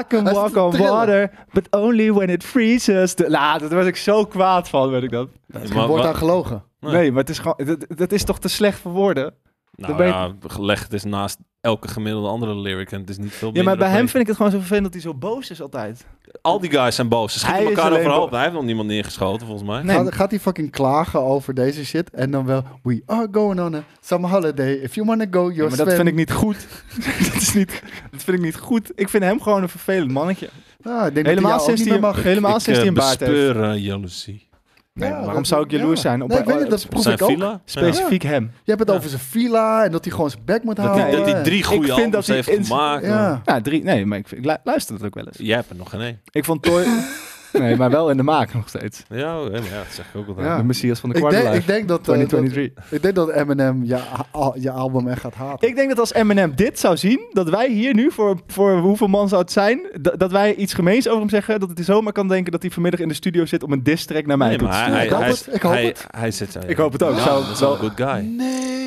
C: I can
D: Hij
C: walk
D: zit te
C: on
D: trillen.
C: water, but only when it freezes. Nou, daar was ik zo kwaad van, weet ik dat.
D: Daar
B: Ja,
D: is
B: maar
D: geen woord
B: wa-
D: aan gelogen.
B: Nee.
C: Nee, maar het is gewoon, dat, dat is toch te slecht voor woorden?
B: Nou
C: ben je-
B: ja, gelegd is naast elke gemiddelde andere lyric en het is niet veel
C: Ja, maar
B: minder
C: bij hem
B: oplevend.
C: vind ik het gewoon zo vervelend dat hij zo boos is altijd.
B: Al die guys zijn boos. Ze schieten
C: Hij is
B: elkaar
C: alleen
B: overhoop.
C: bo-
B: Hij heeft nog niemand neergeschoten, volgens mij.
C: Nee.
D: Gaat, gaat hij fucking klagen over deze shit en dan wel... We are going on a summer holiday. If you wanna go,
C: Ja,
D: you're
C: maar dat vind ik niet goed. dat, is niet, dat vind ik niet goed. Ik vind hem gewoon een vervelend mannetje.
D: Ah, ik denk dat
C: Helemaal
D: hij jou ook
C: sinds
D: niet
C: hij,
D: meer mag.
C: helemaal
B: ik
C: sinds hij
B: eh,
C: een baard heeft.
B: bespeur eh, jaloezie.
C: Nee,
D: Ja,
C: waarom
D: dat-
C: zou ik jaloers
D: ja.
C: zijn op
D: Nee, ik weet niet, dat
B: Op
D: proef
B: zijn
D: ik ook.
B: villa? Ja.
C: specifiek hem?
D: Je hebt het
B: Ja.
D: over zijn villa en dat hij gewoon zijn bek moet
C: Dat
D: houden.
C: hij-
B: Dat hij drie
C: vind
B: goede
C: dat
B: albums
C: hij
B: heeft
C: ins-
B: gemaakt.
D: Ja.
C: Nou, drie. Nee, maar ik, vind- ik lu- luister dat ook wel eens.
B: Jij hebt er nog geen één.
C: Ik vond Toy... nee, maar wel in de maak nog steeds.
B: Ja, oh, ja, maar ja, dat zeg ik ook altijd.
D: Ja.
C: De Messias van de
D: Ik denk, ik,
C: Quarterlife.
D: denk dat, eh, dat,
C: 2023.
D: ik denk dat Eminem je, a- al- je album echt gaat haten.
C: Ik denk dat als Eminem dit zou zien, dat wij hier nu, voor, voor hoeveel man zou het zijn, dat, dat wij iets gemeens over hem zeggen, dat hij zomaar kan denken dat hij vanmiddag in de studio zit om een diss track naar mij
B: Nee,
C: toe
B: maar
C: te
B: hij,
C: sturen.
B: hij,
D: Ik hoop
B: hij,
D: het, ik hoop
B: hij-
D: het.
B: hij zit daar. ja.
C: Ik hoop het ook.
B: Ja,
C: Zou-
B: dat is wel een
C: zou-
B: good guy.
D: Nee.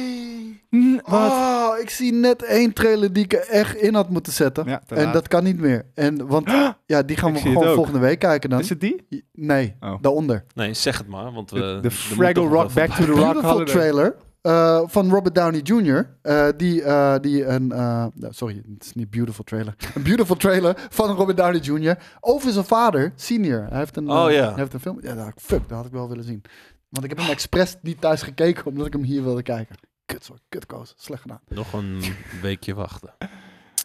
C: Mm, wat?
D: Oh, ik zie net één trailer die ik er echt in had moeten zetten.
C: Ja, te
D: en
C: laat.
D: dat kan niet meer. En, want ja, die gaan
C: Ik
D: we
C: zie het
D: gewoon
C: ook.
D: volgende week kijken dan.
C: Is het die?
D: Nee,
C: Oh.
D: daaronder.
B: Nee, zeg het maar. Want we,
C: De,
B: er
C: de
B: moet
C: Fraggle
B: toch wel
C: Rock Back
B: van-
C: to the Rock
D: Beautiful
C: Holiday.
D: trailer eh, van Robert Downey Jr. eh, die, eh, die een... eh, nou, sorry, het is niet beautiful trailer. Een beautiful trailer van Robert Downey Jr. Over zijn vader, senior. Hij heeft een,
B: Oh,
D: eh,
B: ja.
D: hij heeft een film. Ja, dat, fuck, dat had ik wel willen zien. Want ik heb hem expres niet thuis gekeken, omdat ik hem hier wilde kijken. Kut, sorry, kut koos. Slecht gedaan.
B: Nog een weekje wachten.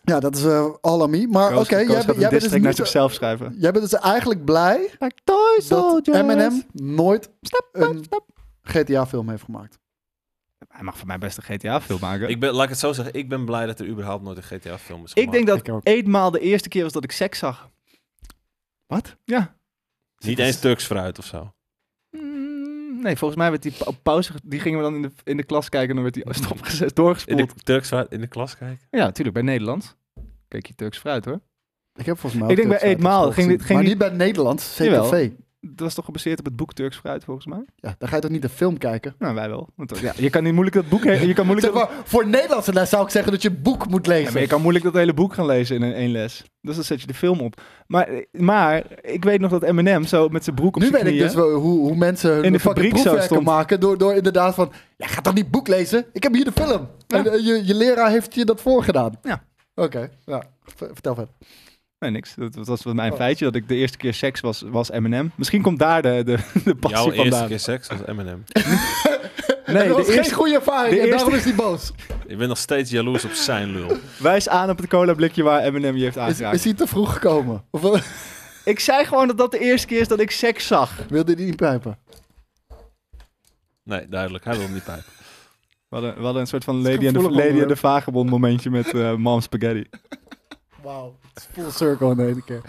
D: Ja, dat is eh all on me. Maar oké,
C: Koos- Koos
D: jij,
C: gaat
D: bent-
C: een
D: jij, bent
C: diss
D: dus
C: track naar
D: niet-
C: zichzelf schrijven.
D: jij bent dus eigenlijk blij
C: Like Toy
D: dat
C: Soldiers.
D: Eminem nooit een
C: stap.
D: GTA-film heeft gemaakt.
C: Hij mag voor mij best een GTA-film maken. Ik,
B: Ik ben, laat ik het zo zeggen. Ik ben blij dat er überhaupt nooit een GTA-film is
C: denk
B: gemaakt.
C: dat
D: Ik ook.
C: eenmaal de eerste keer was dat ik seks zag.
D: Wat?
C: Ja.
B: Niet eens Turks fruit of zo.
C: Mm, Nee, volgens mij werd die pa- op pauze, ge- die gingen we dan in de, in de klas kijken en dan werd die stopgezet,
B: In de
C: doorgespoeld.
B: Turks fruit in de klas kijken.
C: Ja, natuurlijk, bij Nederlands. Kijk je Turks fruit hoor.
D: Ik heb volgens mij ook
C: Ik denk bij
D: Turks
C: Eet Maal
D: Fruit gezien.
C: ging dit- ging
D: maar
C: die-
D: niet bij het Nederlands,
C: Jawel.
D: CTV.
C: Dat was toch gebaseerd op het boek Turks Fruit, volgens mij?
D: Ja, dan ga je toch niet de film kijken?
C: Nou, wij wel. Want, ja, je kan niet moeilijk dat boek... he- Je kan moeilijk
D: Zeg
C: dat,
D: maar, voor Nederlandse les zou ik zeggen dat je een boek moet
C: Ja,
D: lezen.
C: maar je kan moeilijk dat hele boek gaan lezen in een- één les. Dus dan zet je de film op. Maar, maar ik weet nog dat Eminem zo met zijn broek op
D: nu
C: zijn
D: weet ik
C: knieën...
D: dus wel hoe, hoe mensen hun
C: In de
D: fucking
C: fabriek zo
D: proefwerken
C: stond.
D: maken door, door inderdaad van, ja, ga toch niet boek lezen? Ik heb hier de film. En eh, je, je leraar heeft je dat voorgedaan.
C: Ja.
D: Oké, ja. V- vertel verder.
C: Nee, niks. Dat, dat was
D: Oh.
C: mijn feitje, dat ik de eerste keer seks was, was Eminem. Misschien komt daar de, de, de passie
B: Jouw eerste
C: vandaan.
B: keer seks was Eminem.
C: Nee,
D: dat was
C: de
D: geen
C: eerste,
D: goede ervaring
C: de
D: en daarom
C: eerste-
D: is hij boos.
B: Ik ben nog steeds jaloers op zijn lul.
C: wijs aan op het cola blikje waar Eminem je heeft
D: Is,
C: aangeraakt.
D: is hij te vroeg gekomen? Of eh, wel-
C: Ik zei gewoon dat dat de eerste keer is dat ik seks zag.
D: wilde hij niet pijpen?
B: Nee, duidelijk. Hij wil hem niet pijpen.
C: We hadden, we hadden een soort van
D: is
C: Lady, and the,
D: gevoelig
C: Lady and the
D: onderwerp.
C: Vagebond momentje met eh Mom Spaghetti.
D: Wauw, het is full circle in de ene keer.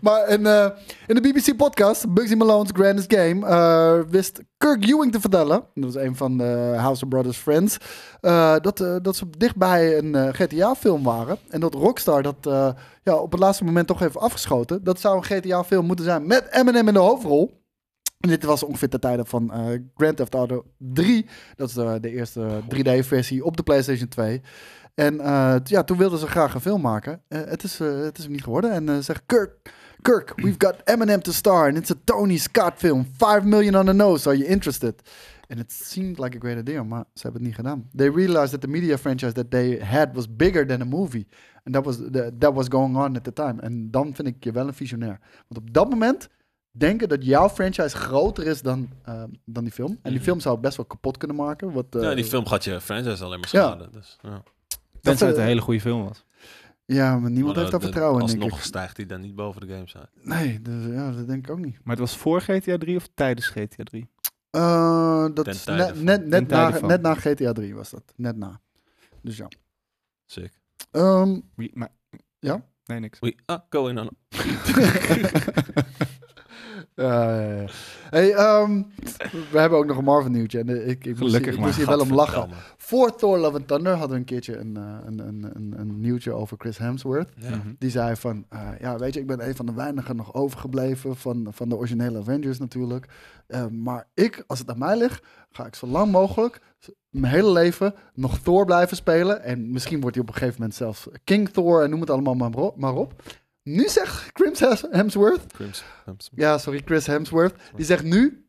D: Maar in, eh, in de BBC-podcast, Bugsy Malone's Grandest Game, eh, wist Kirk Ewing te vertellen, dat was een van de House of Brothers Friends, eh, dat, eh, dat ze dichtbij een eh, GTA-film waren. En dat Rockstar dat eh, ja, op het laatste moment toch heeft afgeschoten. Dat zou een GTA-film moeten zijn met Eminem in de hoofdrol. En dit was ongeveer de tijden van eh, Grand Theft Auto 3. Dat is eh, de eerste 3D-versie op de PlayStation 2. En eh, t- ja, toen wilden ze graag een film maken. Eh, het, is, eh, het is hem niet geworden. En eh, zegt Kirk, Kirk, we've got Eminem to star. And it's a Tony Scott film. 5 million on the nose. Are you interested? And it seemed like a great idea, maar ze hebben het niet gedaan. They realized that the media franchise that they had was bigger than a movie. And that was, the, that was going on at the time. En dan vind ik je wel een visionair. Want op dat moment denken dat jouw franchise groter is dan, eh, dan die film. En die film zou het best wel kapot kunnen maken. Wat, eh,
B: Mhm. Ja, die film gaat je franchise alleen maar
D: Ja.
B: schaden. Dus, ja.
D: Dat,
C: Tenzij het
D: eh,
C: een hele goede film was.
D: Ja, maar niemand
B: Maar
D: heeft daar
B: dat-
D: vertrouwen in, denk
B: Alsnog
D: ik.
B: stijgt hij dan niet boven de games uit.
D: Nee, dus, ja, dat denk ik ook niet.
C: Maar het was voor GTA 3 of tijdens GTA 3?
D: Eh, dat
B: Ten
D: is
B: tijde
D: net,
B: van.
D: net, net,
C: Ten tijde
D: na,
C: van.
D: net na GTA 3 was dat. Net na. Dus ja.
B: Sick.
D: Ehm,
C: Wie- maar-
D: Ja?
C: Nee, niks.
B: We are going ah, on.
D: eh, hey, ehm, we hebben ook nog een Marvel nieuwtje. En eh, ik, ik moest
C: Gelukkig
D: hier, ik
C: maar,
D: moest hier wel om lachen.
B: Gadverdamme.
D: Voor Thor Love and Thunder hadden we een keertje een, eh, een, een, een, een nieuwtje over Chris Hemsworth.
B: Ja.
C: Mhm.
D: Die zei van, eh, ja weet je, ik ben een van de weinigen nog overgebleven van, van de originele Avengers natuurlijk. Eh, maar ik, als het aan mij ligt, ga ik zo lang mogelijk z- mijn hele leven nog Thor blijven spelen. En misschien wordt hij op een gegeven moment zelfs King Thor en noem het allemaal maar, bro- maar op. Nu zegt Chris Hemsworth,
B: Crimson. Crimson.
D: ja sorry, Chris Hemsworth, die zegt nu,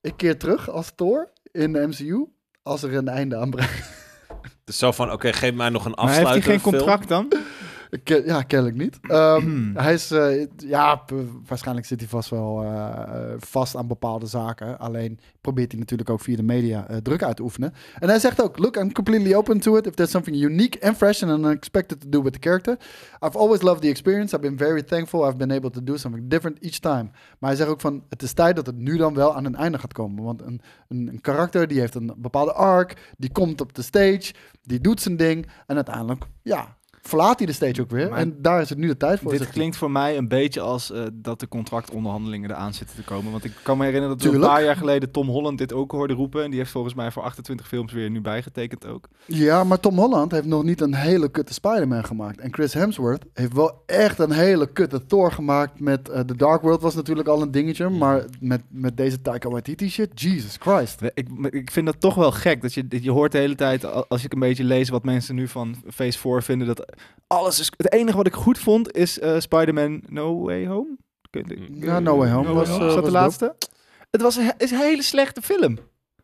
D: ik keer terug als Thor in de MCU als er een einde aan breekt.
B: Dus zo van, oké, geef mij nog een
C: Maar heeft hij
B: afsluiter.
C: geen
B: film.
C: contract dan?
D: Ik ken- Ja, kennelijk niet. Ehm, hij is, eh, ja, p- waarschijnlijk zit hij vast wel eh, eh, vast aan bepaalde zaken. Alleen probeert hij natuurlijk ook via de media eh, druk uit te oefenen. En hij zegt ook, look, I'm completely open to it. If there's something unique and fresh and unexpected to do with the character. I've always loved the experience. I've been very thankful. I've been able to do something different each time. Maar hij zegt ook van, het is tijd dat het nu dan wel aan een einde gaat komen. Want een, een, een karakter die heeft een bepaalde arc, die komt op de stage, die doet zijn ding. En uiteindelijk, ja, verlaat hij de stage ook weer.
C: Maar-
D: en daar is het nu de tijd voor.
C: Dit
D: zegt hij.
C: klinkt voor mij een beetje als eh, dat de contractonderhandelingen eraan zitten te komen. Want ik kan me herinneren dat we
D: Tuurlijk.
C: een paar jaar geleden Tom Holland dit ook hoorde roepen. En die heeft volgens mij voor 28 films weer nu bijgetekend ook.
D: Ja, maar Tom Holland heeft nog niet een hele kutte Spider-Man gemaakt. En Chris Hemsworth heeft wel echt een hele kutte Thor gemaakt. Met eh, The Dark World was natuurlijk al een dingetje. Maar met, met deze Taika Waititi shit, Jesus Christ.
C: We- Ik, maar ik vind dat toch wel gek. Dat je, dat je hoort de hele tijd, a- als ik een beetje lees wat mensen nu van Phase 4 vinden, dat alles is... Het enige wat ik goed vond is eh, Spider-Man No Way Home. Ik weet-
B: Mm.
C: ik-
D: Ja, No Way Home was,
C: Home.
D: eh,
C: Is dat
D: was
C: de laatste? Het was een, he- is een hele slechte film.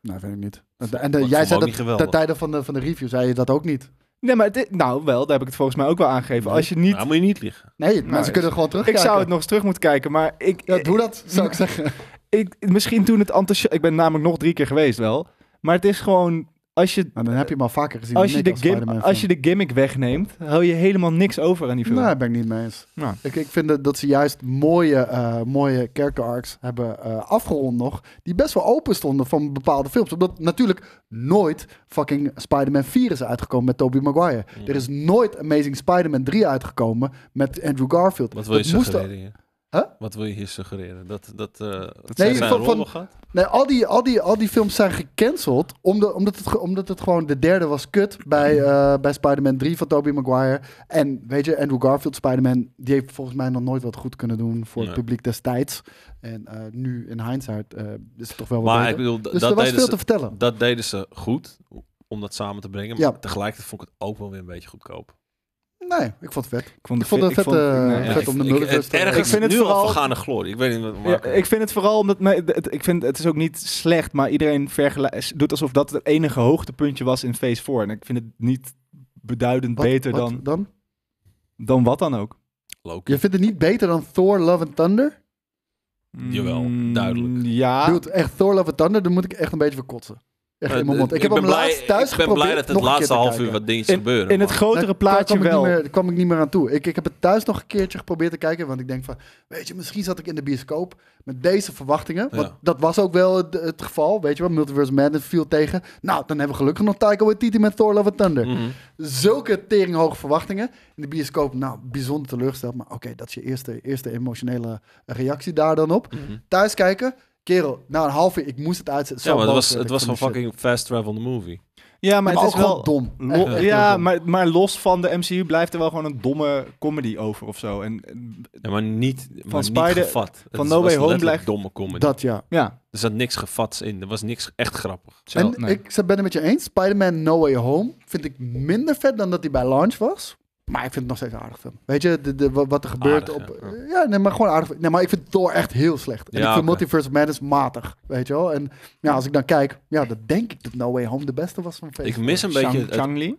D: Nee, vind Nou, ik niet. En, en,
B: vond hem
D: jij
B: ook
D: zei
B: niet
D: dat
B: geweldig.
D: ten tijde van de, van de review, zei je dat ook niet.
C: Nee, maar dit, nou wel, daar heb ik het volgens mij ook wel aangegeven. Als je niet...
B: Nou, moet je niet liegen.
D: Nee, mensen
C: ik-
D: kunnen gewoon
C: ik
D: terugkijken.
C: zou het nog eens terug moeten kijken, maar ik...
D: Ja, doe dat, zou ik zeggen.
C: ik, misschien toen het enthousiast... Ik ben namelijk nog drie keer geweest wel. Maar het is gewoon... Als je,
D: Nou, dan heb je hem al vaker gezien.
C: als
D: dan
C: je,
D: ik
C: de, gim-
D: Spider-Man
C: als
D: fan.
C: je de gimmick wegneemt, hou je helemaal niks over aan die film.
D: Nee, ben ik niet mee eens.
C: Nou.
D: Ik, ik vind dat- dat ze juist mooie, eh mooie character arcs hebben eh, afgerond nog. Die best wel open stonden van bepaalde films. Omdat natuurlijk nooit fucking Spider-Man 4 is uitgekomen met Tobey Maguire. Er is nooit Amazing Spider-Man 3 uitgekomen met Andrew Garfield.
B: Wat wil je
D: Dat moest-
B: suggereren? hier?
D: Huh?
B: Wat wil je hier suggereren? Dat, dat, eh dat
D: Nee,
B: zijn
D: van-
B: rol
D: van-
B: nog gaat?
C: Oh,
D: Nee, al die, al die, al die films zijn gecanceld. Omdat, omdat, het, ge- omdat het gewoon de derde was kut bij, eh, bij Spider-Man 3 van Tobey Maguire. En weet je, Andrew Garfield, Spider-Man, die heeft volgens mij nog nooit wat goed kunnen doen voor het
B: Nee.
D: publiek destijds. En eh, nu in hindsight eh, is het toch wel wat
B: Maar ik
D: beter.
B: bedoel, d-
D: Dus
B: dat,
D: er was
B: deden
D: veel
B: ze,
D: te vertellen.
B: dat deden ze goed om dat samen te brengen. Maar
D: Ja.
B: tegelijkertijd vond ik het ook wel weer een beetje goedkoop.
D: Nee, ik vond het vet.
C: vond,
D: Ik vond het
C: fi-
D: vet, eh,
C: nee,
D: vet
C: ik-
D: om de
B: ik,
D: multiverse
B: het
D: te-
B: erg
C: Ik
B: is
C: vind het
B: nu al
C: vooral-
B: vergane glorie. Ik weet niet wat
C: Ja,
B: Marco-
C: ik vind het vooral omdat mij, het, ik vind, het is ook niet slecht, maar iedereen vergelijkt, doet alsof dat het enige hoogtepuntje was in Phase 4. En ik vind het niet beduidend
D: Wat-
C: beter
D: wat
C: Dan, dan wat dan ook.
B: Loki. Eh,
D: Je vindt het niet beter dan Thor, Love and Thunder?
B: Jawel,
C: Mm,
B: duidelijk.
C: Ja,
D: Dude, echt Thor, Love and Thunder, daar moet ik echt een beetje voor kotsen. Echt
B: Ah. Eh,
D: in mijn mond.
B: d-
D: Ik, heb
B: ben
D: hem
B: blij-
D: laatst thuis
B: Ik ben blij
D: geprobeerd
B: dat het
D: nog een keer
B: laatste
D: te
B: half uur
D: kijken.
B: wat dingetjes
C: in,
B: gebeuren.
C: in het
B: maar-
C: grotere
D: Daar- daar
C: plaatje
D: kwam ik niet
C: wel.
D: meer- Daar kwam ik niet meer aan toe. Ik, ik heb het thuis nog een keertje geprobeerd te kijken. Want ik denk van, weet je, misschien zat ik in de bioscoop met deze verwachtingen. Want
B: Ja.
D: dat was ook wel het, het geval. Weet je wel, Multiverse Madness viel tegen. Nou, dan hebben we gelukkig nog Taika Waititi met Thor Love and Thunder.
B: Mhm.
D: Zulke teringhoge verwachtingen. In de bioscoop, nou, bijzonder teleurgesteld. Maar oké, dat is je eerste, eerste emotionele reactie daar dan op. Thuis kijken. Kerel, na een half uur, ik moest het uitzetten. Zo
B: Mhm. Ja, maar het
D: boos
B: was,
D: werd
B: het was
D: ik van
B: gewoon
D: die shit.
B: fucking fast travel the movie.
C: Ja, maar,
D: Maar
C: het
D: ook
C: is wel...
D: gewoon dom.
C: Lo-
D: Echt, echt heel
C: ja,
D: dom.
C: maar, maar los van de MCU blijft er wel gewoon een domme comedy over of zo. En, en-
B: Ja, maar niet, maar niet
C: Spider-
B: gevat. Het
C: van
B: is- was
C: No Way Home
B: letterlijk
C: blijft-
B: domme comedy.
D: Dat ja.
C: ja,
B: Er zat niks gevats in. Er was niks echt grappig.
C: zo,
D: en
C: nee.
D: ik ben het met je eens. Spider-Man No Way Home vind ik minder vet dan dat hij bij launch was. Maar ik vind het nog steeds een aardig film. Weet je, de, de, wa- wat er gebeurt
B: Aardig,
D: op...
B: ja.
D: Ja, nee, maar gewoon aardig. Nee, maar ik vind Thor echt heel slecht.
B: Ja,
D: En ik vind
B: oké.
D: Multiverse of Madness matig, weet je wel. En ja, als ik dan kijk, ja, dan denk ik dat No Way Home de beste was van
B: Ik
D: Facebook.
B: mis een beetje...
C: Shang-
B: het-
C: Shang-Li?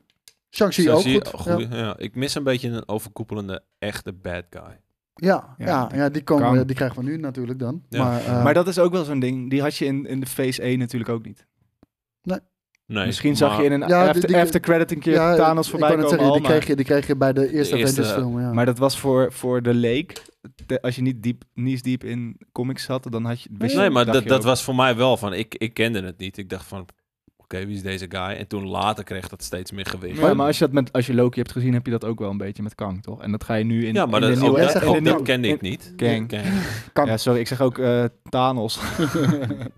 D: Shang-Chi ook
B: Shang-Chi,
D: goed.
B: oh,
D: Ja.
B: goeie, ja. Ik mis een beetje een overkoepelende, echte bad guy.
D: Ja,
C: Ja,
D: ja, ja,
C: die
D: die, komen,
C: kan.
D: die krijgen we nu natuurlijk dan.
B: Ja.
D: Maar, eh,
C: Maar dat is ook wel zo'n ding. Die had je in, in de Phase 1 natuurlijk ook niet.
B: Nee,
C: Misschien
B: maar
C: zag je in een
D: Ja,
C: after,
D: die- die-
C: after credit een keer
D: ja,
C: Thanos
D: ik
C: voorbij
D: wou net
C: komen.
D: zeggen,
C: al,
D: die,
C: maar,
D: kreeg je, die kreeg je bij de eerste,
B: eerste,
D: Avengers film, ja.
C: maar dat was voor, voor de leek. De- als je niet diep, niets diep in comics zat, dan had je... wist je-
B: Nee, maar
C: dacht
B: dat,
C: je
B: dat
C: ook-
B: was voor mij wel van... Ik, ik kende het niet. Ik dacht van... Oké, wie is deze guy? En toen later kreeg dat steeds meer gewicht.
C: Ja, maar als je, dat met, als je Loki hebt gezien, heb je dat ook wel een beetje met Kang, toch? En dat ga je nu in,
B: Ja, maar
C: in
B: dat,
C: de
B: ook,
C: nieuwe...
D: Jij
B: dat,
D: zegt
B: ook
D: geen
B: dat
D: Kang.
B: kende ik niet.
C: Kang.
B: Kang.
C: Ja, sorry, ik zeg ook eh, Thanos.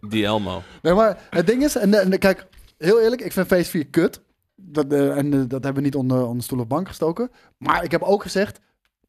B: Die Elmo.
D: Nee, maar het ding is, en, en kijk, heel eerlijk, ik vind Phase 4 kut. Dat, eh, en eh, dat hebben we niet onder, onder stoel of bank gestoken. Maar ik heb ook gezegd,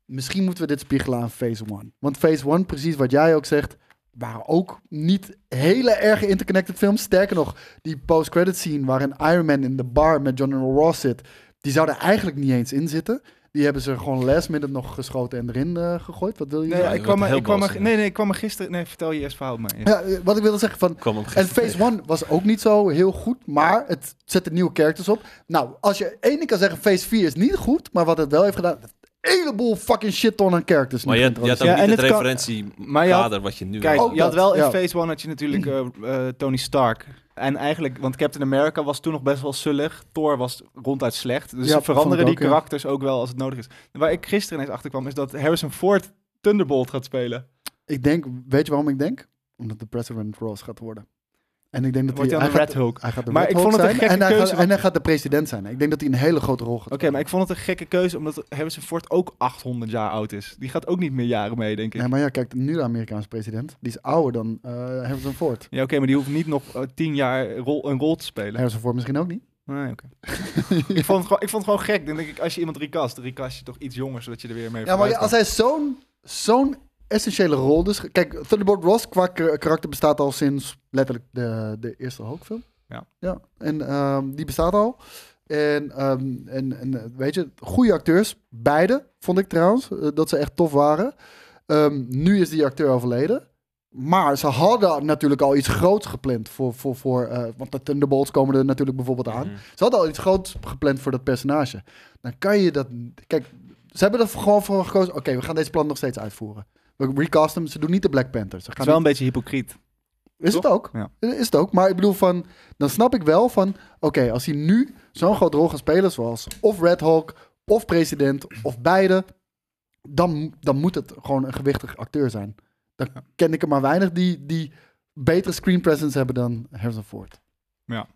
D: misschien moeten we dit spiegelen aan Phase 1. Want Phase 1, precies wat jij ook zegt, waren ook niet hele erg interconnected films. Sterker nog, die post-credit scene waarin Iron Man in de bar met John Ross zit, die zou er eigenlijk niet eens in zitten. Die hebben ze gewoon last minute nog geschoten en erin eh, gegooid. Wat wil je
C: Nee,
D: zeggen?
B: je
C: ik kwam
B: wordt
C: er,
B: heel
C: ik kwam
B: boos,
C: er, nee, nee, ik kwam er gisteren... Nee, vertel je eerst verhaal maar. eerst.
D: Ja, eh, wat ik wilde zeggen van,
B: Ik kwam hem
D: en
B: gisteren
D: Phase 1 was ook niet zo heel goed, maar het zette nieuwe characters op. Nou, als je één ding kan zeggen, Phase 4 is niet goed, maar wat het wel heeft gedaan, een heleboel fucking shit ton aan characters.
B: Maar
D: nu
B: je, had- je had ook
D: geïntroduceerd.
B: niet
C: Ja, en
B: het
C: het kan- maar je had-
B: referentiekader wat je nu
C: Kijk,
B: hebt.
D: Ook
C: je had
D: dat,
C: wel in
D: ja.
C: Phase 1 had je natuurlijk eh, eh, Tony Stark. En eigenlijk, want Captain America was toen nog best wel zullig. Thor was ronduit slecht. Dus
D: Ja,
C: ze
D: vond
C: veranderen die
D: ik ook, ja.
C: karakters ook wel als het nodig is. Waar ik gisteren ineens achter kwam, is dat Harrison Ford Thunderbolt gaat spelen.
D: Ik denk, weet je waarom ik denk? Omdat de President Ross gaat worden. En ik denk dat
C: Wordt hij
D: hij,
C: dan de
D: hij,
C: Red
D: gaat,
C: Hulk? Oké,
D: hij gaat de
C: Maar
D: Red
C: ik
D: Hulk
C: vond het een
D: zijn
C: gekke
D: en hij,
C: keuze,
D: gaat,
C: want-
D: en hij gaat de president zijn. Ik denk dat hij een hele grote rol gaat spelen.
C: maar ik vond het een gekke keuze, omdat Harrison Ford ook 800 jaar oud is. Die gaat ook niet meer jaren mee, denk ik.
D: Nee, maar ja, kijk, nu de Amerikaanse president, die is ouder dan eh, Harrison Ford.
C: Ja, oké, maar die hoeft niet nog eh, 10 jaar rol, een rol te spelen.
D: Harrison Ford misschien ook niet.
C: Nee, oké. ik, vond het gewoon, ik vond het gewoon gek. Dan denk ik, als je iemand recast, recast je toch iets jonger, zodat je er weer mee
D: Ja, maar
C: vooruit
D: ja,
C: kan.
D: als hij zo'n zo'n essentiële rol dus... Kijk, Thunderbolt Ross qua kar- karakter bestaat al sinds letterlijk de, de eerste Hulk-film.
C: Ja.
D: ja. En ehm, die bestaat al. En, ehm, en, en eh, weet je, goede acteurs, beide, vond ik trouwens, eh, dat ze echt tof waren. Ehm, nu is die acteur overleden. Maar ze hadden natuurlijk al iets groots gepland voor... voor, voor eh, want de Thunderbolts komen er natuurlijk bijvoorbeeld aan.
B: Mhm.
D: Ze hadden al iets groots gepland voor dat personage. Dan kan je dat... Kijk, ze hebben er gewoon voor gekozen... Oké, we gaan deze plan nog steeds uitvoeren. We recast hem. Ze doen niet de Black Panther. Ze
C: Het
D: gaan
C: is wel een beetje hypocriet.
D: is het ook?
C: Ja.
D: Is het ook? Maar ik bedoel van, dan snap ik wel van, oké, als hij nu zo'n groot rol gaat spelen, zoals of Red Hulk, of president, of beide, dan, dan moet het gewoon een gewichtig acteur zijn. Dan ken ik er maar weinig die, die betere screen presence hebben dan Harrison Ford.
C: Ja.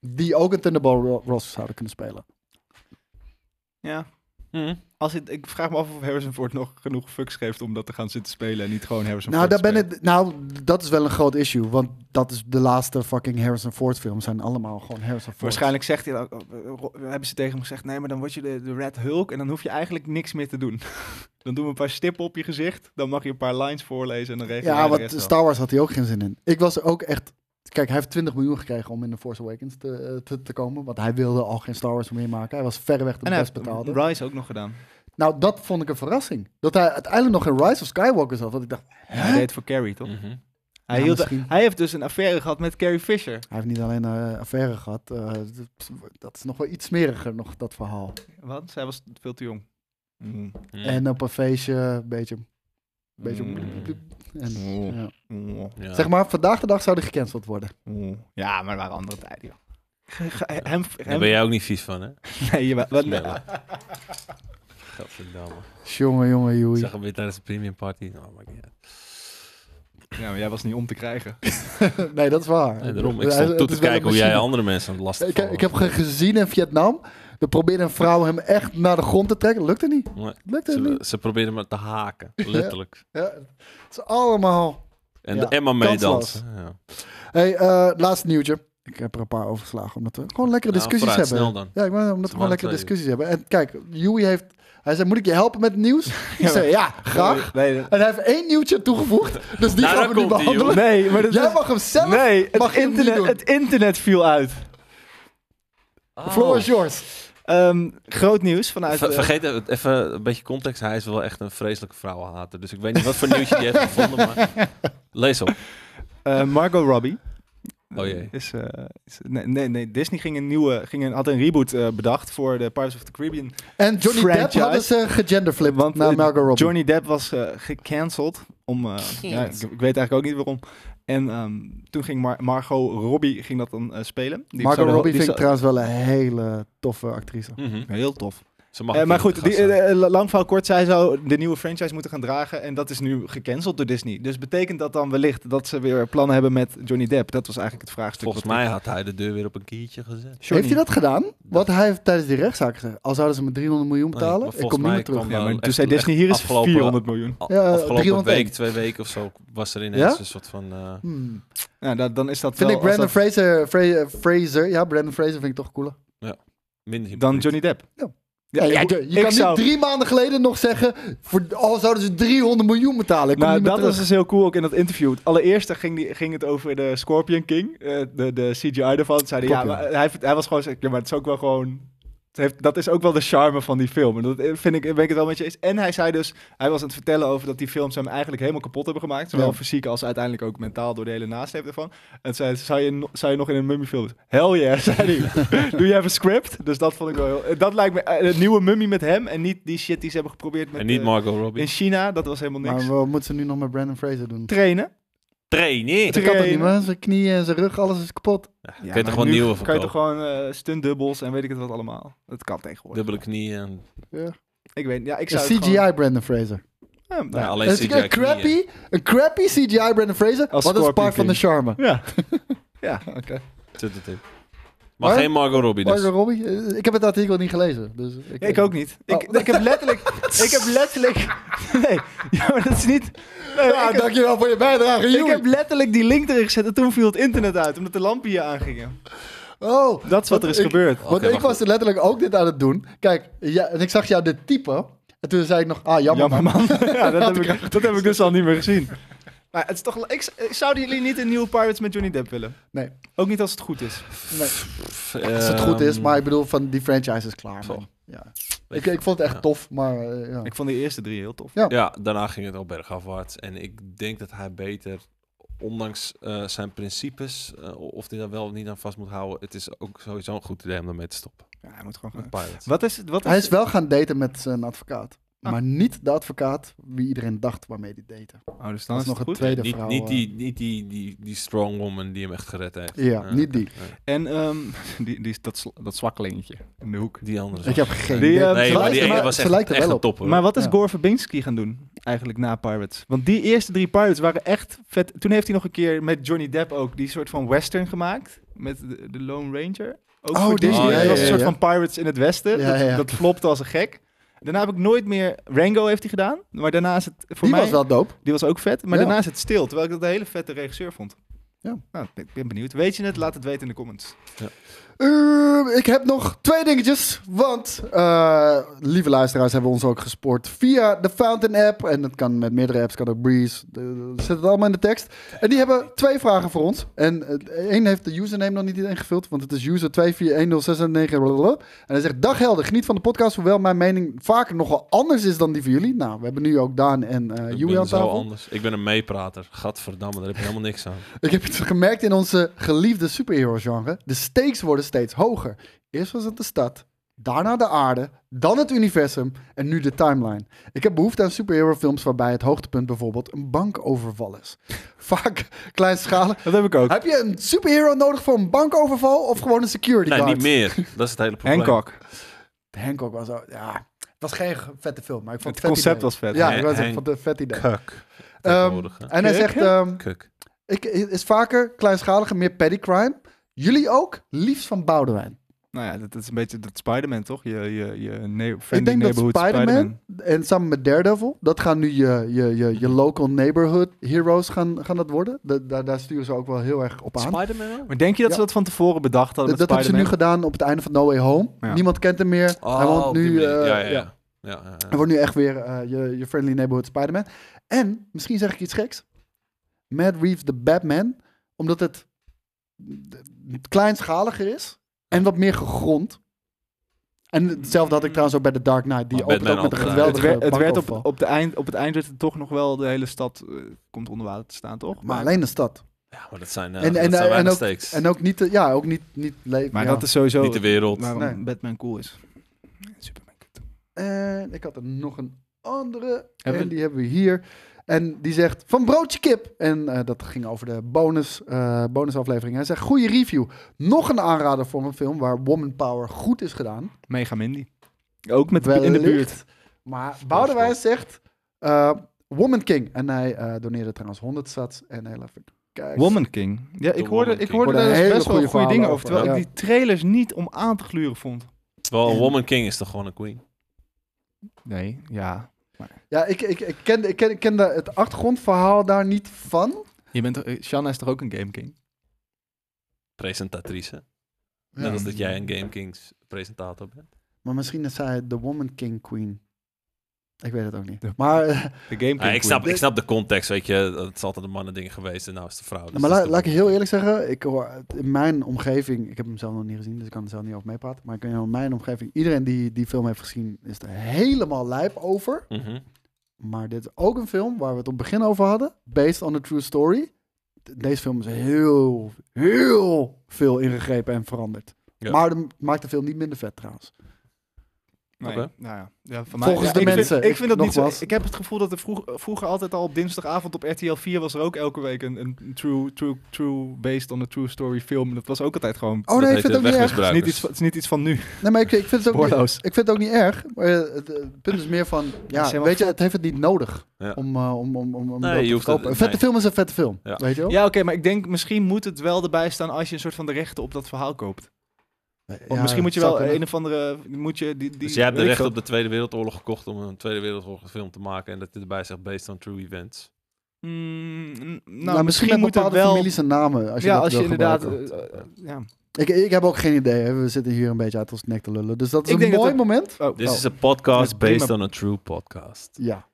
D: Die ook een Thunderbolt Ro- Ross zouden kunnen spelen.
C: Ja.
B: Mhm.
C: Als het, ik vraag me af of Harrison Ford nog genoeg fucks geeft om dat te gaan zitten spelen en niet gewoon Harrison
D: Nou,
C: Ford
D: daar
C: te
D: ben ik, nou, dat is wel een groot issue. Want dat is de laatste fucking Harrison Ford films. Zijn allemaal gewoon Harrison Ford.
C: Waarschijnlijk zegt hij, dan- oh, hebben ze tegen hem gezegd, nee, maar dan word je de, de Red Hulk en dan hoef je eigenlijk niks meer te doen. dan doen we een paar stippen op je gezicht, dan mag je een paar lines voorlezen en dan regel
D: Ja,
C: je de
D: want
C: rest wel.
D: Star Wars had hij ook geen zin in. Ik was er ook echt... Kijk, hij heeft 20 miljoen gekregen om in The Force Awakens te, eh, te, te komen. Want hij wilde al geen Star Wars meer maken. Hij was verreweg de
C: En hij
D: best
C: heeft
D: betaalde.
C: Rise ook nog gedaan.
D: Nou, dat vond ik een verrassing. Dat hij uiteindelijk nog in Rise of Skywalker zat. Want ik dacht,
C: Hij deed voor Carrie, toch?
B: Mhm.
C: Hij,
D: Ja,
C: hield-
D: misschien.
C: hij heeft dus een affaire gehad met Carrie Fisher.
D: hij heeft niet alleen een affaire gehad. eh, dat- dat is nog wel iets smeriger, nog dat verhaal.
C: Want zij was veel te jong. Mm.
B: Mhm.
D: En op een feestje, een beetje... Een beetje
C: Mm.
D: en,
C: Mm.
D: ja.
C: Mm.
B: Ja.
D: Zeg maar, vandaag de dag zou die gecanceld worden.
C: Mm. Ja, maar er waren andere tijden, joh. Ge- ge- Hem,
B: Daar
C: hem,
B: ben jij ook niet vies van, hè?
C: nee, jawel. Wat-
B: Nee, hoor. Gadverdamme.
D: Jongen, jongen,
B: Ik
D: joei.
B: zag hem weer tijdens de premium party. Oh my god.
C: Ja, maar jij was niet om te krijgen.
D: nee, dat is waar.
B: Nee, daarom.
D: Ja,
B: Ik stond toe
D: het
B: te
D: is wel
B: kijken
D: een
B: hoe jij
D: machine.
B: andere mensen aan het lastig
D: Ik, ik heb ge- gezien in Vietnam. Er probeerde een vrouw hem echt naar de grond te trekken. Lukte niet.
B: Nee.
D: Lukte
B: Ze,
D: niet.
B: ze probeerden me te haken, letterlijk.
D: Ja, het is allemaal.
B: En
D: Ja,
B: de Emma
D: kansloos.
B: meedansen. Ja.
D: Hey, eh, laatste nieuwtje. Ik heb er een paar overgeslagen. Omdat we gewoon lekkere
B: Nou,
D: discussies
B: vooruit,
D: hebben.
B: snel dan.
D: Ja, ik wou- omdat
B: maar
D: we gewoon lekkere
B: twee.
D: discussies hebben. En kijk, Joey heeft. Hij zei: Moet ik je helpen met het nieuws? Ik zei: Ja, graag.
C: Nee, dat-
D: En hij heeft één nieuwtje toegevoegd. Dus die
B: Nou,
D: gaan
B: daar
D: we nu
B: komt die,
D: behandelen.
C: nee, maar dat
D: Jij mag hem zelf.
C: Nee, het,
D: mag je hem niet
C: internet,
D: doen.
C: het internet viel uit.
D: Floor
B: Oh.
D: is yours.
C: Ehm, groot nieuws vanuit...
B: Ver-
C: eh,
B: vergeet even, even een beetje context. Hij is wel echt een vreselijke vrouwenhater. Dus ik weet niet wat voor nieuwtje je hebt gevonden, maar... Lees op.
C: eh, Margot Robbie.
B: Oh jee.
C: Is, eh, is- nee, nee, nee, Disney ging een nieuwe, ging een, had een reboot eh, bedacht voor de Pirates of the Caribbean.
D: En Johnny Depp
C: Franchise.
D: hadden ze gegenderflipt
C: Want,
D: naar
C: eh,
D: Margot Robbie.
C: Johnny Depp was eh, gecanceld. Om, eh, ja, ik, ik weet eigenlijk ook niet waarom. En ehm, toen ging Mar- Margot Robbie ging dat dan eh, spelen. Die zou
D: Margot
C: de-
D: Robbie
C: die
D: vind ik
C: zou-
D: trouwens wel een hele toffe actrice.
B: Mhm.
C: Heel tof.
B: Ze mag
C: Eh,
B: een
C: maar
B: keer
C: goed,
B: te
C: die,
B: gast zijn.
C: eh, eh, lang verhaal kort, zij zou de nieuwe franchise moeten gaan dragen. En dat is nu gecanceld door Disney. Dus betekent dat dan wellicht dat ze weer plannen hebben met Johnny Depp? Dat was eigenlijk het vraagstuk.
B: Volgens mij had hij de deur weer op een kiertje gezet.
D: Heeft hij dat gedaan? Want hij heeft tijdens die rechtszaak gezegd, al zouden ze me 300 miljoen betalen,
B: maar
D: ik
B: volgens
D: kom niet
B: mij
D: meer terug.
B: kwam-
C: Ja, maar
B: Nou,
C: toen
B: echt-
C: zei Disney, hier is
B: afgelopen-
C: 400 miljoen.
B: Al-
D: Ja,
B: afgelopen
D: 301.
B: week, twee weken of zo, was er ineens
D: Ja?
B: een soort van... eh,
D: Hmm.
C: Ja, dan, dan is Nou, dat
D: Vind
C: wel
D: ik Brandon
C: als
D: Fraser, Fra- Fraser, ja, Brandon Fraser vind ik toch cooler.
B: minder
C: dat, dan
B: hypocriet.
C: Johnny Depp.
D: Ja.
C: Ja,
D: Ja,
C: ik-
D: je
C: ik
D: kan niet
C: zou-
D: drie maanden geleden nog zeggen, voor, al zouden ze 300 miljoen betalen, ik kom
C: Nou,
D: niet meer
C: dat
D: terug.
C: was dus heel cool ook in dat interview. Allereerst ging, die, ging het over de Scorpion King, eh, de, de CGI ervan. Zeiden, ja,
D: Scorpion.
C: maar hij, hij was gewoon, zo- ja, maar het is ook wel gewoon... het heeft- dat is ook wel de charme van die film. En dat eh, vind ik, ben ik het wel met je eens. En hij zei dus, hij was aan het vertellen over dat die films hem eigenlijk helemaal kapot hebben gemaakt. Zowel
D: Ja.
C: fysiek als uiteindelijk ook mentaal door de hele nasleep ervan. En zei, zou je, no- zou je nog in een mummy film? Hell yeah, zei hij. Do you have a script? Dus dat vond ik wel heel... eh, Dat lijkt me eh, een nieuwe mummy met hem en niet die shit die ze hebben geprobeerd met...
B: En niet
C: eh,
B: Margot
C: in
B: Robbie.
C: China, dat was helemaal dus niks.
D: Maar wat moeten ze nu nog met Brandon Fraser doen?
C: Trainen.
B: Trainen!
D: Dat kan toch niet,
C: trainen.
D: man? Zijn knieën en zijn rug, alles is kapot.
B: kun je
C: maar
B: toch gewoon
C: nu
B: nieuwe
C: Kan
B: verkopen?
C: je toch gewoon eh, stuntdubbels en weet ik het wat allemaal. Dat kan tegenwoordig.
B: Dubbele knieën. en-
D: Ja.
C: Ik weet ja, ik
D: Een
C: zou
D: CGI
C: het gewoon-
D: Brandon Fraser.
C: Ja, nou
B: Ja,
C: ja.
B: alleen
D: Een,
B: CGI
D: een,
B: knieën.
D: crappy, een crappy CGI Brandon Fraser,
C: Als
D: wat is
C: Scorpion
D: part van de
C: King.
D: charme.
C: Ja. ja, oké.
B: Zit het in. Maar
D: Maar-
B: geen Margot Robbie dus.
D: Margot Robbie? Eh, Ik heb het artikel niet gelezen. Dus ik,
C: Ik ook niet. Ik, ik heb letterlijk... ik heb letterlijk... Nee, ja, maar dat is niet... Nee,
D: Ja,
C: ik, heb,
D: dankjewel voor je bijdrage,
C: ik
D: Joey.
C: heb letterlijk die link erin gezet en toen viel het internet uit, omdat de lampen hier aangingen.
D: Oh,
C: Dat is wat er is
D: ik-
C: gebeurd.
D: want
B: Oké,
D: ik
B: wacht
D: was letterlijk ook dit aan het doen. Kijk, ja, en ik zag jou dit typen. En toen zei ik nog, ah, jammer,
C: Jammer
D: man.
C: man. ja, dat heb, ik, dat heb ik dus al niet meer gezien. Maar het is toch... Ik, zouden jullie niet een nieuwe Pirates met Johnny Depp willen?
D: Nee,
C: Ook niet als het goed is.
D: nee. Als het goed is,
B: Ehm,
D: maar ik bedoel, van die franchise is klaar,
B: Zo.
D: man. Ja.
B: weet
D: Ik,
B: je.
D: ik vond het echt
B: Ja.
D: tof, maar eh, ja.
C: Ik vond die eerste drie heel tof.
B: Ja, daarna ging het al bergafwaarts. En ik denk dat hij beter, ondanks eh, zijn principes, eh, of hij daar wel of niet aan vast moet houden, het is ook sowieso een goed idee om daarmee te stoppen.
C: Ja, hij moet gewoon
B: Met Pirates.
C: Wat is, wat is,
D: Hij is wel gaan daten met zijn advocaat.
C: Ah.
D: Maar niet de advocaat wie iedereen dacht waarmee hij date.
C: Oh, dus dan
D: Dat is nog
C: is het
D: een
C: goed.
D: tweede
B: Niet,
D: vrouw.
B: niet,
D: eh.
B: die, niet die, die, die strong woman die hem echt gered heeft.
D: Ja,
B: Eh,
D: niet die.
B: nee.
C: En ehm, die, die, dat, sl- dat zwakkelingetje in de hoek.
B: Die andere.
D: Ik heb geen
C: Die,
D: idee.
C: eh,
B: nee,
D: Ze
B: maar die
D: lijkt-
B: ene
D: maar
B: was
D: ze
B: echt,
D: lijkt er
B: echt
D: wel
B: een
D: op.
B: topper.
C: Maar wat is
D: Ja.
C: Gore Verbinski gaan doen eigenlijk na Pirates? Want die eerste drie Pirates waren echt vet. Toen heeft hij nog een keer met Johnny Depp ook die soort van western gemaakt. Met de, de Lone Ranger. Ook
D: Oh,
C: voor
D: die-
C: Disney.
B: oh, ja,
C: dat was een
B: ja,
C: soort
D: ja.
C: van Pirates in het Westen.
D: Ja,
C: dat,
D: ja.
C: dat flopte als een gek. Daarna heb ik nooit meer... Rango heeft hij gedaan, maar daarna is het voor
D: die
C: mij...
D: was wel dope.
C: Die was ook vet, maar
D: Ja.
C: daarna is het stil. Terwijl ik dat een hele vette regisseur vond.
D: Ja.
C: Nou, ik ben- ik ben benieuwd. Weet je het? Laat het weten in de comments.
D: Eh, ik heb nog twee dingetjes. Want, eh, lieve luisteraars, hebben we ons ook gespoord via de Fountain app. En dat kan met meerdere apps, kan ook Breeze. De- Zet het allemaal in de tekst. En die hebben twee vragen voor ons. En eh, één heeft de username nog niet ingevuld, want het is user 241069. blablabla. En hij zegt, dag helder, geniet van de podcast, hoewel mijn mening vaker nogal anders is dan die van jullie. Nou, we hebben nu ook Daan en eh
B: Ik
D: Joey aan
B: ben zo
D: tafel.
B: anders. Ik ben een meeprater. Gadverdamme, daar heb je helemaal niks aan.
D: Ik heb het gemerkt in onze geliefde superhero-genre. De stakes worden steeds hoger. Eerst was het de stad, daarna de aarde, dan het universum en nu de timeline. Ik heb behoefte aan superhero-films waarbij het hoogtepunt bijvoorbeeld een bankoverval is. Vaak kleinschalig.
C: Dat heb ik ook.
D: Heb je een superhero nodig voor een bankoverval of gewoon een security
B: Nee,
D: guard?
B: niet meer. Dat is het hele probleem.
C: Hancock.
D: Hancock was ook, ja... Het was geen vette film, maar ik vond
C: Het
D: het, vet
C: concept
D: idee.
C: was vet.
D: Ja,
B: Hè,
D: ik was
B: Hank-
D: van een vet idee.
B: Kuk.
D: Ehm,
B: Tegenwoordig, hè.
D: en hij
C: Kuk,
D: zegt...
C: hè?
D: ehm,
B: Kuk.
D: Ik, is vaker kleinschaliger, meer petty crime. Jullie ook? Liefst van Boudewijn.
C: Nou ja, dat, dat is een beetje dat Spider-Man, toch? Je, je, je ne- friendly
D: Ik denk dat
C: neighborhood
D: Spider-Man
C: Spider-Man.
D: en samen met Daredevil, dat gaan nu je, je, je, je local neighborhood heroes gaan, gaan dat worden. Da- daar- daar sturen ze ook wel heel erg op aan.
B: Spider-Man?
C: Maar denk je dat ze
D: Ja.
C: dat van tevoren bedacht hadden
D: dat
C: met
D: dat hebben ze nu
C: Spider-Man?
D: gedaan op het einde van No Way Home.
C: Ja.
D: Niemand kent hem meer.
B: Oh,
D: hij woont nu, eh,
B: ja, ja, ja. ja, ja,
D: Hij
B: ja.
D: wordt nu echt weer eh, je, je friendly neighborhood Spider-Man. En, misschien zeg ik iets geks. Matt Reeves de Batman. Omdat het d- kleinschaliger is. En wat meer gegrond. En hetzelfde had ik trouwens ook bij The Dark Knight. Die
B: Maar
D: opent
B: Batman
D: ook met een
B: altijd,
C: Het
D: geweldige
C: werd, het werd op,
D: bankoverval.
C: op, de eind, op het eind werd het toch nog wel de hele stad eh, komt onder water te staan, toch?
D: Maar alleen de stad.
B: Ja, maar dat zijn, eh
D: En-
B: dat
D: en-
B: zijn
D: en
B: weinig
D: ook-
B: steeks.
D: En ook niet, eh, ja, ook niet, niet leven.
C: maar
D: ja.
C: dat is sowieso
B: Niet de wereld.
C: waarom
D: Nee.
C: Batman cool is. Superman kut.
D: En ik had er nog een andere.
C: Hebben
D: en
C: we-
D: die hebben we hier. En die zegt van broodje kip. En eh, dat ging over de bonus, eh, bonusaflevering. Hij zegt goede review. Nog een aanrader voor een film waar woman power goed is gedaan.
C: Mega Mindy. Ook met
D: Wellicht.
C: in de buurt.
D: Maar Boudewijn zegt eh, Woman King. En hij eh, doneerde trouwens 100 sats. En heel even kijken.
C: Woman King. Ja, ik
B: De
C: hoorde,
B: Woman
C: ik
B: King.
C: hoorde
D: Hoorde
C: daar dus
D: hele
C: best wel
D: goede
C: goede dingen
D: verhalen
C: over. Terwijl
D: over,
C: ik die trailers niet om aan te gluren vond.
B: Terwijl
D: en-
B: Woman King is toch gewoon een queen?
C: Nee, ja.
D: Ja, ik, ik, ik ken, ik ken, ik ken de- het achtergrondverhaal daar niet van.
C: Je bent, toch- eh, Shanna is toch ook een Game King?
B: Presentatrice. Net als dat jij een Game Kings presentator bent.
D: Maar misschien is zij de Woman King Queen. Ik weet het ook niet.
C: De-
D: Maar eh,
C: De Game King.
B: Ja, ik, snap,
C: queen.
B: ik snap de context, weet je. Het is altijd een mannen ding geweest en nou is het de vrouw. dus dat
D: maar
B: is
D: la-
B: de
D: laat ik
B: man.
D: heel eerlijk zeggen, ik hoor uit- in mijn omgeving, ik heb hem zelf nog niet gezien, dus ik kan er zelf niet over meepraten. Maar ik weet wel, in mijn omgeving, iedereen die die film heeft gezien, is er helemaal lijp over.
B: Mhm.
D: Maar dit is ook een film waar we het op het begin over hadden, based on a true story. De- Deze film is heel, heel veel ingegrepen en veranderd.
B: Ja.
D: Maar dat maakt de film niet minder vet trouwens.
C: Nee,
B: Oké.
C: nou ja. Ja, van
D: Volgens de
C: ik vind-
D: mensen.
C: ik vind dat niet zo.
D: Nogmaals.
C: Ik heb het gevoel dat er vroeg- vroeger altijd al op dinsdagavond op RTL 4 was er ook elke week een, een true, true, true, based on a true story film. En dat was ook altijd gewoon...
D: Oh
B: Dat
D: nee, ik
B: heet
D: vind het
B: de
D: ook niet erg.
C: Het is, niet
B: wegmisbruikers.
C: iets, van- het is niet iets van nu.
D: Nee, maar ik, ik, vind het ook niet,
C: Spoorloos.
D: ik vind het ook niet erg. Maar eh, het, het punt is meer van, ja,
C: helemaal
D: weet je, het heeft het niet nodig
B: Ja.
D: om, eh, om, om, om, om
B: Nee,
D: dat
B: je hoeft
D: te
B: het-
D: verkopen. Een vette
B: nee.
D: film is een vette film,
B: Ja.
D: weet je wel?
C: Ja, oké, maar ik denk misschien moet het wel erbij staan als je een soort van de rechten op dat verhaal koopt. Want
D: Ja,
C: misschien moet je
D: zou
C: wel
D: kunnen.
C: een of andere... Moet je die, die,
B: Dus jij hebt de
C: weet
B: recht
C: ik veel.
B: op de Tweede Wereldoorlog gekocht om een Tweede Wereldoorlog film te maken en dat je erbij zegt based on true events.
C: Mm, nou,
D: Nou, misschien met
C: moet er
D: bepaalde
C: wel...
D: families en namen. Als je
C: ja,
D: dat
C: als je
D: wil
C: inderdaad...
D: gebruiken.
C: eh, eh, ja.
D: Ik, ik heb ook geen idee. hè. We zitten hier een beetje uit ons nek te lullen. Dus dat is
C: Ik
D: een
C: denk dat
D: mooi
C: het-
D: moment.
C: Oh,
B: This
C: oh.
B: is a podcast
C: Dat is prima.
B: based on a true podcast.
D: Ja.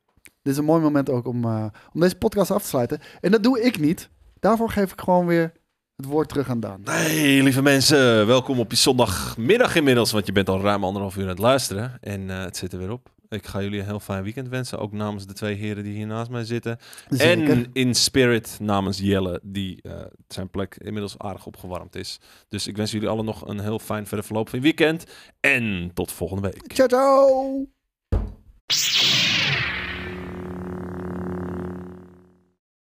D: Dit is een mooi moment ook om, eh, om deze podcast af te sluiten. En dat doe ik niet. Daarvoor geef ik gewoon weer het woord terug aan Daan.
B: Hey, lieve mensen, welkom op je zondagmiddag inmiddels, want je bent al ruim anderhalf uur aan het luisteren en eh, het zit er weer op. Ik ga jullie een heel fijn weekend wensen, ook namens de twee heren die hier naast mij zitten.
D: Zeker.
B: En in spirit namens Jelle, die eh, zijn plek inmiddels aardig opgewarmd is. Dus ik wens jullie allen nog een heel fijn verder verloop van je weekend en tot volgende week.
D: Ciao, ciao!